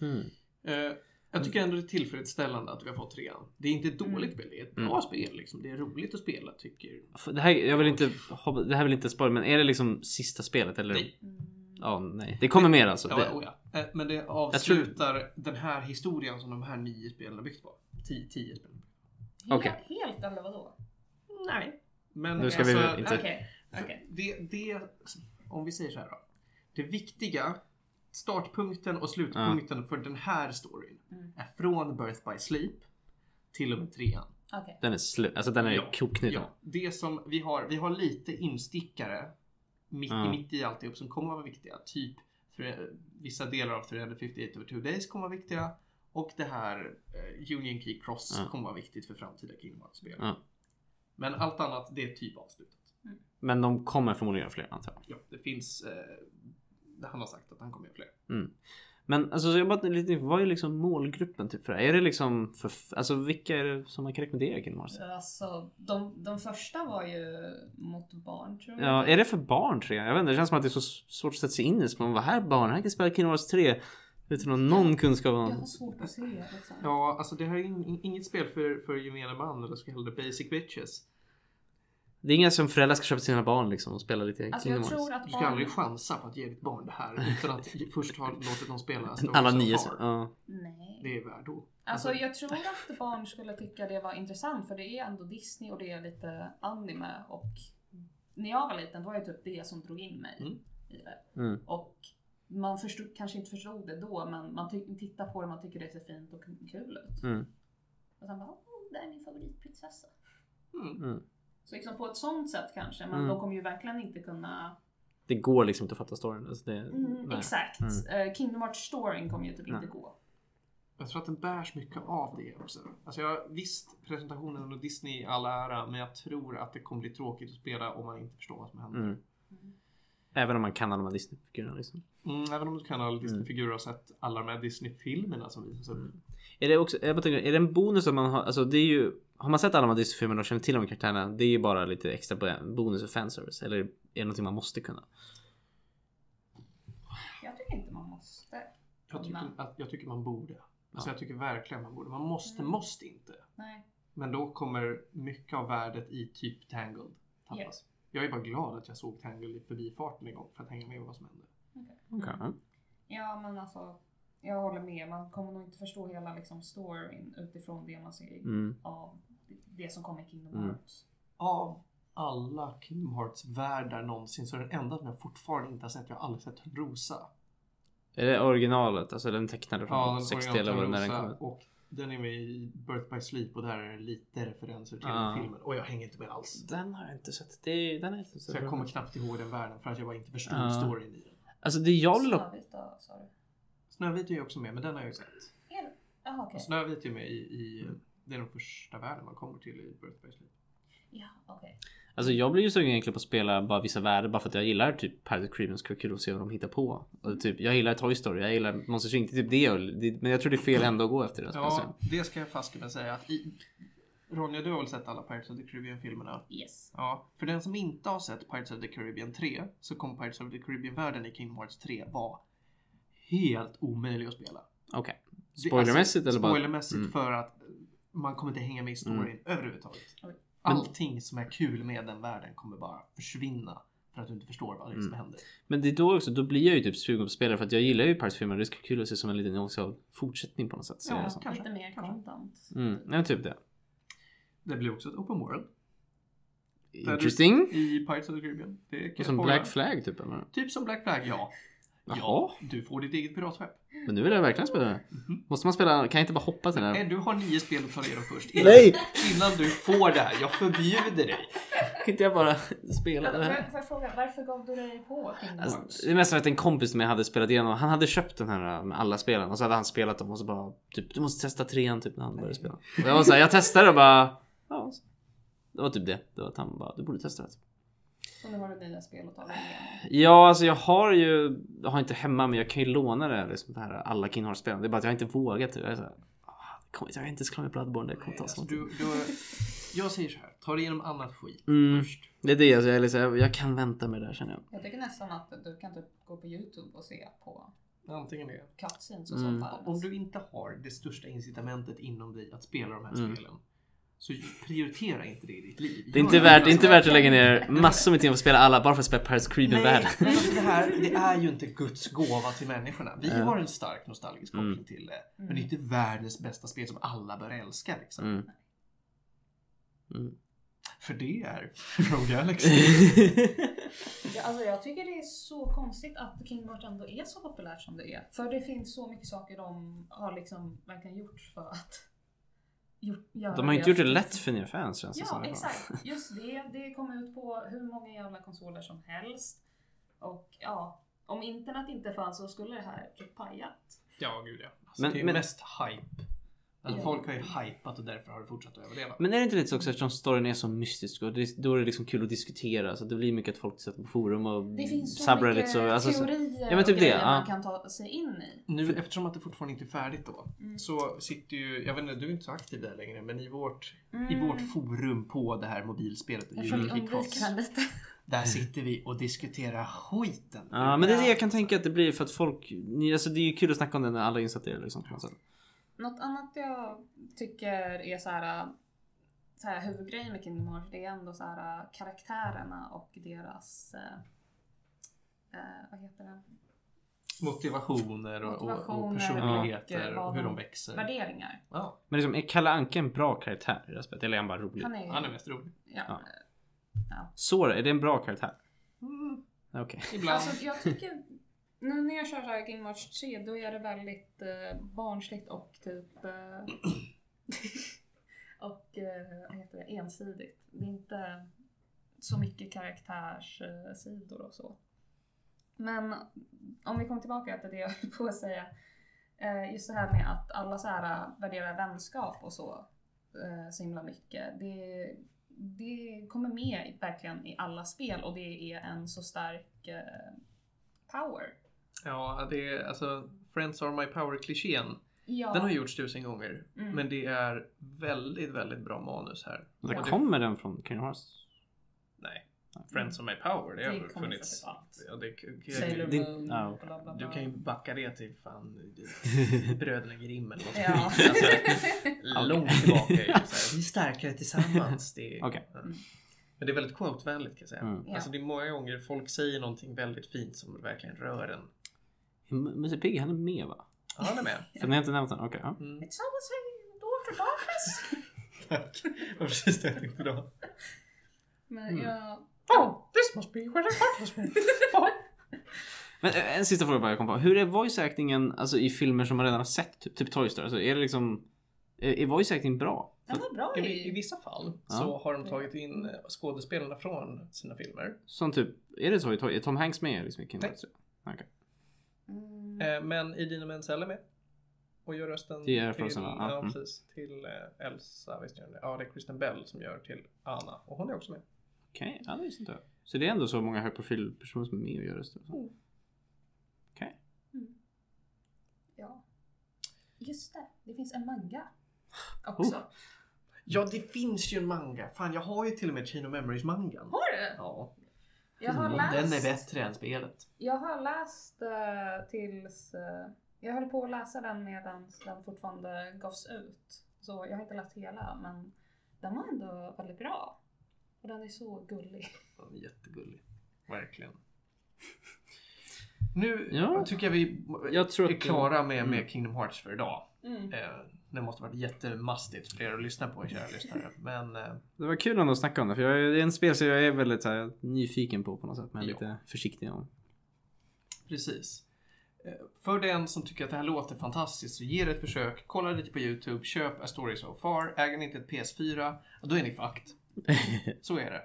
S3: Mm.
S1: Eh, jag tycker ändå det är tillfredsställande att vi har fått trean. Det är inte ett
S3: Mm.
S1: dåligt spel, det är ett bra spel. Liksom. Det är roligt att spela tycker
S3: Det här, jag vill inte, hoppa- det här vill inte spoil men är det liksom sista spelet eller?
S1: Nej.
S2: Mm.
S3: Ja, nej. Det kommer mer alltså.
S1: Ja,
S3: det,
S1: oh ja. Eh, Men det avslutar den här historien som de här nio spelen har byggt på. Tio, tio spel.
S2: Helt,
S3: Okej.
S2: helt eller vadå?
S1: Nej. Men
S3: Nu ska vi inte-
S2: Okej,
S1: eh,
S2: okej.
S1: Det, det, om vi säger så här då. Det viktiga, startpunkten och slutpunkten för den här storyn
S2: Mm.
S1: är från Birth by Sleep till och med trean.
S2: okej.
S3: Den är slut. Alltså den är
S1: Ja,
S3: koknuten.
S1: Ja, det som vi har, vi har lite instickare mitt,
S3: Ja.
S1: mitt i alltihop som kommer vara viktiga. Typ för, vissa delar av 358 over two days kommer vara viktiga. Och det här eh, Union Key Cross
S3: Ja.
S1: kommer vara viktigt för framtida Kingdom Hearts-spel.
S3: Ja.
S1: Men allt annat, det är typ avslutat.
S3: Men de kommer förmodligen göra fler antar jag.
S1: Ja, det finns, eh, han har sagt att han kommer göra fler.
S3: Mm. Men alltså så jag bara lite vad är liksom målgruppen typ för det här? Är det liksom för, alltså vilka är det som man kan rekommendera Kingdom Hearts?
S2: Alltså, de, de första var ju mot barn tror jag.
S3: Ja, är det för barn tror jag? Jag vet inte, det känns som att det är så svårt att sätta sig in i. Så man bara, här barn, här kan spela Kingdom Hearts 3. Utan att ha någon kunskap
S2: Jag
S3: om...
S2: har svårt att se liksom.
S1: Ja, alltså det här är in, inget spel för, för gemene man eller så kallade basic bitches.
S3: Det är inga som föräldrar ska köpa till sina barn liksom och spela lite
S2: Alltså
S3: Kingdom
S2: jag
S3: Hearts.
S2: tror att
S1: Du ska aldrig
S2: barn...
S1: chansa på att ge ditt barn det här utan att först ha låtit dem
S3: <laughs>
S1: spela Stones
S3: Alla
S1: of
S3: nio.
S1: Heart.
S3: Ja.
S2: Nej.
S1: Det är värdo.
S2: Alltså jag tror att barn skulle tycka det var intressant för det är ändå Disney och det är lite anime och när jag var liten då var det typ det som drog in mig
S1: Mm.
S2: i det.
S3: Mm.
S2: Och man förstod, kanske inte förstod det då men man ty- tittar på det man tycker det ser fint och kul ut.
S3: Mm.
S2: Och sen bara, oh, det är min favoritprinsessa.
S1: Mm.
S3: Mm.
S2: Så liksom på ett sånt sätt kanske men
S3: Mm.
S2: de kommer ju verkligen inte kunna
S3: Det går liksom inte att fatta storyn. Alltså det...
S2: Mm,
S3: nej.
S2: exakt. Eh, Kingdom Hearts storyn kommer ju typ inte
S3: Nej.
S2: gå.
S1: Jag tror att den bärs mycket av det också. Alltså jag, visst, presentationen och Disney i all ära, men jag tror att det kommer bli tråkigt att spela om man inte förstår vad som händer. Mm.
S3: Mm. Även om man kan alla de här Disney-figurerna liksom.
S1: Mm, även om du kan alla Disney-figurer och sett alla de här Disney-filmerna som visas upp.
S3: Mm. Är det också, jag bara tänker, är det en bonus att man har, alltså det är ju, har man sett alla de här Disney-filmerna och känner till de karaktärerna, det är ju bara lite extra bo- bonus och fanservice. Eller är det någonting man måste kunna?
S2: Jag tycker inte man måste.
S1: Jag tycker,
S2: Nej.
S1: att, jag tycker man borde. Alltså jag tycker verkligen man borde. Man måste,
S2: Mm.
S1: måste inte.
S2: Nej.
S1: Men då kommer mycket av värdet i typ Tangled tappas.
S2: Ja.
S1: Jag är bara glad att jag såg Tangled i förbifarten en gång för att hänga med vad som hände.
S2: Okej.
S3: Okej.
S2: Ja men alltså. Jag håller med. Man kommer nog inte förstå hela liksom, storyn utifrån det man ser
S3: Mm.
S2: av det som kommer i Kingdom
S3: Mm.
S2: Hearts.
S1: Av alla Kingdom Hearts-världar någonsin så är den enda som jag fortfarande inte har sett, jag har aldrig sett Rosa.
S3: Är det originalet? Alltså den tecknade från
S1: Ja, den
S3: 60
S1: original
S3: eller vad- när den kom
S1: Törnrosa
S3: ut?
S1: och Den är med i Birth by Sleep och där är det lite referenser till
S3: Ah.
S1: filmen. Och jag hänger inte med alls.
S3: Den har jag inte sett. Det, den är inte
S1: Så jag kommer knappt ihåg den världen för att jag bara inte förstod
S3: Ah.
S1: storyn i den.
S3: Alltså det jag vill upp...
S2: Snövit då, sa du?
S1: Snövit är ju också med, men den har jag ju sett.
S2: Är det- Jaha,
S3: Alltså,
S2: okej.
S1: Snövit är med i, i det är den första världen man kommer till i Birth by Sleep.
S2: Ja, okej.
S3: Alltså jag blir ju sugen egentligen på att spela bara vissa världar bara för att jag gillar typ Pirates of the Caribbean så skulle vara kul att se vad de hittar på. Och typ, jag gillar Toy Story, jag gillar Monsters Inc. Det är Typ det, jag- det, men jag tror det är fel ända att gå efter det. ska jag säga.
S1: Ja, det ska jag fast kunna säga. Att i, Ronja, du har väl sett alla Pirates of the Caribbean-filmerna?
S2: Yes.
S1: Ja. För den som inte har sett Pirates of the Caribbean 3 så kommer Pirates of the Caribbean-världen i Kingdom Hearts 3 vara helt omöjlig att spela.
S3: Okej.
S1: Det-
S3: Spoilermässigt eller bara?
S1: Spoilermässigt
S3: Mm.
S1: för att man kommer inte hänga med i storyn överhuvudtaget.
S2: Oj.
S1: Allting som är kul med den världen kommer bara försvinna för att du inte förstår vad det är som
S3: Mm.
S1: händer.
S3: Men det är då också, då blir jag ju typ sugen på att spela för att jag gillar ju Pirates filmer. Det skulle vara kul att se som en liten också fortsättning på något sätt. ser
S1: Ja,
S3: jag det som.
S1: Kanske,
S2: Alltså, Lite mer
S1: kanske.
S2: content.
S3: Mm, ja, typ det.
S1: Det blir också ett open world. Där
S3: Interesting.
S1: Du, I Pirates of the Caribbean. Det kan
S3: Och
S1: jag
S3: som
S1: spoila.
S3: Black Flag typ eller?
S1: Typ som Black Flag, ja.
S3: Jaha.
S1: Ja, du får ditt eget piratskepp.
S3: Men nu vill jag verkligen spela det. Måste man spela, kan jag inte bara hoppa till den
S1: Nej,
S3: här?
S1: Äh, du har nio spel att ta igenom först. Innan,
S3: Nej!
S1: innan du får det här. Jag förbjuder dig.
S3: <laughs> Kan inte jag bara spela
S2: Vänta, Får jag,
S3: det här?
S2: får jag fråga, varför gav du dig på Kingdom Hearts?
S3: Alltså, det är mest för att en kompis till mig hade spelat igenom, han hade köpt den här äh, med alla spelen och så hade han spelat dem och så bara typ du måste testa trean typ när han började spela. Och jag var såhär, jag testade och bara ja. så. Det var typ det. Det var att han bara du borde testa det. här." typ.
S2: Så nu har du nya spel att ta dig igenom.
S3: Ja, alltså jag har ju, jag har inte hemma men jag kan ju låna det, här, liksom, det här alla Kingdom Hearts-spelen. Det är bara att jag har inte vågat. Jag är såhär, "Ah, det kommer- jag är inte ens klar med Bloodborne, det kommer ta så
S1: Alltså,
S3: lång tid."
S1: du, du, jag säger så här. Ta dig igenom annat skit
S3: Mm.
S1: först.
S3: Det är det, alltså, jag, är liksom, jag, jag kan vänta med det där känner jag.
S2: Jag tycker nästan att du kan typ gå på YouTube och se på
S1: Antingen det.
S2: cutscenes och
S3: Mm.
S2: sånt där.
S1: Om du inte har det största incitamentet inom dig att spela de här
S3: Mm.
S1: spelen. Så prioritera inte det i ditt liv.
S3: Det är inte
S1: Gör
S3: värt, det är
S1: annat.
S3: inte värt att lägga ner massor med tid på att spela alla bara för att spela Pirates Creepen värld.
S1: Nej, men alltså det här det är ju inte Guds gåva till människorna. Vi
S3: Ja.
S1: har en stark nostalgisk koppling
S3: Mm.
S1: till det. Men det är inte världens bästa spel som alla bör älska. Liksom.
S3: Mm. Mm.
S1: För det är Rogue Galaxy.
S3: <laughs>
S2: Ja, alltså jag tycker det är så konstigt att Kingdom Hearts ändå är så populärt som det är. För det finns så mycket saker de har liksom verkligen gjort för att gjort, göra
S3: De har inte gjort det lätt för nya fans känns det
S2: Ja,
S3: Alltså, som. <laughs>
S2: exakt. Just det. Det kom ut på hur många jävla konsoler som helst. Och ja, om internet inte fanns så skulle det här typ pajat.
S1: Ja, gud ja. Alltså,
S3: Men-
S1: det är
S3: men-
S1: mest hype. Alltså,
S2: Ja.
S1: Folk har ju hypat och därför har det fortsatt att överleva.
S3: Men är det inte lite så också eftersom storyn är så mystisk och det, då är det liksom kul att diskutera så att det blir mycket att folk sätter på forum och
S2: Det finns så
S3: subreddits
S2: mycket
S3: och alltså, Mm. så,
S2: teorier
S3: Ja, men typ
S2: och
S3: det,
S2: grejer man
S3: ja.
S2: kan ta sig in i.
S1: Nu eftersom att det fortfarande inte är färdigt då.
S2: Mm.
S1: Så sitter ju, jag vet inte, du är inte så aktiv där längre. Men i vårt, i
S2: Mm.
S1: vårt forum på det här mobilspelet.
S2: Jag försöker
S1: Unity Cross,
S2: undvika den lite. <laughs>
S1: där sitter vi och diskuterar skiten.
S3: Ja men det är det jag kan tänka att det blir för att folk, ni- alltså det är ju kul att snacka om det när alla är insatta i det liksom. på något sätt.
S2: Något annat jag tycker är så här, så här huvudgrejen med Kingdom Hearts det är ändå så här karaktärerna och deras eh, eh, vad heter det?
S1: Motivationer och, och, och
S2: Motivationer
S1: personligheter
S2: och
S1: och hur de
S2: vad de-
S1: växer.
S2: värderingar.
S1: Ja,
S3: Men liksom, är Kalle Anka en bra karaktär i det här spelet eller är han bara rolig?
S2: Han är,
S1: han är mest rolig.
S2: ja.
S3: Ja. Sora, är det en bra karaktär? Okej.
S1: Ibland.
S2: Mm. Alltså jag tycker, nu när jag kör så här Kingdom Hearts 3 då är det väldigt eh, barnsligt och typ eh, <laughs> och eh, vad heter det, ensidigt. Det är inte så mycket karaktärssidor och så. Men om vi kommer tillbaka till det jag höll på att säga. Eh, just det här med att alla så här värderar vänskap och så eh, så himla mycket. Det, det kommer med i- verkligen i alla spel och det är en så stark eh, power.
S1: ja, det är alltså Friends are my power-klichén.
S2: Ja,
S1: Den har gjorts tusen gånger.
S2: Mm.
S1: Men det är väldigt, väldigt bra manus här.
S3: Där
S1: Och det-
S3: kommer den från Kingdom
S1: <laughs>
S3: Hearts?
S1: Nej. Friends of My Power, det har
S2: Det
S1: väl
S2: kommer
S1: funnits.
S2: säkert allt.
S1: Ja, det, kan-
S2: Sailor
S3: Det-
S2: Moon,
S3: ja,
S2: bla
S3: okej.
S2: bla bla.
S1: du kan ju backa det till
S3: <laughs>
S1: fan Bröderna Grimm eller något.
S2: <laughs>
S1: Alltså,
S2: Ja.
S1: Långt tillbaka. är det så här, Vi är starkare tillsammans. Det är,
S3: Okej.
S1: ja. Men det är väldigt quote-vänligt kan jag säga.
S3: Mm.
S2: Ja.
S1: Alltså det är många gånger folk säger någonting väldigt fint som verkligen rör en.
S3: M- Musse Pigg, han är med va?
S1: Ja, han är <laughs> med.
S3: För ni har inte nämnt den? Okej. ja.
S1: Mm.
S2: It's almost like daughter darkness.
S1: Tack. Det var precis det jag tänkte då.
S2: Men
S1: <laughs>
S3: Mm.
S2: jag...
S1: Oh, this must be where the heart was made.
S3: Men eh, en sista fråga bara jag kom på. Hur är voice actingen alltså, i filmer som man redan har sett? Typ, typ Toy Story? Alltså, är det liksom Är är voice acting bra?
S2: Den var bra
S1: I, I
S2: i...
S1: vissa fall
S3: Ja.
S1: så har de tagit in eh, skådespelarna från sina filmer.
S3: Som typ, är det så? i Toy- Är Tom Hanks med liksom, i King
S1: Nej.
S3: Voice? Okej.
S2: Mm.
S1: Eh, Men Idina Menzel är med. E. Och gör rösten
S3: Det är
S1: till,
S3: Frozen, va? Ja,
S1: ja,
S3: mm.
S1: precis, till eh, Elsa. Visst gör hon det. Ja, det är Kristen Bell som gör till Anna. Och hon är också med.
S3: Okej, ja, det visste inte jag. Så det är ändå så många högprofilpersoner som är med och gör röster? och så.
S1: Mm.
S3: Okej.
S2: Ja. Just det, det finns
S1: <gasps>
S2: en manga också.
S3: Oh.
S1: Ja, det finns ju en manga. Fan, jag har ju till och med Chino Memories-mangan.
S2: Har du?
S1: Ja,
S2: Jag har
S3: Mm,
S2: läst,
S1: den är bättre än spelet.
S2: Jag har läst eh, tills... eh, jag höll på att läsa den medan den fortfarande gavs ut. Så jag har inte läst hela, men den var ändå väldigt bra. Och den är så gullig.
S1: Den är jättegullig. Verkligen. Nu
S3: Ja.
S1: tycker jag vi
S3: Jag tror
S1: är
S3: att-
S1: klara med,
S3: Mm.
S1: med Kingdom Hearts för idag.
S2: Mm.
S1: Eh, det måste varit jättemastigt för er att lyssna på, kära lyssnare. Men eh,
S3: Det var kul ändå att snacka om det, för jag, är- det är en spelserie jag är väldigt så här, nyfiken på på något sätt, men
S1: Ja.
S3: lite försiktig om.
S1: Precis. Eh, För den som tycker att det här låter fantastiskt så ge det ett försök. Kolla lite på YouTube, köp A Story So Far. Äger ni inte ett PS4, ja, då är ni fucked. Så är det.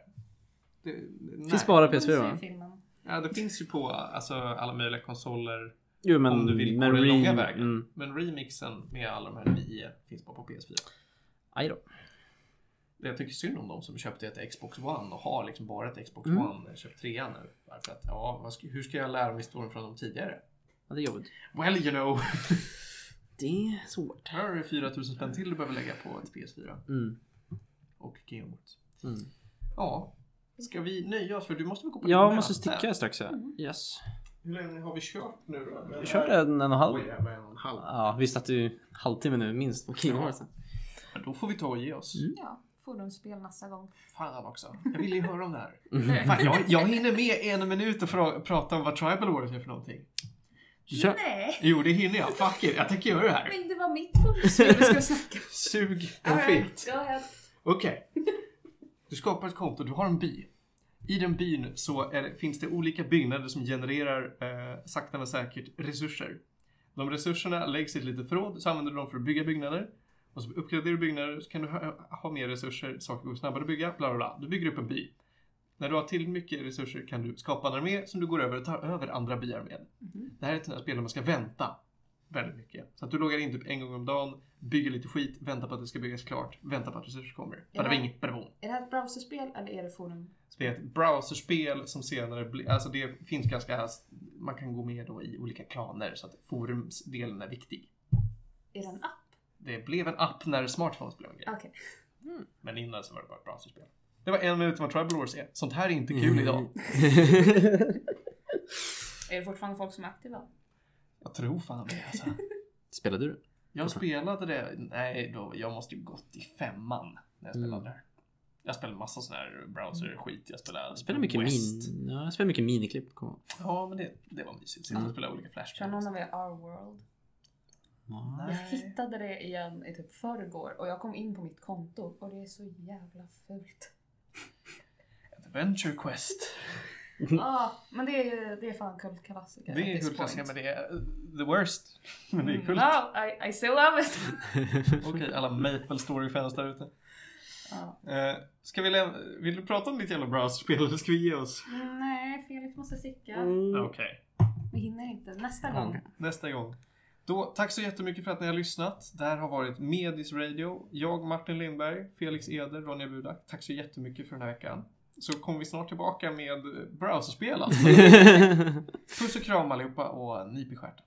S1: det nej.
S3: Finns bara
S2: Den
S3: PS4
S2: ser
S3: va?
S2: ju filmen.
S1: Ja, det finns ju på alltså, alla möjliga konsoler.
S3: Jo men...
S1: om du vill gå
S3: men
S1: den
S3: re-
S1: långa vägen.
S3: Mm.
S1: Men remixen med alla de här nio finns bara på PS4.
S3: Aj då.
S1: Jag tycker synd om de som köpte ett Xbox One och har liksom bara ett Xbox
S3: Mm.
S1: One. Köpt trean nu. Därför att, ja, vad ska, hur ska jag lära mig historien från de tidigare?
S3: Ja, det är jobbigt.
S1: Well, you know.
S3: Det är svårt.
S1: Här har du 4000 spänn till du behöver lägga på ett PS4
S3: Mm.
S1: och Gameworks.
S3: Mm.
S1: Ja, ska vi nöja oss för du måste väl gå på
S3: Jag
S1: ditt
S3: måste
S1: möte?
S3: sticka strax. Ja.
S2: Mm.
S3: Yes.
S1: Hur länge har vi kört nu då?
S3: Vi kör en, en och en halv.
S1: Oj, jävlar, en och en halv.
S3: Ja, vi satt ju halvtimme nu minst på Kingdom Hearts.
S1: Ja, Då får vi ta och ge oss.
S3: Mm.
S2: Ja, forumspel nästa gång.
S1: Fan också. Jag vill ju höra om det här. Fan, jag, jag hinner med en minut och fra- prata om vad Tribal Wars är för någonting.
S3: <laughs> Kör.
S2: <laughs> Nej,
S1: Jo, det hinner jag. Fuck it. Jag tänker göra det här.
S2: men det var mitt forumspel vi skulle snacka
S1: <laughs>
S2: om.
S1: Sug en filt.
S2: Go ahead.
S1: Okej. Du skapar ett konto, du har en by. I den byn så är, det- finns det olika byggnader som genererar eh, sakta men säkert resurser. De resurserna läggs i ett litet förråd, så använder du dem för att bygga byggnader. Och så uppgraderar du byggnader så kan du ha, ha mer resurser, saker går snabbare att bygga, bla bla bla. Du bygger upp en by. När du har till mycket resurser kan du skapa en armé som du går över och tar över andra byar med. Det här är ett sånt här spel där man ska vänta väldigt mycket. Så att du loggar in typ en gång om dagen, bygger lite skit, väntar på att det ska byggas klart, väntar på att resurser kommer.
S2: Ja.
S1: Badabing, badabom.
S2: Är det här ett browserspel eller är det forum?
S1: Så det är ett browserspel som senare blir, alltså det finns ganska, man kan gå med då i olika klaner så att forumsdelen är viktig.
S2: Är det en app?
S1: Det blev en app när smartphones blev en grej,
S2: Okej.
S1: men innan så var det bara ett browserspel. Det var en minut om vad Tribal Wars är. Sånt här är inte kul
S3: Mm.
S1: idag.
S2: Är det fortfarande folk som är aktiva?
S1: Jag tror fan det alltså.
S3: <laughs> Spelar du det?
S1: Jag spelade det, nej då, jag måste ju gått i femman när jag spelade
S3: Mm.
S1: det här. Jag spelade massa sån här browser-skit. Jag spelade,
S3: Jag spelar mycket,
S1: West.
S3: min... ja, jag spelar mycket miniklipp. kommer jag ihåg.
S1: Ja, men det, det var mysigt. Sitta
S3: Mm.
S1: och spela olika
S2: Kör någon
S1: flashspel.
S2: av er Our World?
S3: Ja.
S2: Jag
S1: Nej.
S2: hittade det igen i typ förrgår och jag kom in på mitt konto och det är så jävla fult.
S1: Adventure Quest.
S2: Ja, men det är, det är fan kultklassiker.
S1: Mm. Det
S2: at
S1: är
S2: this
S1: kultklassiker, men
S2: point.
S1: det är the worst. Men <laughs> det är kul.
S2: No, I, I still
S1: <laughs>
S2: love it!
S1: Okej, alla Maple Story-fans där ute.
S2: Ja.
S1: Eh, ska vi läm- Vill du prata om ditt jävla browserspel eller ska vi ge oss?
S2: Mm, Nej, Felix måste sticka.
S3: Mm.
S1: Okej.
S2: Vi hinner inte. Nästa gång.
S3: Okej.
S1: nästa gång. Då, tack så jättemycket för att ni har lyssnat. Det här har varit Medis Radio. Jag, Martin Lindberg, Felix Eder, Ronja Budak. Tack så jättemycket för den här veckan. Så kommer vi snart tillbaka med eh, browserspel. alltså.
S3: <laughs>
S1: <laughs> Puss och kram allihopa och nyp i stjärten.